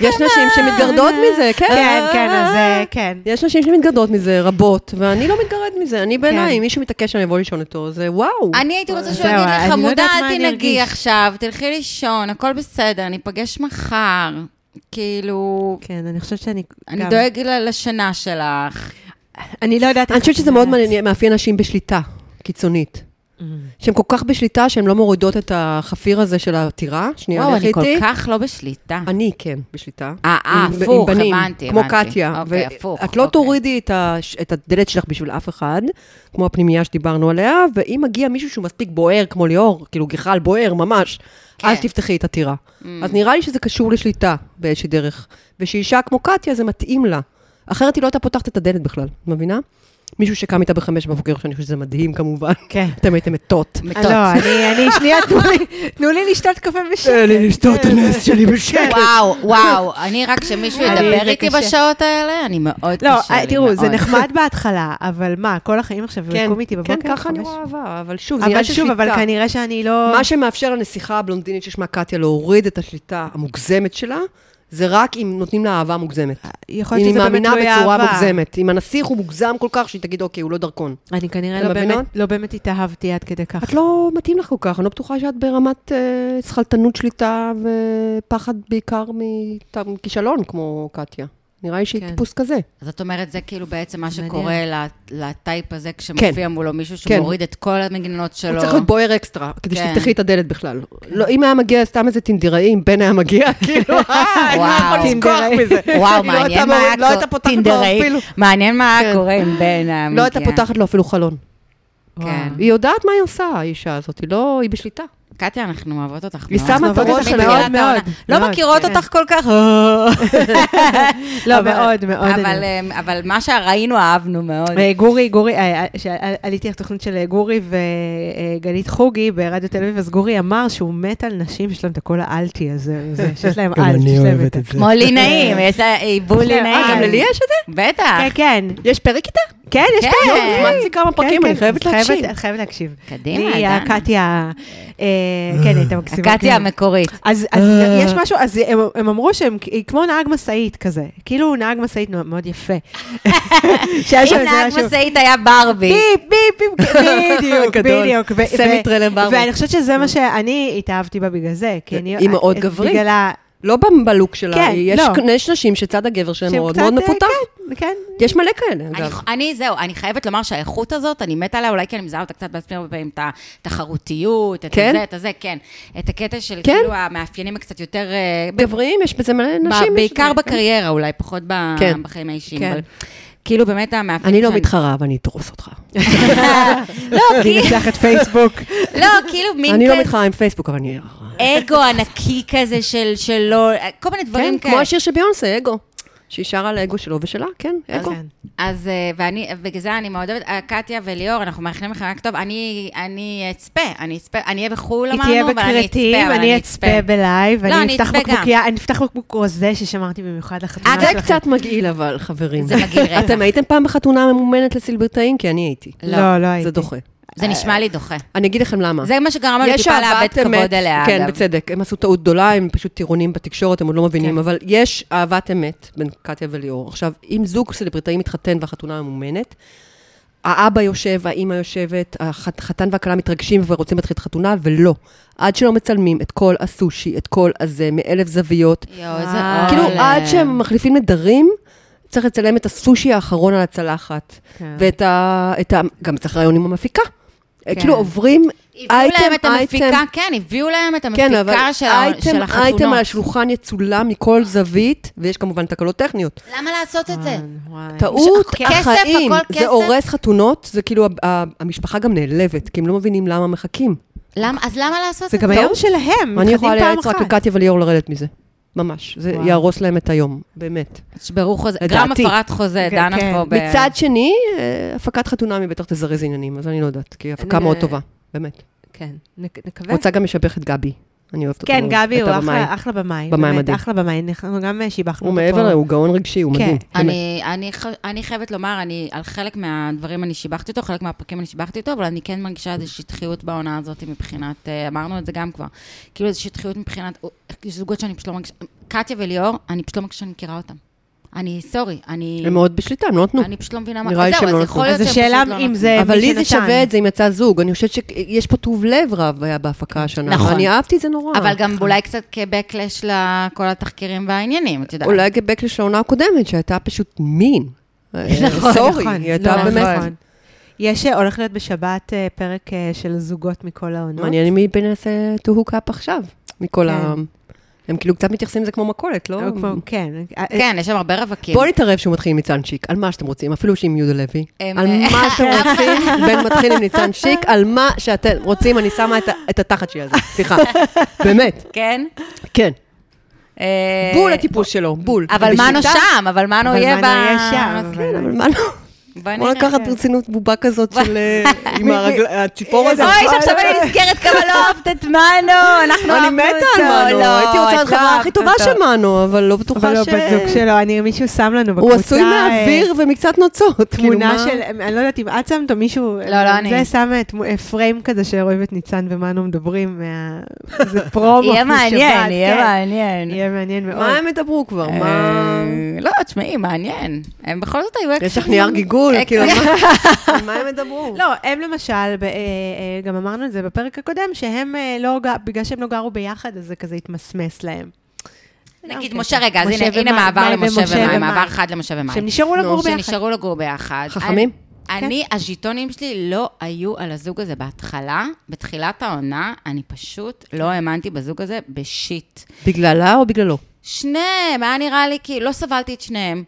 [SPEAKER 3] יש נשים
[SPEAKER 1] אה,
[SPEAKER 3] שמתגרדות מזה, כן.
[SPEAKER 2] כן, כן, אז אה, כן.
[SPEAKER 3] יש נשים שמתגרדות מזה רבות, ואני לא מתגרד מזה. אני בעיניי,
[SPEAKER 2] כן.
[SPEAKER 3] אם מישהו מתעקש שאני אבוא לישון איתו, זה וואו.
[SPEAKER 1] אני הייתי רוצה שהוא
[SPEAKER 2] זהו,
[SPEAKER 1] יגיד
[SPEAKER 2] אני
[SPEAKER 1] לי,
[SPEAKER 2] לא
[SPEAKER 1] חמודה,
[SPEAKER 2] יודעת מה
[SPEAKER 1] אל
[SPEAKER 2] אני
[SPEAKER 1] תנהגי
[SPEAKER 2] ארגיש."
[SPEAKER 1] עכשיו, תלכי לישון, הכל בסדר, ניפגש מחר. כאילו,
[SPEAKER 2] כן, אני חושבת שאני...
[SPEAKER 1] אני
[SPEAKER 2] גם-
[SPEAKER 1] דואג ל- לשינה שלך.
[SPEAKER 2] אני לא יודעת...
[SPEAKER 3] אני
[SPEAKER 2] איך-
[SPEAKER 3] חושבת שזה מאוד מעניין- מאפיין נשים בשליטה קיצונית. שהן כל כך בשליטה, שהן לא מורידות את החפיר הזה של העתירה. שנייה,
[SPEAKER 1] וואו,
[SPEAKER 3] לכי
[SPEAKER 1] אני כל
[SPEAKER 3] איתי.
[SPEAKER 1] כך לא בשליטה.
[SPEAKER 3] אני כן, בשליטה.
[SPEAKER 1] אה, אה,
[SPEAKER 3] עם- עם
[SPEAKER 1] הפוך,
[SPEAKER 3] בנים,
[SPEAKER 1] הבנתי,
[SPEAKER 3] כמו
[SPEAKER 1] הבנתי.
[SPEAKER 3] קטיה.
[SPEAKER 1] אוקיי,
[SPEAKER 3] ואת
[SPEAKER 1] הפוך,
[SPEAKER 3] לא
[SPEAKER 1] אוקיי.
[SPEAKER 3] תורידי את הש- את הדלת שלך בשביל אף אחד, כמו הפנימייה שדיברנו עליה, ואם מגיע מישהו שהוא מספיק בוער, כמו ליאור, כאילו גחל בוער ממש,
[SPEAKER 1] כן. Mm.
[SPEAKER 3] אז תפתחי את הטירה. אז נראה לי שזה קשור לשליטה באיזושהי דרך. ושאישה כמו קטיה, זה מתאים לה. אחרת היא לא הייתה פותחת את הדלת בכלל, את מבינה? מישהו שקם איתה בחמש בבוקר, שאני חושבת שזה מדהים כמובן.
[SPEAKER 2] כן.
[SPEAKER 3] אתם הייתם מתות.
[SPEAKER 1] מתות.
[SPEAKER 2] לא, אני, אני, שנייה, תנו לי- תנו לי לשתות קפה כן.
[SPEAKER 3] תן
[SPEAKER 2] בשקט.
[SPEAKER 3] לי לשתות הנס שלי בשקט.
[SPEAKER 1] וואו, וואו, אני רק שמישהו
[SPEAKER 2] אני-
[SPEAKER 1] ידבר
[SPEAKER 2] זה
[SPEAKER 1] איתי
[SPEAKER 2] קשה.
[SPEAKER 1] בשעות האלה, אני מאוד קשה לי
[SPEAKER 2] לא,
[SPEAKER 1] מאוד.
[SPEAKER 2] תראו, זה נחמד בהתחלה, אבל מה, כל החיים עכשיו הוא יקום איתי בבוקר?
[SPEAKER 3] כן, ככה אני
[SPEAKER 2] חמש?
[SPEAKER 3] רואה אהבה, אבל שוב, זה
[SPEAKER 2] אבל
[SPEAKER 3] עניין של
[SPEAKER 2] שוב,
[SPEAKER 3] שליטה.
[SPEAKER 2] אבל כנראה שאני לא...
[SPEAKER 3] מה שמאפשר לנסיכה הבלונדינית ששמה קטיה להוריד את השליטה המוגזמת שלה, זה רק אם נותנים לה אהבה מוגזמת.
[SPEAKER 2] יכול
[SPEAKER 3] אם
[SPEAKER 2] להיות
[SPEAKER 3] היא
[SPEAKER 2] שזה באמת
[SPEAKER 3] מאמינה
[SPEAKER 2] לא
[SPEAKER 3] בצורה
[SPEAKER 2] יאהבה.
[SPEAKER 3] מוגזמת. אם הנסיך הוא מוגזם כל כך, שהיא תגיד, אוקיי, הוא לא דרכון.
[SPEAKER 2] אני כנראה
[SPEAKER 3] אתם
[SPEAKER 2] לא באמת,
[SPEAKER 3] מבינות?
[SPEAKER 2] לא באמת התאהבתי עד כדי כך.
[SPEAKER 3] את לא מתאים לך כל כך, אני לא בטוחה שאת ברמת אה, שכלתנות שליטה ופחד בעיקר מט- מכישלון כמו קטיה. נראה לי שהיא
[SPEAKER 2] כן.
[SPEAKER 3] טיפוס כזה.
[SPEAKER 1] אז את אומרת, זה כאילו בעצם מה
[SPEAKER 2] מעניין.
[SPEAKER 1] שקורה ל- לטייפ הזה, כשמופיע מולו מישהו
[SPEAKER 3] כן.
[SPEAKER 1] שמוריד את כל המגננות שלו.
[SPEAKER 3] הוא צריך להיות בוער אקסטרה, כדי
[SPEAKER 1] כן.
[SPEAKER 3] שתפתחי את הדלת בכלל. לא, אם היה מגיע סתם איזה טינדראי, אם בן היה מגיע, כאילו, אה, אני לא
[SPEAKER 1] וואו.
[SPEAKER 3] יכול לשכוח
[SPEAKER 2] טינדראי.
[SPEAKER 3] מזה.
[SPEAKER 1] וואו,
[SPEAKER 3] היא לא הייתה
[SPEAKER 1] מעניין מה
[SPEAKER 3] מוריד-
[SPEAKER 1] היה
[SPEAKER 3] לא הייתה
[SPEAKER 1] קורה-
[SPEAKER 3] פותחת לו
[SPEAKER 1] טינדראי.
[SPEAKER 3] אפילו.
[SPEAKER 1] מעניין מה היה
[SPEAKER 3] כן.
[SPEAKER 1] קורה עם בן המגיע.
[SPEAKER 3] לא הייתה פותחת לו אפילו חלון.
[SPEAKER 1] כן.
[SPEAKER 2] וואו.
[SPEAKER 3] היא יודעת מה היא עושה, האישה הזאת, היא לא, היא בשליטה.
[SPEAKER 1] קטיה, אנחנו אוהבות אותך.
[SPEAKER 3] היא
[SPEAKER 1] מאוד.
[SPEAKER 3] שמה
[SPEAKER 1] אנחנו
[SPEAKER 3] את הראש
[SPEAKER 1] מתחילת
[SPEAKER 3] מאוד
[SPEAKER 1] העונה.
[SPEAKER 2] מאוד, מאוד,
[SPEAKER 1] לא מכירות
[SPEAKER 2] כן.
[SPEAKER 1] אותך כל כך.
[SPEAKER 2] לא,
[SPEAKER 1] אבל-
[SPEAKER 2] מאוד, מאוד.
[SPEAKER 1] אבל,
[SPEAKER 2] אני-
[SPEAKER 1] אמ, אבל מה שראינו אהבנו מאוד.
[SPEAKER 2] אה, גורי, גורי, אה, אה, שעל- עליתי על תוכנית של אה, גורי וגלית חוגי ברדיו תל אביב, אז גורי אמר שהוא מת על נשים שיש להם את הקול האלטי הזה, זה- שיש להם אלט. שיש להם
[SPEAKER 1] כמו לינאים,
[SPEAKER 3] כן.
[SPEAKER 1] יש לה עיבול
[SPEAKER 2] אה,
[SPEAKER 1] לינאים.
[SPEAKER 2] גם ללי
[SPEAKER 3] יש את
[SPEAKER 1] זה? בטח.
[SPEAKER 2] כן, כן.
[SPEAKER 3] יש פרק איתה?
[SPEAKER 2] כן, יש
[SPEAKER 1] כן.
[SPEAKER 2] פרק.
[SPEAKER 1] אה,
[SPEAKER 3] הזמנתי כמה
[SPEAKER 2] כן,
[SPEAKER 3] פרקים,
[SPEAKER 2] כן,
[SPEAKER 3] אני חייבת
[SPEAKER 2] את חייבת-
[SPEAKER 3] להקשיב.
[SPEAKER 2] את חייבת להקשיב.
[SPEAKER 1] קדימה,
[SPEAKER 2] היא
[SPEAKER 1] דנה.
[SPEAKER 2] הקטיה, אה, כן, היא הייתה מקסימה.
[SPEAKER 1] הקטיה
[SPEAKER 2] כן.
[SPEAKER 1] המקורית.
[SPEAKER 2] אז, אז
[SPEAKER 3] אה.
[SPEAKER 2] יש משהו, אז הם, הם אמרו שהם כ- היא כמו נהג משאית כזה, כאילו הוא נהג משאית מאוד- מאוד יפה. שהיה
[SPEAKER 1] אם
[SPEAKER 2] שם איזה
[SPEAKER 1] נהג
[SPEAKER 2] משהו-
[SPEAKER 1] משאית היה ברבי.
[SPEAKER 2] ביפ, ביפ, ביפ, כן, בדיוק,
[SPEAKER 3] גדול.
[SPEAKER 2] בדיוק. ו-
[SPEAKER 3] סמי
[SPEAKER 2] ו-
[SPEAKER 3] טריילר ברמן.
[SPEAKER 2] ואני חושבת שזה מה שאני התאהבתי בה בגלל זה, כי אני...
[SPEAKER 3] היא מאוד
[SPEAKER 2] את-
[SPEAKER 3] גברית.
[SPEAKER 2] בגללה,
[SPEAKER 3] לא ב- בלוק שלה,
[SPEAKER 2] כן,
[SPEAKER 3] יש-
[SPEAKER 2] לא.
[SPEAKER 3] יש נשים שצד הגבר שלהם
[SPEAKER 2] שהם
[SPEAKER 3] מאוד
[SPEAKER 2] קצת,
[SPEAKER 3] מאוד
[SPEAKER 2] אה,
[SPEAKER 3] מפותח.
[SPEAKER 2] כן, כן.
[SPEAKER 3] יש מלא כאלה,
[SPEAKER 1] אני,
[SPEAKER 3] אגב.
[SPEAKER 1] אני, זהו, אני חייבת לומר שהאיכות הזאת, אני מתה עליה, אולי כי אני מזהה אותה קצת בעצמי הרבה פעמים, את התחרותיות, את
[SPEAKER 3] כן?
[SPEAKER 1] זה, את הזה, כן. את הקטע של
[SPEAKER 3] כן?
[SPEAKER 1] כאילו המאפיינים הקצת יותר... אה, ב-
[SPEAKER 3] גברים, יש בזה מלא
[SPEAKER 1] ב-
[SPEAKER 3] נשים. יש-
[SPEAKER 1] בעיקר בקריירה, אולי פחות ב-
[SPEAKER 3] כן.
[SPEAKER 1] בחיים האישיים,
[SPEAKER 2] כן.
[SPEAKER 1] אבל כאילו באמת המאפיינים...
[SPEAKER 3] אני לא
[SPEAKER 1] שאני-
[SPEAKER 3] מתחרה, אבל אני אדרוס אותך.
[SPEAKER 1] לא,
[SPEAKER 2] אני
[SPEAKER 1] כאילו-
[SPEAKER 2] מנצחת פייסבוק.
[SPEAKER 1] לא, כאילו מין
[SPEAKER 3] אני לא
[SPEAKER 1] כזה
[SPEAKER 3] מתחרה עם פייסבוק, אבל אני...
[SPEAKER 1] אגו ענקי כזה של שלא... כל מיני
[SPEAKER 3] כן,
[SPEAKER 1] דברים כאלה.
[SPEAKER 3] כמו השיר של ביונסה, אגו. שהיא שרה על האגו שלו ושלה, כן, אגו.
[SPEAKER 2] כן.
[SPEAKER 1] אז אה, ואני, בגלל זה אני מאוד אוהבת, אה, קטיה וליאור, אנחנו מאחלים לכם רק טוב. אני אני אצפה, אני אצפה, אני אהיה בחו"ל לא
[SPEAKER 2] היא
[SPEAKER 1] אמרנו,
[SPEAKER 2] תהיה
[SPEAKER 1] אבל אני אצפה,
[SPEAKER 2] בכרתים,
[SPEAKER 1] אבל
[SPEAKER 2] אני אצפה בלייב,
[SPEAKER 1] לא,
[SPEAKER 2] אני
[SPEAKER 1] אני
[SPEAKER 2] אפתח
[SPEAKER 1] אצפה גם.
[SPEAKER 2] בקבוקייה, אני אפתח בקבוק רוזה ששמרתי במיוחד לחתונה
[SPEAKER 3] אה, זה
[SPEAKER 2] אה, שלכם.
[SPEAKER 3] קצת מגעיל, אבל, חברים.
[SPEAKER 1] זה מגעיל רצח.
[SPEAKER 3] אתם הייתם פעם בחתונה ממומנת לסילברטאים? כי אני הייתי.
[SPEAKER 2] לא, לא הייתי.
[SPEAKER 3] זה דוחה.
[SPEAKER 1] זה נשמע לי דוחה.
[SPEAKER 3] אני אגיד לכם למה.
[SPEAKER 1] זה מה שגרם לנו טיפה לאבד
[SPEAKER 3] אה, אהבת אמת,
[SPEAKER 1] כבוד אליה,
[SPEAKER 3] כן,
[SPEAKER 1] אגב.
[SPEAKER 3] בצדק. הם עשו טעות גדולה, הם פשוט טירונים בתקשורת, הם עוד לא
[SPEAKER 1] כן.
[SPEAKER 3] מבינים, אבל יש אהבת אמת בין קטיה וליאור. עכשיו, אם זוג סלבריטאים מתחתן והחתונה ממומנת, האבא יושב, האימא יושבת, החתן והכלה מתרגשים ורוצים להתחיל את החתונה, ולא. עד שלא מצלמים את כל הסושי, את כל הזה, מאלף זוויות.
[SPEAKER 1] יואו, איזה
[SPEAKER 2] וואו.
[SPEAKER 1] עול.
[SPEAKER 3] כאילו, עד שהם מחליפים נדרים, צריך לצלם את הסושי האחרון על הצלחת.
[SPEAKER 2] כן.
[SPEAKER 3] ואת ה... את ה גם צריך רעיון עם המפיקה.
[SPEAKER 1] כן.
[SPEAKER 3] כאילו עוברים
[SPEAKER 1] הביאו להם את
[SPEAKER 3] אייטם,
[SPEAKER 1] המפיקה,
[SPEAKER 3] אייטם.
[SPEAKER 1] כן, הביאו להם את
[SPEAKER 3] כן, אבל
[SPEAKER 1] המפיקה של ה- של
[SPEAKER 3] אייטם, אייטם על
[SPEAKER 1] החתונות.
[SPEAKER 3] השולחן יצולם מכל זווית, ויש כמובן תקלות טכניות.
[SPEAKER 1] למה לעשות את
[SPEAKER 3] אה.
[SPEAKER 1] זה?
[SPEAKER 2] כן, וואי.
[SPEAKER 3] טעות,
[SPEAKER 1] כסף,
[SPEAKER 3] החיים,
[SPEAKER 1] הכל כסף.
[SPEAKER 3] זה הורס חתונות, זה כאילו, ה- ה- המשפחה גם נעלבת, כי הם לא מבינים למה מחכים.
[SPEAKER 1] למה- אז למה לעשות
[SPEAKER 2] זה
[SPEAKER 1] את זה?
[SPEAKER 2] גם היום שלהם,
[SPEAKER 3] אני
[SPEAKER 2] מתחתנים
[SPEAKER 3] יכולה
[SPEAKER 2] פעם
[SPEAKER 3] לייעץ
[SPEAKER 2] אחת.
[SPEAKER 3] רק לקטיה וליאור לרדת מזה. ממש, זה
[SPEAKER 2] וואו.
[SPEAKER 3] יהרוס להם את היום, באמת.
[SPEAKER 1] תשברו חוזה,
[SPEAKER 3] לדעתי.
[SPEAKER 1] גרם הפרת חוזה,
[SPEAKER 2] כן,
[SPEAKER 1] דנה
[SPEAKER 2] כן.
[SPEAKER 1] פה ב...
[SPEAKER 3] מצד שני, אה, הפקת חתונה מבטח תזרז עניינים, אז אני לא יודעת, כי הפקה
[SPEAKER 2] אני-
[SPEAKER 3] מאוד טובה, באמת.
[SPEAKER 2] כן, נק- נקווה.
[SPEAKER 3] רוצה גם לשבח את גבי, אני אוהבת אותו.
[SPEAKER 2] כן,
[SPEAKER 3] מאוד,
[SPEAKER 2] גבי
[SPEAKER 3] את
[SPEAKER 2] הוא
[SPEAKER 3] הבמאי.
[SPEAKER 2] אחלה, אחלה במאי.
[SPEAKER 3] במאי
[SPEAKER 2] באמת,
[SPEAKER 3] מדהים.
[SPEAKER 2] אחלה במאי, אנחנו גם אה, שיבחנו
[SPEAKER 3] הוא
[SPEAKER 2] אותו פה.
[SPEAKER 3] מעבר, הוא גאון רגשי, הוא
[SPEAKER 2] כן.
[SPEAKER 3] מדהים. באמת.
[SPEAKER 1] אני, אני, ח- אני חייבת לומר, אני, על חלק מהדברים אני שיבחתי אותו, חלק מהפרקים אני שיבחתי אותו, אבל אני כן מרגישה איזו שטחיות בעונה הזאת מבחינת, אה, אמרנו את זה גם כבר, כאילו איזו שטחיות מבחינת, אה, יש זוגות שאני פשוט לא מרגישה, קטיה וליאור, אני פשוט לא מרגישה שאני מכירה אותם. אני, סורי, אני,
[SPEAKER 3] הם מאוד בשליטה, הם לא נתנו.
[SPEAKER 1] אני פשוט לא מבינה מה,
[SPEAKER 3] נראה לי
[SPEAKER 1] זהו,
[SPEAKER 3] שהם
[SPEAKER 1] אז
[SPEAKER 3] לא
[SPEAKER 1] יכול
[SPEAKER 3] נתנו.
[SPEAKER 1] להיות
[SPEAKER 2] אז
[SPEAKER 1] שהם
[SPEAKER 2] השאלה
[SPEAKER 1] פשוט לא
[SPEAKER 2] אם
[SPEAKER 1] נתנו.
[SPEAKER 2] זה
[SPEAKER 3] נכון. אבל
[SPEAKER 2] מי
[SPEAKER 3] לי זה
[SPEAKER 2] שנתן.
[SPEAKER 3] שווה את זה אם יצא זוג. אני חושבת שיש פה טוב לב רב היה בהפקה השנה.
[SPEAKER 1] נכון.
[SPEAKER 3] אני אהבתי את זה נורא.
[SPEAKER 1] אבל גם אולי קצת כבקלש לכל התחקירים והעניינים, את יודעת.
[SPEAKER 3] אולי גבק של העונה הקודמת, שהייתה פשוט מין.
[SPEAKER 1] נכון,
[SPEAKER 3] סורי,
[SPEAKER 2] נכון,
[SPEAKER 3] היא הייתה
[SPEAKER 2] לא,
[SPEAKER 3] באמת...
[SPEAKER 2] נכון. יש, אה, הולך להיות בשבת אה, פרק אה, של זוגות מכל העונות.
[SPEAKER 3] מעניין מי מנסה אה, to hook up עכשיו, מכל
[SPEAKER 2] כן.
[SPEAKER 3] ה... הם כאילו קצת מתייחסים לזה כמו מכולת, לא?
[SPEAKER 2] או כמו- כן. אה, אה,
[SPEAKER 1] כן, יש שם הרבה רווקים.
[SPEAKER 3] בואו נתערב שהוא מתחיל עם ניצן שיק, על מה שאתם רוצים, אפילו שעם יהודה לוי.
[SPEAKER 1] הם- אה,
[SPEAKER 3] על מה שאתם רוצים, בן מתחיל עם ניצן שיק, על מה שאתם רוצים, אני שמה את ה- את התחת שלי על זה, סליחה. באמת,
[SPEAKER 1] כן?
[SPEAKER 3] כן.
[SPEAKER 1] אה, אה,
[SPEAKER 3] בול הטיפוס שלו, בול.
[SPEAKER 1] אבל
[SPEAKER 3] ובשליטה-
[SPEAKER 1] מנו שם, אבל מנו
[SPEAKER 3] לא
[SPEAKER 2] אבל
[SPEAKER 1] יהיה ב... אוקיי,
[SPEAKER 2] מנו יהיה שם, אבל-
[SPEAKER 3] כן, אבל לא מנו...
[SPEAKER 1] בוא
[SPEAKER 3] כמו
[SPEAKER 1] נראה.
[SPEAKER 3] לקחת ברצינות בובה כזאת של... אה, עם הרגל- הציפור הזה.
[SPEAKER 1] אוי, שעכשיו אני נזכרת כמה לא אהבת את מנו, אנחנו
[SPEAKER 3] אני
[SPEAKER 1] אהבנו
[SPEAKER 3] מתה על
[SPEAKER 1] אותו,
[SPEAKER 3] מנו,
[SPEAKER 1] לא,
[SPEAKER 3] הייתי רוצה
[SPEAKER 1] את
[SPEAKER 3] להיות
[SPEAKER 1] לא
[SPEAKER 3] חברה הכי
[SPEAKER 1] אהבת
[SPEAKER 3] טובה
[SPEAKER 1] אותו.
[SPEAKER 3] של מנו, אבל לא
[SPEAKER 2] אבל
[SPEAKER 3] בטוחה
[SPEAKER 2] לא
[SPEAKER 3] ש...
[SPEAKER 2] בת זוג שלו, אני, מישהו שם לנו בקבוצה...
[SPEAKER 3] הוא עשוי
[SPEAKER 2] אה,
[SPEAKER 3] מהאוויר ומקצת נוצות. כאילו,
[SPEAKER 2] תמונה
[SPEAKER 3] מה-
[SPEAKER 2] של, אני לא יודעת אם את שמת או מישהו,
[SPEAKER 1] לא, לא אני.
[SPEAKER 2] זה שם תמו- אה, פריים כזה שרואים את ניצן ומנו מדברים, מה- זה פרומו.
[SPEAKER 1] יהיה מעניין,
[SPEAKER 2] משבת,
[SPEAKER 1] יהיה
[SPEAKER 2] כן.
[SPEAKER 1] מעניין.
[SPEAKER 2] יהיה מעניין מאוד.
[SPEAKER 3] מה הם ידברו כבר? מה...
[SPEAKER 1] אה, לא, תשמעי, מעניין. הם בכל זאת היו...
[SPEAKER 3] יש לך
[SPEAKER 1] אקסים-
[SPEAKER 3] נייר גיגול,
[SPEAKER 1] אקסים-
[SPEAKER 3] כאילו, מה- על מה הם ידברו?
[SPEAKER 2] לא, הם למשל, ב- אה, אה, גם אמרנו את זה בפרק הקודם, שהם אה, לא, ג- בגלל שהם לא גרו ביחד, אז זה כזה התמסמס להם.
[SPEAKER 1] נגיד
[SPEAKER 2] אוקיי.
[SPEAKER 1] משה רגע, אז
[SPEAKER 2] משה
[SPEAKER 1] הנה- הנה
[SPEAKER 2] ומים,
[SPEAKER 1] מעבר
[SPEAKER 2] מים
[SPEAKER 1] למשה
[SPEAKER 2] ומשה
[SPEAKER 1] ומים,
[SPEAKER 2] ומים.
[SPEAKER 1] מעבר חד למשה ומים.
[SPEAKER 2] שהם נשארו
[SPEAKER 3] נו,
[SPEAKER 2] לגור ביחד.
[SPEAKER 1] שנשארו לגור ביחד.
[SPEAKER 3] חכמים?
[SPEAKER 1] אני, אני, הז'יטונים שלי לא היו על הזוג הזה בהתחלה. בתחילת העונה, אני פשוט לא האמנתי בזוג הזה בשיט.
[SPEAKER 3] בגללה או בגללו?
[SPEAKER 1] שניהם, היה נראה לי כי לא סבלתי את שניהם.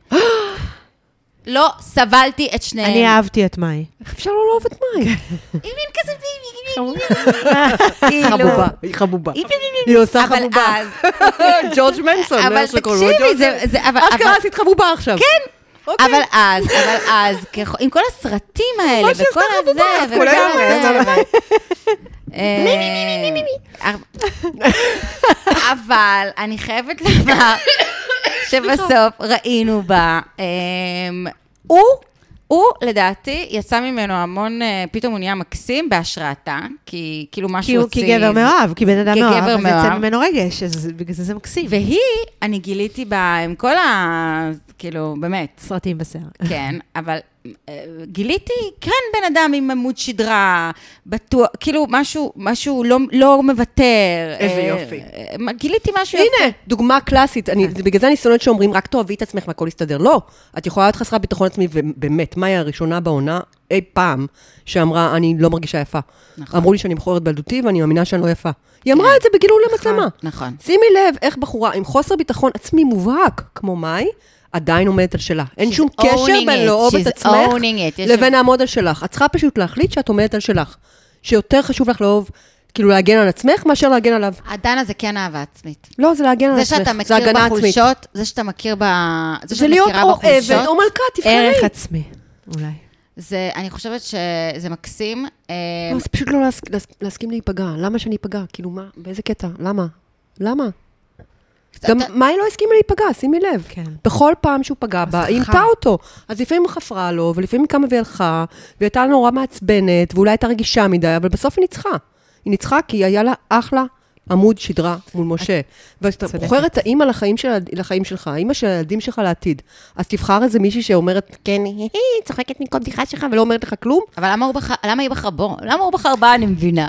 [SPEAKER 1] לא סבלתי את שניהם.
[SPEAKER 2] אני אהבתי את מאי.
[SPEAKER 3] איך אפשר לא לאהוב את מאי?
[SPEAKER 1] היא מין כזה ביבי,
[SPEAKER 3] היא
[SPEAKER 2] לא-
[SPEAKER 1] כאילו.
[SPEAKER 3] חבובה, היא חבובה.
[SPEAKER 1] היא ביבי.
[SPEAKER 3] היא עושה
[SPEAKER 1] אבל
[SPEAKER 3] חבובה.
[SPEAKER 1] אז,
[SPEAKER 3] ג'ורג' מנסון,
[SPEAKER 1] אבל
[SPEAKER 3] איך שקוראים לו?
[SPEAKER 1] תקשיבי,
[SPEAKER 3] ג'ורג'
[SPEAKER 1] זה,
[SPEAKER 3] מנסון.
[SPEAKER 1] זה, אבל, אבל,
[SPEAKER 3] אשכרה עשית חבובה עכשיו.
[SPEAKER 2] אוקיי.
[SPEAKER 3] כן.
[SPEAKER 1] אבל אז, אבל אז, ככ- עם כל הסרטים האלה,
[SPEAKER 3] ממש
[SPEAKER 1] וכל
[SPEAKER 3] הזכרת
[SPEAKER 1] הזה,
[SPEAKER 3] בבית,
[SPEAKER 1] וכל
[SPEAKER 3] כולם
[SPEAKER 1] הזה,
[SPEAKER 3] אומרים.
[SPEAKER 1] ו- אה, אה, אבל אני חייבת לומר שבסוף ראינו בה, אמ, הוא, הוא לדעתי יצא ממנו המון, אה, פתאום הוא נהיה מקסים בהשראתה, כי כאילו מה
[SPEAKER 2] כי
[SPEAKER 1] שהוא
[SPEAKER 2] הוא
[SPEAKER 1] הוציא... זה-
[SPEAKER 2] כגבר מאוהב, כי בן אדם
[SPEAKER 1] כגבר
[SPEAKER 2] מאוהב, אז יצא
[SPEAKER 1] מאוהב.
[SPEAKER 2] ממנו רגש, אז בגלל זה זה מקסים.
[SPEAKER 1] והיא, אני גיליתי בה עם כל ה... כאילו, באמת.
[SPEAKER 2] סרטים בשיער.
[SPEAKER 1] כן, אבל אה, גיליתי כן בן אדם עם עמוד שדרה, בטוח, כאילו משהו, משהו לא, לא מוותר.
[SPEAKER 3] איזה
[SPEAKER 1] אה,
[SPEAKER 3] יופי.
[SPEAKER 1] אה, גיליתי משהו יפה. כן.
[SPEAKER 3] הנה, דוגמה קלאסית. אני- זה בגלל זה אני שונאת שאומרים, רק תאהבי את עצמך והכל יסתדר. לא, את יכולה להיות חסרת ביטחון עצמי, ובאמת, מאי הראשונה בעונה אי פעם שאמרה, אני לא מרגישה יפה.
[SPEAKER 1] נכון. כן.
[SPEAKER 3] אמרו לי שאני מכוערת בילדותי ואני מאמינה שאני לא יפה. היא אמרה את זה בגילוי למצלמה.
[SPEAKER 1] נכון.
[SPEAKER 3] שימי לב איך בחורה עם חוסר ביטחון עצמי מובהק, כמו מאי, עדיין עומדת על שלה. אין
[SPEAKER 1] She's
[SPEAKER 3] שום
[SPEAKER 1] owning
[SPEAKER 3] קשר
[SPEAKER 1] it.
[SPEAKER 3] בין לאהוב את
[SPEAKER 1] She's
[SPEAKER 3] עצמך
[SPEAKER 1] owning it. יש
[SPEAKER 3] לבין לעמוד על שלך. את צריכה פשוט להחליט שאת עומדת על שלך. שיותר חשוב לך לאהוב, כאילו להגן על עצמך, מאשר להגן עליו.
[SPEAKER 1] הדנה זה כן אהבה עצמית.
[SPEAKER 3] לא, זה להגן על
[SPEAKER 1] זה
[SPEAKER 3] עצמך,
[SPEAKER 1] שאתה
[SPEAKER 3] זה
[SPEAKER 1] מכיר
[SPEAKER 3] הגנה עצמית.
[SPEAKER 1] בחולשות, זה שאתה מכיר ב... זה
[SPEAKER 3] זה
[SPEAKER 1] שאת
[SPEAKER 3] להיות
[SPEAKER 1] מכירה
[SPEAKER 3] או עבד או
[SPEAKER 1] בחולשות,
[SPEAKER 3] מלכה, תבחרי.
[SPEAKER 2] ערך עצמי, אולי.
[SPEAKER 1] זה, אני חושבת שזה מקסים. אה,
[SPEAKER 3] לא, זה פשוט לא להס- להס- להסכים להיפגע. למה שאני אפגע? כאילו, מה? באיזה קטע? למה? למה? גם
[SPEAKER 1] אתה-
[SPEAKER 3] מאי לא הסכימה להיפגע, שימי לב.
[SPEAKER 2] כן.
[SPEAKER 3] בכל פעם שהוא פגע בה, היא
[SPEAKER 2] חכה.
[SPEAKER 3] אימתה אותו. אז לפעמים חפרה לו, ולפעמים קמה והלכה, והיא הייתה נורא מעצבנת, ואולי הייתה רגישה מדי, אבל בסוף היא ניצחה. היא ניצחה כי היה לה אחלה עמוד שדרה מול משה. ואתה
[SPEAKER 2] צודקת.
[SPEAKER 3] בוחר את האימא לחיים, של, לחיים שלך, האימא של הילדים שלך לעתיד. אז תבחר איזה מישהי שאומרת, כן, היא צוחקת מכל בדיחה שלך ולא אומרת לך כלום.
[SPEAKER 1] אבל למה הוא בחר, למה היא בחרה בו? למה הוא בחר בה, אני מבינה.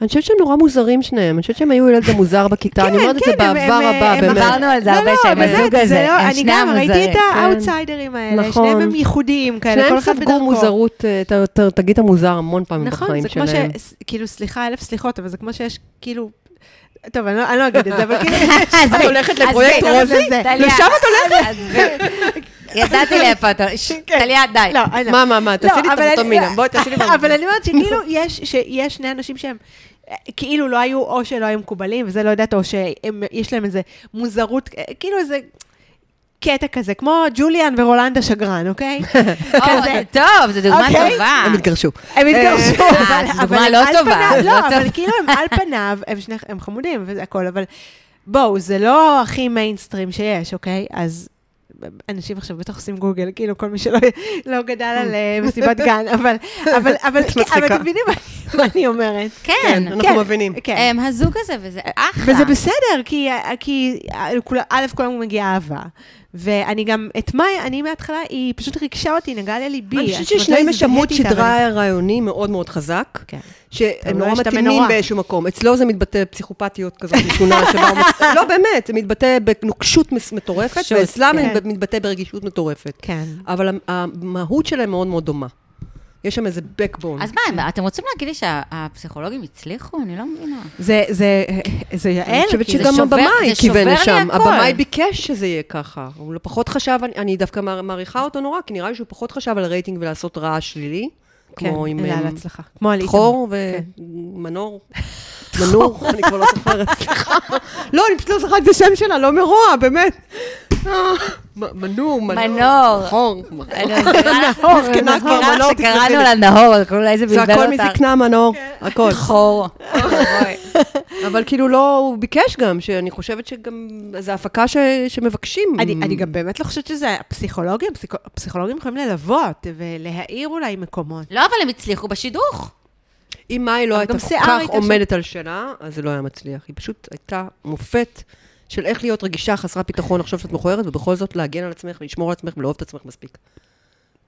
[SPEAKER 3] אני חושבת שהם נורא מוזרים שניהם, אני חושבת שהם היו ילד המוזר בכיתה, אני אומרת את זה
[SPEAKER 2] כן, הם-
[SPEAKER 3] בעבר
[SPEAKER 2] הם-
[SPEAKER 3] רבה,
[SPEAKER 2] הם
[SPEAKER 3] באמת.
[SPEAKER 1] עברנו על זה
[SPEAKER 2] לא,
[SPEAKER 1] הרבה
[SPEAKER 2] לא,
[SPEAKER 1] שהם
[SPEAKER 2] באמת,
[SPEAKER 1] הזוג
[SPEAKER 2] זה
[SPEAKER 1] הזה,
[SPEAKER 2] לא-
[SPEAKER 1] הם
[SPEAKER 2] אני
[SPEAKER 1] שני
[SPEAKER 2] גם ראיתי את
[SPEAKER 1] המוזרים.
[SPEAKER 2] האאוטסיידרים האלה,
[SPEAKER 3] נכון.
[SPEAKER 2] שניהם הם ייחודיים כאלה, כל
[SPEAKER 3] שניהם
[SPEAKER 2] כן, אחד בדרכו.
[SPEAKER 3] ספגו מוזרות, אה, ת- ת- תגיד המוזר המון פעמים
[SPEAKER 2] נכון,
[SPEAKER 3] בחיים
[SPEAKER 2] זה כמו ש...
[SPEAKER 3] שלהם.
[SPEAKER 2] כאילו, סליחה, אלף סליחות, אבל זה כמו שיש, כאילו... טוב, אני לא- אני לא אגיד את זה, לא, אבל כאילו...
[SPEAKER 1] עזבי,
[SPEAKER 3] הולכת
[SPEAKER 1] עזבי,
[SPEAKER 3] לפרויקט
[SPEAKER 1] עזבי,
[SPEAKER 2] רוזי?
[SPEAKER 1] טליה,
[SPEAKER 3] לשם
[SPEAKER 1] עזבי. ידעתי לאיפה אתה, ש-
[SPEAKER 2] כן.
[SPEAKER 1] טליה, די.
[SPEAKER 2] לא, אני לא.
[SPEAKER 3] מה, מה, מה, תעשי לי
[SPEAKER 2] לא,
[SPEAKER 3] את
[SPEAKER 2] אבל אני-
[SPEAKER 3] המטומינה, בואי תעשי לי
[SPEAKER 2] אבל אני אומרת שכאילו יש, שיש שני אנשים שהם אה, כאילו לא היו, או שלא היו מקובלים, וזה לא יודעת, או שיש להם איזה מוזרות, אה, כאילו איזה קטע כזה, כמו ג'וליאן ורולנדה שגרן, אוקיי?
[SPEAKER 1] או, זה טוב, זו דוגמה
[SPEAKER 2] אוקיי.
[SPEAKER 1] טובה.
[SPEAKER 3] הם התגרשו.
[SPEAKER 2] הם התגרשו,
[SPEAKER 1] אה,
[SPEAKER 2] אבל...
[SPEAKER 1] זו
[SPEAKER 2] אבל
[SPEAKER 1] דוגמה
[SPEAKER 2] הם
[SPEAKER 1] לא
[SPEAKER 2] על
[SPEAKER 1] טובה,
[SPEAKER 2] פניו-
[SPEAKER 1] לא
[SPEAKER 2] לא,
[SPEAKER 1] טובה.
[SPEAKER 2] אבל כאילו הם על פניו, הם שני- הם חמודים וזה הכל, אבל בואו, זה לא הכי מיינסטרים שיש, אוקיי? אז... אנשים עכשיו בטח עושים גוגל, כאילו כל מי שלא לא גדל על אה, מסיבת גן, אבל, אבל, כן, אבל,
[SPEAKER 3] את
[SPEAKER 2] אבל
[SPEAKER 3] מצחיקה.
[SPEAKER 2] אתם מבינים מה- מה אני אומרת.
[SPEAKER 1] כן,
[SPEAKER 3] אנחנו מבינים.
[SPEAKER 2] כן. אה,
[SPEAKER 1] הם הזוג הזה, וזה אחלה.
[SPEAKER 2] וזה בסדר, כי, אה, כי כול- א', כולנו מגיעה אהבה. ואני גם, את מאי, אני מההתחלה, היא פשוט ריגשה אותי, נגעה לליבי.
[SPEAKER 3] אני
[SPEAKER 2] אז
[SPEAKER 3] חושבת
[SPEAKER 2] מתי
[SPEAKER 3] ששניהם יש עמוד
[SPEAKER 2] הזדהיתי איתה,
[SPEAKER 3] שדרה רעיוני מאוד מאוד חזק,
[SPEAKER 2] אבל- כן.
[SPEAKER 3] שהם
[SPEAKER 2] לא
[SPEAKER 3] נורא
[SPEAKER 2] להשתמע
[SPEAKER 3] מתאימים
[SPEAKER 2] נורא.
[SPEAKER 3] באיזשהו מקום. אצלו זה מתבטא פסיכופתיות כזאת משונה שבה הוא... מצ- לא, באמת, זה מתבטא בנוקשות מס- מטורפת,
[SPEAKER 1] נוקשות,
[SPEAKER 3] ואצלם
[SPEAKER 2] כן.
[SPEAKER 3] זה מתבטא ברגישות מטורפת.
[SPEAKER 2] כן.
[SPEAKER 3] אבל המ- המהות שלהם מאוד מאוד דומה. יש שם איזה backbone.
[SPEAKER 1] אז מה, הם- אתם רוצים להגיד לי שהפסיכולוגים הצליחו? אני לא מבינה.
[SPEAKER 2] זה, זה, זה יעל.
[SPEAKER 3] אני חושבת
[SPEAKER 1] כי זה
[SPEAKER 3] שגם
[SPEAKER 1] שובר-
[SPEAKER 3] הבמאי
[SPEAKER 1] זה
[SPEAKER 3] כיוון
[SPEAKER 1] שובר לי
[SPEAKER 3] לשם.
[SPEAKER 1] הכל.
[SPEAKER 3] הבמאי ביקש שזה יהיה ככה. הוא לא פחות חשב, אני- אני דווקא מע- מעריכה אותו נורא, כי נראה לי שהוא פחות חשב על רייטינג ולעשות רעש שלילי. כמו עם
[SPEAKER 2] כן, אלא
[SPEAKER 3] אה,
[SPEAKER 2] על הצלחה. כמו על איתמר.
[SPEAKER 3] חור
[SPEAKER 2] כן.
[SPEAKER 3] ומנור. מנור, אני כבר לא זוכרת, סליחה.
[SPEAKER 2] לא, אני פשוט לא זוכרת את השם שלה, לא מרוע, באמת.
[SPEAKER 3] מ- מנור,
[SPEAKER 1] מנור.
[SPEAKER 2] נכון,
[SPEAKER 3] מנור.
[SPEAKER 1] אני מזכירה לך-
[SPEAKER 3] מסכנה כבר,
[SPEAKER 1] מזכירה לך
[SPEAKER 3] מנור,
[SPEAKER 1] שקראנו
[SPEAKER 3] תסלחי
[SPEAKER 1] לה נהור, קראו לה איזה
[SPEAKER 3] זה
[SPEAKER 1] בלבל אותה. נכון.
[SPEAKER 3] הכל מזקנה, מנור, הכל.
[SPEAKER 1] חור.
[SPEAKER 3] אבל כאילו לא, הוא ביקש גם, שאני חושבת שגם, זו הפקה ש- שמבקשים.
[SPEAKER 2] אני, אני גם באמת לא חושבת שזה הפסיכולוגים, הפסיכו- הפסיכולוגים יכולים ללוות ולהאיר אולי מקומות.
[SPEAKER 1] לא, אבל הם הצליחו בשידוך.
[SPEAKER 3] אם מאי לא
[SPEAKER 2] אבל
[SPEAKER 3] הייתה
[SPEAKER 2] גם
[SPEAKER 3] כל
[SPEAKER 2] שיער
[SPEAKER 3] כך
[SPEAKER 2] הייתה שם.
[SPEAKER 3] עומדת על שלה, אז זה לא היה מצליח. היא פשוט הייתה מופת של איך להיות רגישה, חסרת ביטחון, לחשוב שאת מכוערת, ובכל זאת להגן על עצמך ולשמור על עצמך ולאהוב את עצמך מספיק.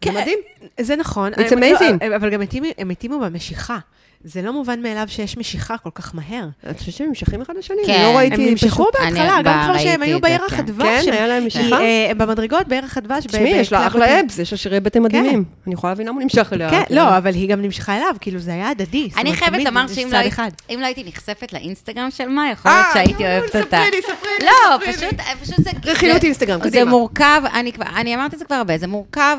[SPEAKER 2] כן.
[SPEAKER 3] זה מדהים.
[SPEAKER 2] זה נכון.
[SPEAKER 3] It's
[SPEAKER 2] הם- לא,
[SPEAKER 3] amazing.
[SPEAKER 2] הם- אבל גם התאימו- הם התאימו במשיכה. זה לא מובן מאליו שיש משיכה כל כך מהר.
[SPEAKER 3] את חושבת שהם נמשכים אחד לשני?
[SPEAKER 1] כן.
[SPEAKER 3] לא
[SPEAKER 2] הם
[SPEAKER 3] ראיתי...
[SPEAKER 2] נמשכו
[SPEAKER 3] פשוט-
[SPEAKER 2] בהתחלה,
[SPEAKER 1] אני
[SPEAKER 2] גם
[SPEAKER 1] ב-
[SPEAKER 2] כבר שהם
[SPEAKER 1] ראיתי
[SPEAKER 2] היו
[SPEAKER 1] את זה,
[SPEAKER 2] בירח
[SPEAKER 1] כן.
[SPEAKER 2] הדבש.
[SPEAKER 3] כן,
[SPEAKER 2] הם-
[SPEAKER 3] היה להם
[SPEAKER 2] היא,
[SPEAKER 3] משיכה.
[SPEAKER 2] אה, במדרגות בירח הדבש. ב-
[SPEAKER 3] תשמעי, יש לה
[SPEAKER 2] בקלאב
[SPEAKER 3] אחלה
[SPEAKER 2] הוטל.
[SPEAKER 3] אבס, יש לה שירי בטן מדהימים. אני יכולה להבין למה הוא נמשך אליה.
[SPEAKER 2] כן,
[SPEAKER 3] כי-
[SPEAKER 2] לא, אבל היא גם נמשכה אליו, כאילו זה היה הדדי. זאת
[SPEAKER 1] אני
[SPEAKER 2] אומרת,
[SPEAKER 1] חייבת
[SPEAKER 2] תמיד
[SPEAKER 1] לומר
[SPEAKER 2] יש
[SPEAKER 1] שאם לא
[SPEAKER 2] צד
[SPEAKER 1] הייתי-
[SPEAKER 2] אחד.
[SPEAKER 1] אם לא הייתי נחשפת לאינסטגרם של מאי, יכול להיות שהייתי אוהבת אותה.
[SPEAKER 3] אה, לא, ספרי לי, ספרי לי,
[SPEAKER 1] לא,
[SPEAKER 3] ספרי לי.
[SPEAKER 1] פשוט, פשוט זה...
[SPEAKER 3] רכילות
[SPEAKER 1] זה-
[SPEAKER 3] אינסטגרם,
[SPEAKER 1] זה
[SPEAKER 3] קדימה.
[SPEAKER 1] מורכב, אני כבר, אני אמרתי את זה כבר הרבה, זה מורכב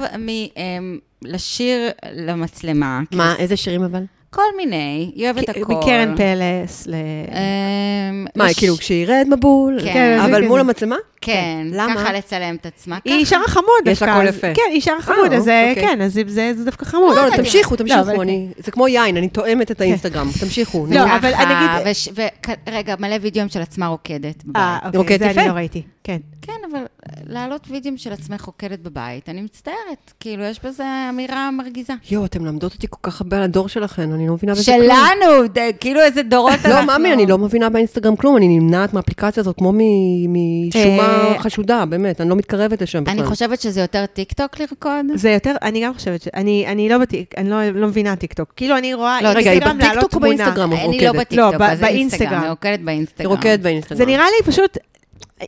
[SPEAKER 1] מלשיר למצלמה.
[SPEAKER 3] מה, איזה שירים אבל?
[SPEAKER 1] כל מיני, היא אוהבת
[SPEAKER 2] כי-
[SPEAKER 1] הכל.
[SPEAKER 2] מקרן פלס ל...
[SPEAKER 1] אמ,
[SPEAKER 3] מה,
[SPEAKER 1] לש-
[SPEAKER 3] כאילו כשירד מבול?
[SPEAKER 1] כן,
[SPEAKER 3] אה, אבל
[SPEAKER 2] זה
[SPEAKER 3] מול
[SPEAKER 2] כזה.
[SPEAKER 3] המצלמה?
[SPEAKER 1] כן,
[SPEAKER 3] למה?
[SPEAKER 1] ככה לצלם את עצמה.
[SPEAKER 2] היא
[SPEAKER 1] ככה.
[SPEAKER 2] אישה חמוד
[SPEAKER 3] יש
[SPEAKER 2] דווקא.
[SPEAKER 3] לה קול
[SPEAKER 2] אז-
[SPEAKER 3] יפה.
[SPEAKER 2] כן, היא אישה חמוד,
[SPEAKER 3] אה,
[SPEAKER 2] אז אה,
[SPEAKER 3] אוקיי.
[SPEAKER 2] כן, אז זה- זה זה דווקא חמוד.
[SPEAKER 3] לא,
[SPEAKER 1] לא,
[SPEAKER 3] לא, תמשיכו,
[SPEAKER 2] לא, אבל- כן.
[SPEAKER 3] תמשיכו, אני... זה כמו יין, אני תואמת את האינסטגרם. תמשיכו. נו.
[SPEAKER 2] לא, אבל
[SPEAKER 1] ככה,
[SPEAKER 2] נגיד-
[SPEAKER 1] וש- וכ- רגע, מלא וידאוים של עצמה רוקדת. בבית.
[SPEAKER 2] אה, אוקיי,
[SPEAKER 3] אוקיי,
[SPEAKER 2] זה
[SPEAKER 3] יפה.
[SPEAKER 2] אני לא ראיתי. כן.
[SPEAKER 1] כן, אבל אה, להעלות וידאוים של עצמך רוקדת בבית, אני מצטערת. כאילו, יש בזה אמירה מרגיזה.
[SPEAKER 3] יואו, אתם למדות אותי כל כך הרבה על הדור שלכן, אני לא מבינה בזה כלום.
[SPEAKER 1] שלנו, ד- כאילו איזה דורות אנחנו.
[SPEAKER 3] לא, ממי, אני לא מבינה באינסטגרם כלום, אני נמנעת מהאפליקציה הזאת כמו מ- משומה
[SPEAKER 2] אה,
[SPEAKER 3] חשודה, באמת, אני לא מתקרבת לשם בכלל.
[SPEAKER 1] אני חושבת שזה יותר טיקטוק לרקוד.
[SPEAKER 2] זה יותר, אני גם חושבת ש... אני אני לא בטיק, אני לא לא מבינה טיקטוק. כאילו, אני רואה
[SPEAKER 1] לא,
[SPEAKER 3] רגע, היא
[SPEAKER 2] אינסטגרם להעלות
[SPEAKER 3] בטיקטוק או
[SPEAKER 2] תמונה.
[SPEAKER 3] באינסטגרם או
[SPEAKER 1] אני לא
[SPEAKER 3] רוקדת?
[SPEAKER 1] בטיקטוק,
[SPEAKER 2] לא,
[SPEAKER 1] אז
[SPEAKER 2] ב- באינסטגרם.
[SPEAKER 1] אני רוקדת באינסטגרם.
[SPEAKER 3] רוקדת באינסטגרם.
[SPEAKER 2] זה נראה לי פשוט...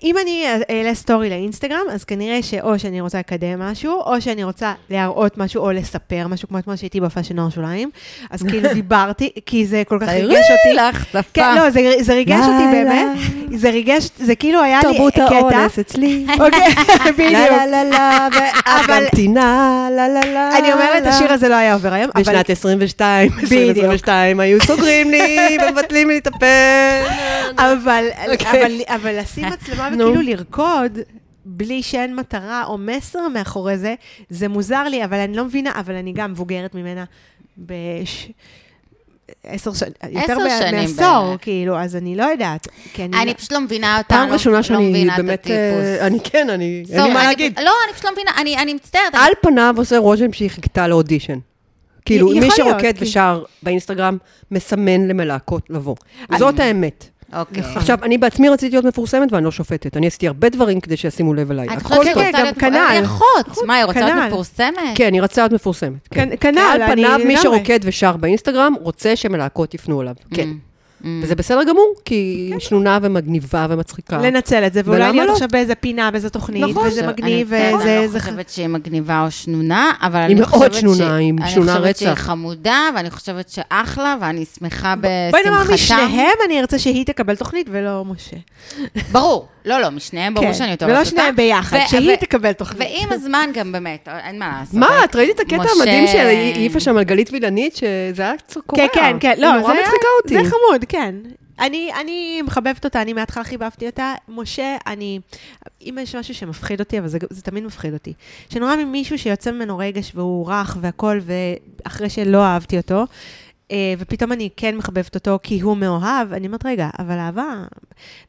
[SPEAKER 2] אם אני אעלה סטורי לאינסטגרם, אז כנראה שאו שאני רוצה לקדם משהו, או שאני רוצה להראות משהו, או לספר משהו, כמו אתמול שהייתי בפאשן נוער שוליים. אז כאילו דיברתי, כי זה כל כך
[SPEAKER 1] תראי
[SPEAKER 2] ריגש אותי.
[SPEAKER 1] לך שפה.
[SPEAKER 2] כן, לא, זה, זה ריגש
[SPEAKER 3] לא,
[SPEAKER 2] אותי
[SPEAKER 3] לא.
[SPEAKER 2] באמת. זה ריגש, זה כאילו היה לי
[SPEAKER 3] תרבות
[SPEAKER 2] קטע.
[SPEAKER 3] האונס אצלי.
[SPEAKER 2] אוקיי, בדיוק.
[SPEAKER 3] לה לה לה, ואת
[SPEAKER 2] אבל-
[SPEAKER 3] ממתינה, לה לה לה.
[SPEAKER 2] אני אומרת, השיר הזה לא היה עובר היום, אבל...
[SPEAKER 3] בשנת 22,
[SPEAKER 2] בדיוק.
[SPEAKER 3] 2022, היו סוגרים לי ומבטלים לי את הפה.
[SPEAKER 2] לא, אבל,
[SPEAKER 3] אוקיי.
[SPEAKER 2] אבל, אבל לשים מצלמה
[SPEAKER 3] נו.
[SPEAKER 2] וכאילו לרקוד, בלי שאין מטרה או מסר מאחורי זה, זה מוזר לי, אבל אני לא מבינה, אבל אני גם מבוגרת ממנה בש... עשר שנים, יותר
[SPEAKER 1] עשר
[SPEAKER 2] מה-
[SPEAKER 1] שנים
[SPEAKER 2] מעשור,
[SPEAKER 1] בערך.
[SPEAKER 2] כאילו, אז אני לא יודעת. כי אני...
[SPEAKER 1] אני פשוט לא מבינה אותה,
[SPEAKER 3] פעם
[SPEAKER 1] לא-
[SPEAKER 3] ראשונה
[SPEAKER 1] לא
[SPEAKER 3] שאני
[SPEAKER 1] מבינה את
[SPEAKER 3] באמת...
[SPEAKER 1] הטיפוס.
[SPEAKER 3] אה, אני כן, אני... אין לי
[SPEAKER 1] סורי,
[SPEAKER 3] מה
[SPEAKER 1] אני-
[SPEAKER 3] להגיד.
[SPEAKER 1] לא, אני פשוט לא מבינה, אני אני מצטערת. אני-
[SPEAKER 3] על פניו עושה רושם שהיא חיכתה לאודישן. כאילו,
[SPEAKER 2] יכול
[SPEAKER 3] מי
[SPEAKER 2] להיות,
[SPEAKER 3] שרוקד
[SPEAKER 2] כי-
[SPEAKER 3] ושר באינסטגרם, מסמן למלהקות לבוא. זאת האמת.
[SPEAKER 1] אוקיי.
[SPEAKER 3] עכשיו, אני בעצמי רציתי להיות מפורסמת ואני לא שופטת. אני עשיתי הרבה דברים כדי שישימו לב אליי.
[SPEAKER 1] את
[SPEAKER 3] הכל
[SPEAKER 1] חושבת שהיא
[SPEAKER 3] טוב.
[SPEAKER 2] כן,
[SPEAKER 1] רוצה
[SPEAKER 2] גם
[SPEAKER 1] להיות
[SPEAKER 2] כנ"ל.
[SPEAKER 1] אחות? מה, היא רוצה להיות
[SPEAKER 2] כנ"ל.
[SPEAKER 1] מפורסמת?
[SPEAKER 3] כן, אני רצה להיות מפורסמת. כן.
[SPEAKER 2] כנ- כנ"ל,
[SPEAKER 3] על
[SPEAKER 2] אני
[SPEAKER 3] פניו, מי
[SPEAKER 2] לגמרי. Mm,
[SPEAKER 3] שרוקד ושר באינסטגרם, רוצה שמלהקות יפנו אליו. כן. וזה בסדר גמור, כי היא שנונה ומגניבה ומצחיקה.
[SPEAKER 2] לנצל את זה, ואולי
[SPEAKER 3] ולמה
[SPEAKER 2] להיות
[SPEAKER 3] לא?
[SPEAKER 2] עכשיו באיזה פינה, באיזה תוכנית,
[SPEAKER 3] נכון.
[SPEAKER 2] וזה
[SPEAKER 1] עכשיו,
[SPEAKER 2] מגניב,
[SPEAKER 1] אני מצטערת,
[SPEAKER 2] וזה...
[SPEAKER 1] אני
[SPEAKER 2] זה
[SPEAKER 1] לא
[SPEAKER 2] ח-
[SPEAKER 1] חושבת שהיא מגניבה או שנונה, אבל
[SPEAKER 3] היא
[SPEAKER 1] אני
[SPEAKER 3] מאוד
[SPEAKER 1] חושבת
[SPEAKER 3] שנונה,
[SPEAKER 1] שהיא-
[SPEAKER 3] היא שנונה
[SPEAKER 1] אני חושבת שהיא
[SPEAKER 3] רצח.
[SPEAKER 1] חמודה, ואני חושבת שאחלה, ואני שמחה בשמחתם.
[SPEAKER 2] בואי נאמר משניהם, אני ארצה שהיא תקבל תוכנית ולא משה.
[SPEAKER 1] ברור. לא, לא, משניהם, ברור
[SPEAKER 2] כן,
[SPEAKER 1] שאני יותר
[SPEAKER 2] ולא
[SPEAKER 1] אוהבת אותה.
[SPEAKER 2] שניהם ביחד,
[SPEAKER 1] ו-
[SPEAKER 2] שהיא
[SPEAKER 1] ו-
[SPEAKER 2] תקבל תוכנית.
[SPEAKER 1] ועם הזמן גם באמת, אה, אין מה לעשות.
[SPEAKER 3] מה, את ראית את הקטע
[SPEAKER 1] משה-
[SPEAKER 3] המדהים שהיא העיפה שם על גלית וילנית, שזה היה קצת
[SPEAKER 2] כן,
[SPEAKER 3] קורע.
[SPEAKER 2] כן, כן, לא,
[SPEAKER 3] היא נורא
[SPEAKER 2] זה-
[SPEAKER 3] מצחיקה אותי.
[SPEAKER 2] זה חמוד, כן. אני, אני מחבבת אותה, אני מההתחלה חיבבתי אותה. משה, אני... אם יש משהו שמפחיד אותי, אבל זה, זה תמיד מפחיד אותי. שנורא ממישהו שיוצא ממנו רגש והוא רך והכול, ואחרי שלא אהבתי אותו, אה, ופתאום אני כן מחבבת אותו כי הוא מאוהב, אני אומרת, רגע, אבל אהבה...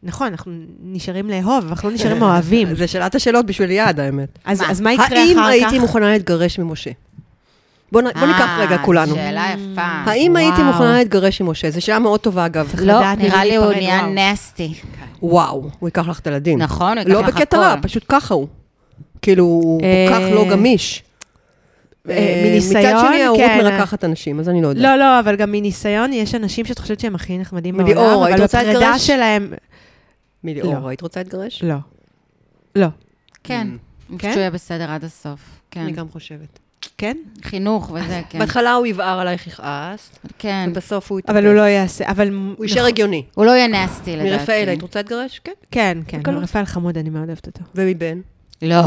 [SPEAKER 2] נכון, אנחנו נשארים לאהוב, אבל אנחנו לא נשארים מאוהבים.
[SPEAKER 3] זה שאלת השאלות בשביל יעד, האמת.
[SPEAKER 2] אז,
[SPEAKER 1] מה?
[SPEAKER 2] אז מה יקרה אחר כך?
[SPEAKER 3] האם הייתי מוכנה להתגרש ממשה? בוא נ- בוא ניקח
[SPEAKER 1] אה,
[SPEAKER 3] רגע כולנו.
[SPEAKER 1] שאלה יפה.
[SPEAKER 3] האם הייתי
[SPEAKER 2] וואו.
[SPEAKER 3] מוכנה להתגרש עם משה? זו שאלה מאוד טובה, אגב.
[SPEAKER 1] לא,
[SPEAKER 2] לדעת
[SPEAKER 1] נראה
[SPEAKER 2] ממי
[SPEAKER 1] לי הוא
[SPEAKER 2] להיפרד,
[SPEAKER 1] נהיה
[SPEAKER 2] וואו.
[SPEAKER 1] נסטי.
[SPEAKER 3] וואו, הוא ייקח לך את הילדים.
[SPEAKER 1] נכון, הוא ייקח
[SPEAKER 3] לא
[SPEAKER 1] לך
[SPEAKER 3] בקטע רע,
[SPEAKER 1] הכל.
[SPEAKER 3] פשוט ככה הוא. כאילו, הוא
[SPEAKER 2] אה,
[SPEAKER 3] כל כך לא גמיש.
[SPEAKER 2] אה,
[SPEAKER 3] אה,
[SPEAKER 2] מניסיון,
[SPEAKER 3] מצד שני, ההורות
[SPEAKER 2] כן.
[SPEAKER 3] מרקחת אנשים, אז אני לא יודעת.
[SPEAKER 2] לא, לא, אבל גם מניסיון, יש אנשים שאת חושבת שהם הכי נחמדים
[SPEAKER 3] ליאור,
[SPEAKER 2] בעולם,
[SPEAKER 3] היית
[SPEAKER 2] אבל
[SPEAKER 3] רוצה
[SPEAKER 2] בפרידה
[SPEAKER 3] להתגרש?
[SPEAKER 2] שלהם... לא.
[SPEAKER 3] מליאור, היית רוצה להתגרש?
[SPEAKER 2] לא. לא.
[SPEAKER 1] כן. אני
[SPEAKER 2] כן?
[SPEAKER 1] חושבת שהוא יהיה בסדר עד הסוף. כן.
[SPEAKER 3] אני גם חושבת.
[SPEAKER 2] כן?
[SPEAKER 1] חינוך
[SPEAKER 3] אה,
[SPEAKER 1] וזה, כן.
[SPEAKER 3] בהתחלה הוא יבער עלייך יכעס,
[SPEAKER 1] כן.
[SPEAKER 3] ובסוף הוא יתאפס.
[SPEAKER 2] אבל הוא לא נכון, יעשה, אבל... מ-
[SPEAKER 3] הוא יישאר הגיוני.
[SPEAKER 1] הוא לא יהיה נסטי, לדעתי.
[SPEAKER 3] מרפאל, היית רוצה להתגרש? כן.
[SPEAKER 2] כן, כן,
[SPEAKER 3] בקלות.
[SPEAKER 2] רפאל חמוד, אני מאוד אוהבת אותו.
[SPEAKER 3] ומבן?
[SPEAKER 1] לא.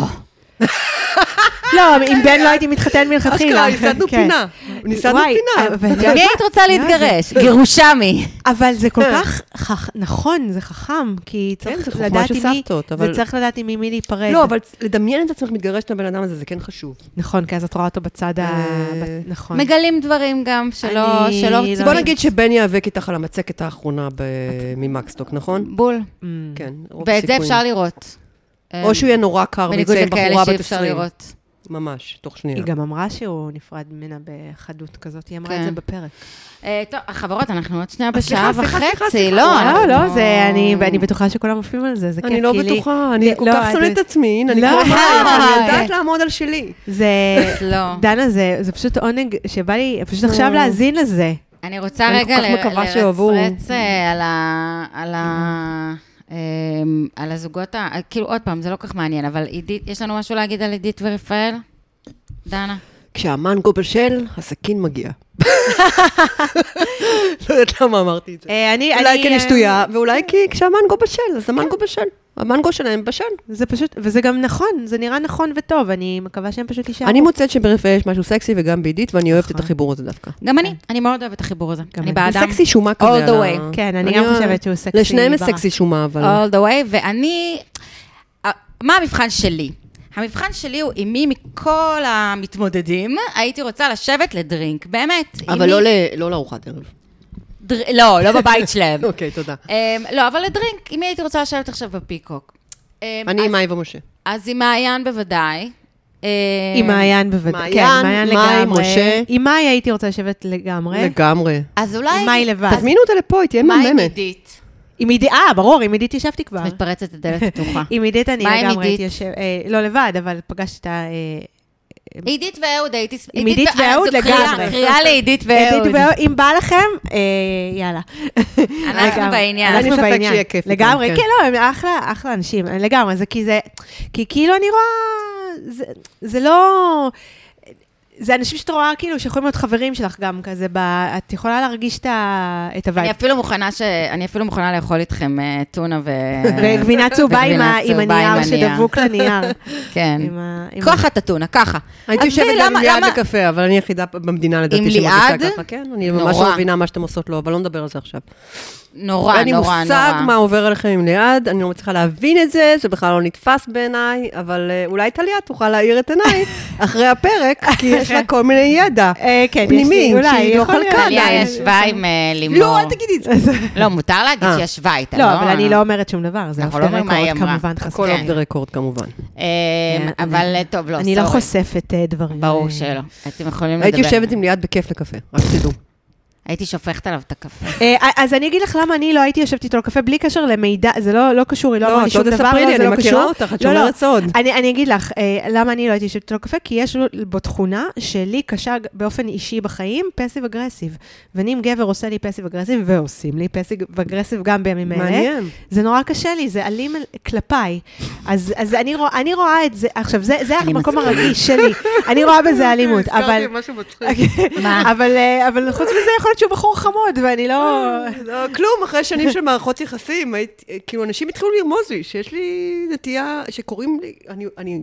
[SPEAKER 2] לא, עם בן לא הייתי מתחתן מלכתחילה.
[SPEAKER 3] אשכרה, ייסדנו
[SPEAKER 2] כן.
[SPEAKER 3] פינה. ניסדנו
[SPEAKER 2] וואי, אה,
[SPEAKER 3] פינה. כן.
[SPEAKER 2] אבל-
[SPEAKER 1] גם היא היית רוצה להתגרש, גירושמי.
[SPEAKER 2] אבל זה כל כך חכ... נכון, זה חכם, כי
[SPEAKER 3] כן,
[SPEAKER 2] צריך
[SPEAKER 3] זה חוכמה
[SPEAKER 2] לדעת
[SPEAKER 3] של
[SPEAKER 2] עם מי...
[SPEAKER 3] סבתות,
[SPEAKER 2] זה
[SPEAKER 3] אבל-
[SPEAKER 2] צריך לדעת עם מי- מי להיפרד.
[SPEAKER 3] לא, אבל לדמיין את עצמך מתגרשת מהבן אדם הזה, זה כן חשוב.
[SPEAKER 2] נכון, כי אז את רואה אותו בצד ה...
[SPEAKER 3] אה,
[SPEAKER 2] ב- נכון.
[SPEAKER 1] מגלים דברים גם שלא,
[SPEAKER 2] אני
[SPEAKER 1] שלא...
[SPEAKER 2] לא-
[SPEAKER 1] צויים.
[SPEAKER 3] בוא נגיד שבן ייאבק איתך על המצקת האחרונה ב- ממקסטוק, נכון?
[SPEAKER 1] בול.
[SPEAKER 2] Mm.
[SPEAKER 3] כן, רוב
[SPEAKER 1] ואת זה
[SPEAKER 3] הסיכויים.
[SPEAKER 1] אפשר לראות. אה,
[SPEAKER 3] או שהוא יהיה נורא קר
[SPEAKER 1] בניגוד
[SPEAKER 3] ויצא עם
[SPEAKER 1] לכאלה
[SPEAKER 3] בחורה
[SPEAKER 1] שאי
[SPEAKER 3] בת
[SPEAKER 1] אפשר
[SPEAKER 3] 20.
[SPEAKER 1] לראות.
[SPEAKER 3] ממש, תוך שנייה.
[SPEAKER 2] היא גם אמרה שהוא נפרד ממנה בחדות כזאת, היא אמרה את
[SPEAKER 1] כן.
[SPEAKER 2] זה בפרק.
[SPEAKER 1] אה, טוב, חברות, אנחנו עוד שנייה
[SPEAKER 3] אה, סליחה,
[SPEAKER 1] בשעה
[SPEAKER 3] סליחה, סליחה,
[SPEAKER 1] וחצי,
[SPEAKER 3] סליחה.
[SPEAKER 1] לא?
[SPEAKER 2] לא,
[SPEAKER 1] אנחנו-
[SPEAKER 2] לא, זה, אני אני בטוחה שכולם עופים על זה, זה כיף.
[SPEAKER 3] אני לא
[SPEAKER 2] כי לי-
[SPEAKER 3] בטוחה, אני כל
[SPEAKER 2] לא,
[SPEAKER 3] כך
[SPEAKER 2] את-
[SPEAKER 3] שונאת את עצמי, הנה, אני
[SPEAKER 2] לא,
[SPEAKER 3] כבר אמרתי,
[SPEAKER 1] אה,
[SPEAKER 3] אני יודעת
[SPEAKER 1] אה.
[SPEAKER 3] לעמוד על שלי.
[SPEAKER 2] זה...
[SPEAKER 1] לא.
[SPEAKER 2] דנה, זה זה פשוט עונג שבא לי פשוט עכשיו להאזין לזה.
[SPEAKER 1] אני רוצה
[SPEAKER 3] אני
[SPEAKER 1] רגע
[SPEAKER 3] כל כך
[SPEAKER 1] ל-
[SPEAKER 3] מקווה שאוהבו.
[SPEAKER 1] לרצרץ אה, על ה... על ה... אמ, על הזוגות ה... כאילו, עוד פעם, זה לא כל כך מעניין, אבל עידית, יש לנו משהו להגיד על עידית ורפאל? דנה?
[SPEAKER 3] כשהמנגו בשל, הסכין מגיע. לא יודעת למה אמרתי את זה.
[SPEAKER 2] אה, אני...
[SPEAKER 3] אולי
[SPEAKER 2] אני,
[SPEAKER 3] כי
[SPEAKER 1] כן
[SPEAKER 2] אה,
[SPEAKER 3] אני שטויה, ואולי כי כשהמנגו בשל, אז המנגו בשל. המנגו שלהם בשל.
[SPEAKER 2] זה פשוט, וזה גם נכון, זה נראה נכון וטוב, אני מקווה שהם פשוט
[SPEAKER 1] כן.
[SPEAKER 2] יישארו.
[SPEAKER 3] אני מוצאת שברפאל יש משהו סקסי וגם בעידית, ואני אוהבת את
[SPEAKER 2] נכון.
[SPEAKER 3] החיבור הזה דווקא.
[SPEAKER 1] גם אני, אה, אני מאוד אוהבת את החיבור הזה.
[SPEAKER 2] גם
[SPEAKER 1] אני
[SPEAKER 2] אני.
[SPEAKER 1] בעדם.
[SPEAKER 3] הוא סקסי שומה כזה.
[SPEAKER 1] All the
[SPEAKER 3] על ה-
[SPEAKER 1] way.
[SPEAKER 2] כן, אני גם
[SPEAKER 3] אה,
[SPEAKER 2] חושבת שהוא סקסי
[SPEAKER 3] לשניהם יש
[SPEAKER 2] ברע.
[SPEAKER 3] סקסי שומה, אבל... לא.
[SPEAKER 1] All the way, ואני... אה, מה המבחן שלי? המבחן שלי הוא עם מי מכל המתמודדים הייתי רוצה לשבת לדרינק, באמת. עם
[SPEAKER 3] אבל
[SPEAKER 1] מי-
[SPEAKER 3] לא ל- לא לארוחת ערב.
[SPEAKER 1] דר- לא, לא בבית שלהם.
[SPEAKER 3] אוקיי, תודה.
[SPEAKER 1] אמ, לא, אבל לדרינק, עם מי הייתי רוצה לשבת עכשיו בפיקוק? אמ,
[SPEAKER 3] אני
[SPEAKER 1] אז-
[SPEAKER 3] עם מאי ומשה.
[SPEAKER 1] אז עם מעיין בוודאי. אמ,
[SPEAKER 2] עם מעיין בוודאי.
[SPEAKER 3] מעיין,
[SPEAKER 2] כן, עם אה, מעיין
[SPEAKER 3] מאי,
[SPEAKER 2] לגמרי.
[SPEAKER 3] משה.
[SPEAKER 2] עם מאי הייתי רוצה לשבת לגמרי.
[SPEAKER 3] לגמרי.
[SPEAKER 1] אז אולי...
[SPEAKER 2] עם מאי לבד.
[SPEAKER 1] אז
[SPEAKER 3] תזמינו אותה לפה, היא תהיה
[SPEAKER 1] אוקיי. מה עם
[SPEAKER 3] מהממת.
[SPEAKER 1] עידית?
[SPEAKER 2] עם עידית, אה, ברור, עם עידית ישבתי כבר.
[SPEAKER 1] את מתפרצת את הדלת פתוחה.
[SPEAKER 2] עם עידית אני
[SPEAKER 1] מה עם
[SPEAKER 2] לגמרי הייתי
[SPEAKER 1] עידית?
[SPEAKER 2] יושב... אה, לא לבד, אבל פגשתי את ה... אה,
[SPEAKER 1] עידית ואהוד, הייתי... ס-
[SPEAKER 2] עם עידית
[SPEAKER 1] ו- אה,
[SPEAKER 2] ואהוד
[SPEAKER 1] זו קריאה,
[SPEAKER 2] לגמרי. אוקיי.
[SPEAKER 1] קריאה לעידית
[SPEAKER 2] עידית
[SPEAKER 1] ואהוד.
[SPEAKER 2] ואהוד, אם בא לכם, אה, יאללה. לגמרי.
[SPEAKER 1] בעניין.
[SPEAKER 3] אין לי
[SPEAKER 2] אנחנו
[SPEAKER 3] ספק
[SPEAKER 2] בעניין.
[SPEAKER 3] שיהיה כיף איתם,
[SPEAKER 2] לגמרי,
[SPEAKER 3] כן.
[SPEAKER 2] כן, לא, הם אחלה, אחלה אנשים, לגמרי, זה כי זה, כי כאילו אני רואה, זה- זה לא... זה אנשים שאת רואה כאילו שיכולים להיות חברים שלך גם כזה, ב... את יכולה להרגיש את ה- את
[SPEAKER 1] אני
[SPEAKER 2] הווייב.
[SPEAKER 1] אפילו מוכנה ש... אני אפילו מוכנה לאכול איתכם אה, טונה ו...
[SPEAKER 2] וגבינה צהובה עם ה- עם
[SPEAKER 1] וגבינה צהובה עם
[SPEAKER 2] הנייר
[SPEAKER 1] הנייר.
[SPEAKER 2] שדבוק לנייר.
[SPEAKER 1] כן.
[SPEAKER 2] עם ה- עם
[SPEAKER 1] כוח את הטונה, ככה.
[SPEAKER 3] הייתי
[SPEAKER 1] עזבי,
[SPEAKER 3] יושבת גם
[SPEAKER 1] למה-
[SPEAKER 3] עם ליעד
[SPEAKER 1] למה-
[SPEAKER 3] בקפה, אבל אני היחידה במדינה
[SPEAKER 1] עם
[SPEAKER 3] לדעתי שמרגישה
[SPEAKER 1] ליעד?
[SPEAKER 3] ככה. כן, אני
[SPEAKER 1] נורא.
[SPEAKER 3] ממש לא מבינה מה שאתם עושות לו, אבל לא נדבר על זה עכשיו.
[SPEAKER 1] נורא,
[SPEAKER 3] אין לי
[SPEAKER 1] נורא,
[SPEAKER 3] מושג מה
[SPEAKER 1] נורא.
[SPEAKER 3] עובר עליכם עם ליעד, אני לא מצליחה להבין את זה, זה בכלל לא נתפס בעיניי, אבל אה, אולי טליה תוכל להאיר את עיניי אחרי הפרק, כי יש לה כל מיני ידע.
[SPEAKER 2] אה, כן, יש לי,
[SPEAKER 3] פנימי,
[SPEAKER 2] אולי,
[SPEAKER 3] שהיא לא
[SPEAKER 2] יכול להיות.
[SPEAKER 3] חלקה
[SPEAKER 1] טליה
[SPEAKER 3] עדיין.
[SPEAKER 1] ישבה עם אה, לימור.
[SPEAKER 3] לא, אל תגידי את זה.
[SPEAKER 1] לא, מותר להגיד
[SPEAKER 3] אה.
[SPEAKER 1] שהיא ישבה איתה, אה,
[SPEAKER 2] לא, אבל אני לא אומרת שום דבר, זה אוף
[SPEAKER 1] אנחנו
[SPEAKER 2] דה
[SPEAKER 1] לא אומרים מה היא
[SPEAKER 2] רקורד
[SPEAKER 1] אמרה.
[SPEAKER 2] כמובן. חשוף.
[SPEAKER 3] הכל
[SPEAKER 1] כן.
[SPEAKER 3] אוף דה רקורד כמובן.
[SPEAKER 1] אמ,
[SPEAKER 2] כן,
[SPEAKER 1] אבל אה, טוב, לא, סורי.
[SPEAKER 2] אני לא חושפת אה, דברים.
[SPEAKER 1] ברור
[SPEAKER 2] אה,
[SPEAKER 1] שלא. אתם יכולים לדבר.
[SPEAKER 3] הייתי יושבת עם ליעד בכיף לקפה, רק שתדעו.
[SPEAKER 1] הייתי שופכת עליו את הקפה.
[SPEAKER 2] אה, אז אני אגיד לך למה אני לא הייתי יושבת איתו לקפה בלי קשר למידע, זה לא, לא קשור, היא לא
[SPEAKER 3] לא,
[SPEAKER 2] אמרה לי
[SPEAKER 3] את לא
[SPEAKER 2] שום דבר,
[SPEAKER 3] תספרי לי,
[SPEAKER 2] לא, זה
[SPEAKER 3] אני
[SPEAKER 2] לא
[SPEAKER 3] מכירה
[SPEAKER 2] קשור.
[SPEAKER 3] אותך, את
[SPEAKER 2] לא, לא.
[SPEAKER 3] שומרת סוד.
[SPEAKER 2] אני, אני אגיד לך, אה, למה אני לא הייתי יושבת איתו לקפה? כי יש לו- בו תכונה שלי קשה ג- באופן אישי בחיים, פסיב אגרסיב. ואני אם גבר עושה לי פסיב אגרסיב, ועושים לי פסיב אגרסיב גם בימים אלה.
[SPEAKER 3] מעניין.
[SPEAKER 2] זה נורא קשה לי, זה אלים אל- כלפיי. אז, אז אני, רוא, אני רואה את זה, עכשיו, זה, זה המקום הרגיש שלי. אני רואה בזה
[SPEAKER 3] לא,
[SPEAKER 2] אלימות, לא, אבל...
[SPEAKER 3] אוקיי.
[SPEAKER 1] מה?
[SPEAKER 2] אבל, אה, אבל חוץ מזה, יכול להיות שהוא בחור חמוד, ואני לא...
[SPEAKER 3] לא, כלום, אחרי שנים של מערכות יחסים, הייתי, כאילו, אנשים התחילו לרמוז לי, שיש לי נטייה, שקוראים לי, אני, אני,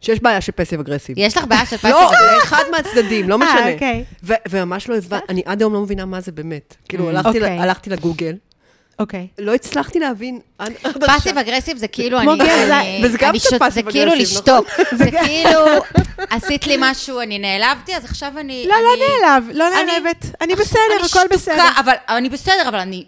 [SPEAKER 3] שיש בעיה של פסיב אגרסיב.
[SPEAKER 1] יש לך בעיה של פסק?
[SPEAKER 3] לא, אחד מהצדדים, לא
[SPEAKER 2] אה,
[SPEAKER 3] משנה.
[SPEAKER 2] אוקיי.
[SPEAKER 3] ו- וממש לא הבנתי, אני עד היום לא מבינה מה זה באמת. כאילו, הלכתי ל-
[SPEAKER 2] אוקיי.
[SPEAKER 3] הלכתי לגוגל,
[SPEAKER 2] אוקיי.
[SPEAKER 3] לא הצלחתי להבין עד עד עכשיו.
[SPEAKER 1] פאסיב אגרסיב זה כאילו אני...
[SPEAKER 2] כמו גזע,
[SPEAKER 1] אני-
[SPEAKER 3] וזה גם
[SPEAKER 1] אני
[SPEAKER 3] קצת
[SPEAKER 1] שות- זה
[SPEAKER 3] פאסיב
[SPEAKER 1] כאילו
[SPEAKER 3] אגרסיב, נכון?
[SPEAKER 1] לשתוק. זה כאילו, עשית לי משהו, אני נעלבתי, אז עכשיו אני...
[SPEAKER 2] לא,
[SPEAKER 1] אני-
[SPEAKER 2] לא נעלב, לא
[SPEAKER 1] אני-
[SPEAKER 2] נעלבת. אני
[SPEAKER 1] אני
[SPEAKER 2] בסדר, הכל
[SPEAKER 1] שתוקה, אה,
[SPEAKER 2] בסדר.
[SPEAKER 1] אבל אני בסדר, אבל אני...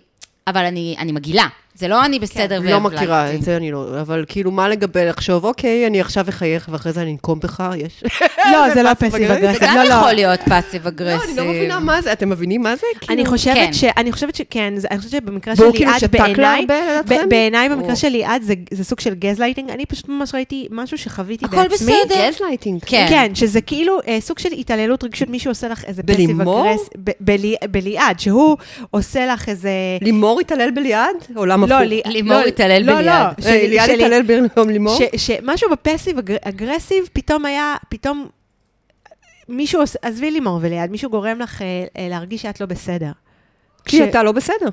[SPEAKER 1] אבל אני אני מגעילה. זה לא אני בסדר
[SPEAKER 3] לא
[SPEAKER 1] והבלגתי.
[SPEAKER 3] מכירה, את זה אני לא, אבל כאילו, מה לגבי לחשוב, אוקיי, אני עכשיו אחייך ואחרי זה אני אנקום בך, יש...
[SPEAKER 2] לא, זה לא
[SPEAKER 3] פאסיב
[SPEAKER 2] פסיב
[SPEAKER 3] אגרסיב.
[SPEAKER 1] זה
[SPEAKER 2] אגרסיב.
[SPEAKER 1] גם
[SPEAKER 2] לא, לא.
[SPEAKER 1] יכול להיות פאסיב
[SPEAKER 3] לא,
[SPEAKER 1] אגרסיב.
[SPEAKER 3] אני לא מבינה מה זה, אתם מבינים מה זה? כאילו-
[SPEAKER 2] אני
[SPEAKER 1] כן.
[SPEAKER 2] חושבת ש... אני חושבת שכן, זה- אני חושבת שבמקרה של
[SPEAKER 3] והוא כאילו
[SPEAKER 2] ליעד,
[SPEAKER 3] שתק לה
[SPEAKER 2] בעיניי,
[SPEAKER 3] הרבה, לדעתכם?
[SPEAKER 2] ב- בעיניי,
[SPEAKER 3] או-
[SPEAKER 2] במקרה של ליעד, זה- זה סוג של גזלייטינג, אני פשוט ממש ראיתי משהו שחוויתי
[SPEAKER 1] הכל
[SPEAKER 2] בעצמי.
[SPEAKER 1] בסדר.
[SPEAKER 3] גזלייטינג.
[SPEAKER 1] כן.
[SPEAKER 2] כן, שזה כאילו אה, סוג של התעללות רגשית, מישהו עושה לך איזה פסיב
[SPEAKER 3] בלימור?
[SPEAKER 2] אגרס... ב- בלי- בליעד, שהוא עושה לך איזה...
[SPEAKER 3] לימור התעלל בליעד? עולם הפוך.
[SPEAKER 2] לא, לי-
[SPEAKER 1] לימור
[SPEAKER 2] לא,
[SPEAKER 1] התעלל
[SPEAKER 2] לא,
[SPEAKER 1] בליעד.
[SPEAKER 2] לא,
[SPEAKER 3] אה,
[SPEAKER 2] שלי-
[SPEAKER 3] ליעד
[SPEAKER 2] שלי.
[SPEAKER 3] התעלל במקום לימור?
[SPEAKER 2] ש- שמשהו בפסיב אגר- אגרסיב פתאום היה, פתאום מישהו, עוש- עזבי לימור וליד, מישהו גורם לך אה, אה, להרגיש שאת לא בסדר.
[SPEAKER 3] כשהיא הייתה לא בסדר.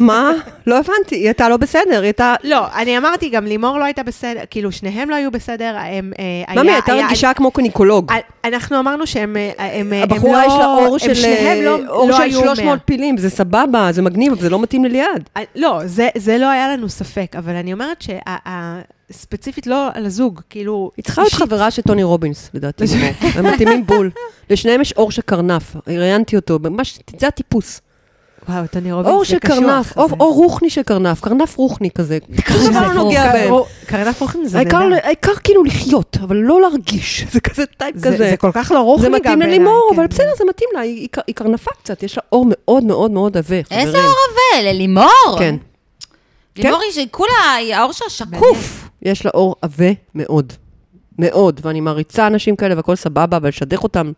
[SPEAKER 3] מה? לא הבנתי, היא הייתה לא בסדר, היא הייתה...
[SPEAKER 2] לא, אני אמרתי, גם לימור לא הייתה בסדר, כאילו, שניהם לא היו בסדר, הם... אה, היה-
[SPEAKER 3] ממי הייתה
[SPEAKER 2] היה-
[SPEAKER 3] רגישה כמו קוניקולוג.
[SPEAKER 2] אה, אנחנו אמרנו שהם אה, הם, אה, הם לא...
[SPEAKER 3] הבחורה יש לה אור של אה,
[SPEAKER 2] הם שניהם לא,
[SPEAKER 3] אור
[SPEAKER 2] לא
[SPEAKER 3] של
[SPEAKER 2] היו 100.
[SPEAKER 3] 300 פילים, זה סבבה, זה מגניב, אבל זה לא מתאים לליעד.
[SPEAKER 2] אה, לא, זה, זה לא היה לנו ספק, אבל אני אומרת שה- ה- ספציפית לא על הזוג, כאילו...
[SPEAKER 3] היא צריכה להיות
[SPEAKER 2] אישית.
[SPEAKER 3] חברה של טוני רובינס, לדעתי. לימור. הם מתאימים בול. לשניהם יש אור של קרנף, ראיינתי אותו, ממש, זה הטיפוס.
[SPEAKER 2] וואו, טוני רובינס,
[SPEAKER 3] אור
[SPEAKER 2] זה
[SPEAKER 3] של
[SPEAKER 2] קשוח.
[SPEAKER 3] קרנף,
[SPEAKER 2] זה-
[SPEAKER 3] אור אור רוחני של קרנף, קרנף רוחני כזה. שום דבר לא נוגע
[SPEAKER 2] קר-
[SPEAKER 3] בהם.
[SPEAKER 2] או- קרנף רוחני זה
[SPEAKER 3] העיקר-
[SPEAKER 2] נהדר.
[SPEAKER 3] העיקר כאילו לחיות, אבל לא להרגיש. זה כזה טייפ
[SPEAKER 2] זה-
[SPEAKER 3] כזה.
[SPEAKER 2] זה כל כך לא רוחני
[SPEAKER 3] זה
[SPEAKER 2] גם
[SPEAKER 3] מתאים
[SPEAKER 2] בעיניי,
[SPEAKER 3] ללימור,
[SPEAKER 2] כן.
[SPEAKER 3] אבל בסדר, זה מתאים לה, היא היא קרנפה קצת, יש לה אור מאוד מאוד מאוד עבה, חברים.
[SPEAKER 1] איזה אור עבה? ללימור?
[SPEAKER 3] כן,
[SPEAKER 1] לימור היא שכולה, היא- העור שלה שקוף.
[SPEAKER 3] יש לה אור עבה מאוד. מאוד, ואני מעריצה אנשים כאלה והכל סבבה, אבל לשדך אותם.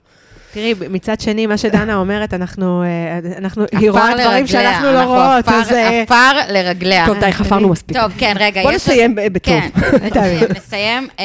[SPEAKER 2] תראי, מצד שני, מה שדנה אומרת, אנחנו... אה, אנחנו
[SPEAKER 1] עפר
[SPEAKER 2] היא רואה דברים
[SPEAKER 1] לרגליה,
[SPEAKER 2] שאנחנו לא
[SPEAKER 1] אנחנו
[SPEAKER 2] רואות,
[SPEAKER 1] עפר-
[SPEAKER 2] אז... אה,
[SPEAKER 1] עפר לרגליה.
[SPEAKER 3] טוב, די, חפרנו מספיק.
[SPEAKER 1] טוב, כן, רגע.
[SPEAKER 3] בוא
[SPEAKER 1] יש-
[SPEAKER 3] נסיים ב- בטוב.
[SPEAKER 1] כן, נסיים, נסיים. אה,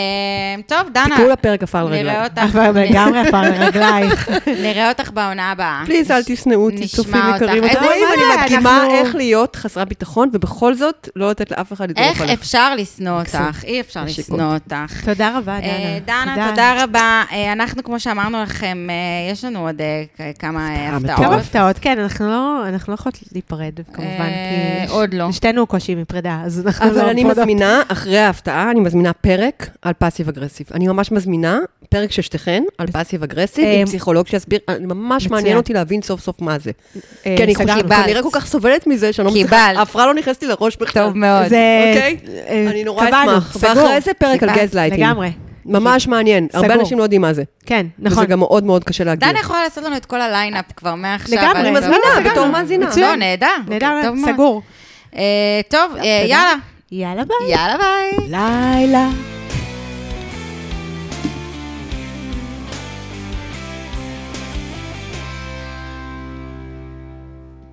[SPEAKER 1] טוב, דנה.
[SPEAKER 3] תקראו לפרק עפר
[SPEAKER 1] נראה
[SPEAKER 3] לרגליים.
[SPEAKER 1] אותך-
[SPEAKER 2] אבל לגמרי עפר לרגלייך.
[SPEAKER 1] נראה אותך בעונה הבאה.
[SPEAKER 3] פליז, אל תשנאו אותי,
[SPEAKER 1] נשמע
[SPEAKER 3] צופים
[SPEAKER 1] אותך.
[SPEAKER 3] יקרים.
[SPEAKER 1] איזה
[SPEAKER 3] אתם רואים,
[SPEAKER 2] מזל,
[SPEAKER 3] אני מדגימה
[SPEAKER 2] אנחנו-
[SPEAKER 3] איך להיות חסרת ביטחון, ובכל זאת, לא לתת לאף אחד לדרוך
[SPEAKER 1] איך
[SPEAKER 3] עליך.
[SPEAKER 1] אפשר לשנוא
[SPEAKER 3] מקסים.
[SPEAKER 1] אותך? אי אפשר
[SPEAKER 3] נשיקות.
[SPEAKER 1] לשנוא אותך.
[SPEAKER 2] תודה רבה,
[SPEAKER 1] אה,
[SPEAKER 2] דנה.
[SPEAKER 1] דנה, תודה רבה. אה, אנחנו, כמו שאמרנו לכם, אה, יש לנו עוד אה, כ- כמה אה,
[SPEAKER 3] הפתעה
[SPEAKER 1] הפתעות.
[SPEAKER 2] כמה
[SPEAKER 3] מטורפת.
[SPEAKER 2] הפתעות, כן, אנחנו לא, אנחנו לא יכולות להיפרד, כמובן,
[SPEAKER 1] אה,
[SPEAKER 2] כי...
[SPEAKER 1] עוד לא.
[SPEAKER 2] שתינו קושי מפרידה, אז אנחנו לא...
[SPEAKER 3] אבל אני
[SPEAKER 2] פרודות.
[SPEAKER 3] מזמינה, אחרי ההפתעה, אני מזמינה פרק על פאסיב אגרסיב. אני ממש מזמינה פרק של שתיכן על פאסיב אגרסיב,
[SPEAKER 2] אה,
[SPEAKER 3] עם
[SPEAKER 1] אמ-
[SPEAKER 3] פסיכולוג שיסביר, אני ממש
[SPEAKER 2] מצוין.
[SPEAKER 3] מעניין אותי להבין סוף סוף מה זה.
[SPEAKER 1] אמ,
[SPEAKER 2] אה,
[SPEAKER 3] כי אני
[SPEAKER 2] סגרנו.
[SPEAKER 3] חושבת,
[SPEAKER 1] קיבלת.
[SPEAKER 3] כנראה כל כך סובלת מזה, שאני לא מצליחה,
[SPEAKER 1] קיבלת.
[SPEAKER 3] ההפרעה לא נכנסת לי לראש בכלל.
[SPEAKER 1] טוב מאוד.
[SPEAKER 2] זה...
[SPEAKER 3] אוקיי?
[SPEAKER 2] אה,
[SPEAKER 3] אני נורא
[SPEAKER 2] קבענו,
[SPEAKER 3] אשמח.
[SPEAKER 2] סגור.
[SPEAKER 3] ואחרי זה פרק על
[SPEAKER 2] קיבלת,
[SPEAKER 3] גזלייטינג.
[SPEAKER 2] לגמרי.
[SPEAKER 3] ממש מעניין, הרבה
[SPEAKER 2] סגור.
[SPEAKER 3] אנשים לא יודעים מה זה.
[SPEAKER 2] כן,
[SPEAKER 3] וזה
[SPEAKER 2] נכון.
[SPEAKER 3] גם מאוד מאוד קשה להגדיר.
[SPEAKER 1] דנה יכולה לעשות לנו את כל הליינאפ כבר מעכשיו. לא
[SPEAKER 2] לגמרי.
[SPEAKER 1] עד
[SPEAKER 2] אני
[SPEAKER 1] הסוף.
[SPEAKER 2] מזמינה,
[SPEAKER 1] סגרנו.
[SPEAKER 2] בתור
[SPEAKER 3] מאזינה.
[SPEAKER 1] לא,
[SPEAKER 2] מצוין.
[SPEAKER 1] נהדר.
[SPEAKER 2] נהדר,
[SPEAKER 3] אוקיי,
[SPEAKER 1] טוב מאוד.
[SPEAKER 2] סגור.
[SPEAKER 1] אה, טוב, אה, יאללה.
[SPEAKER 2] יאללה ביי.
[SPEAKER 1] יאללה, ביי.
[SPEAKER 3] לילה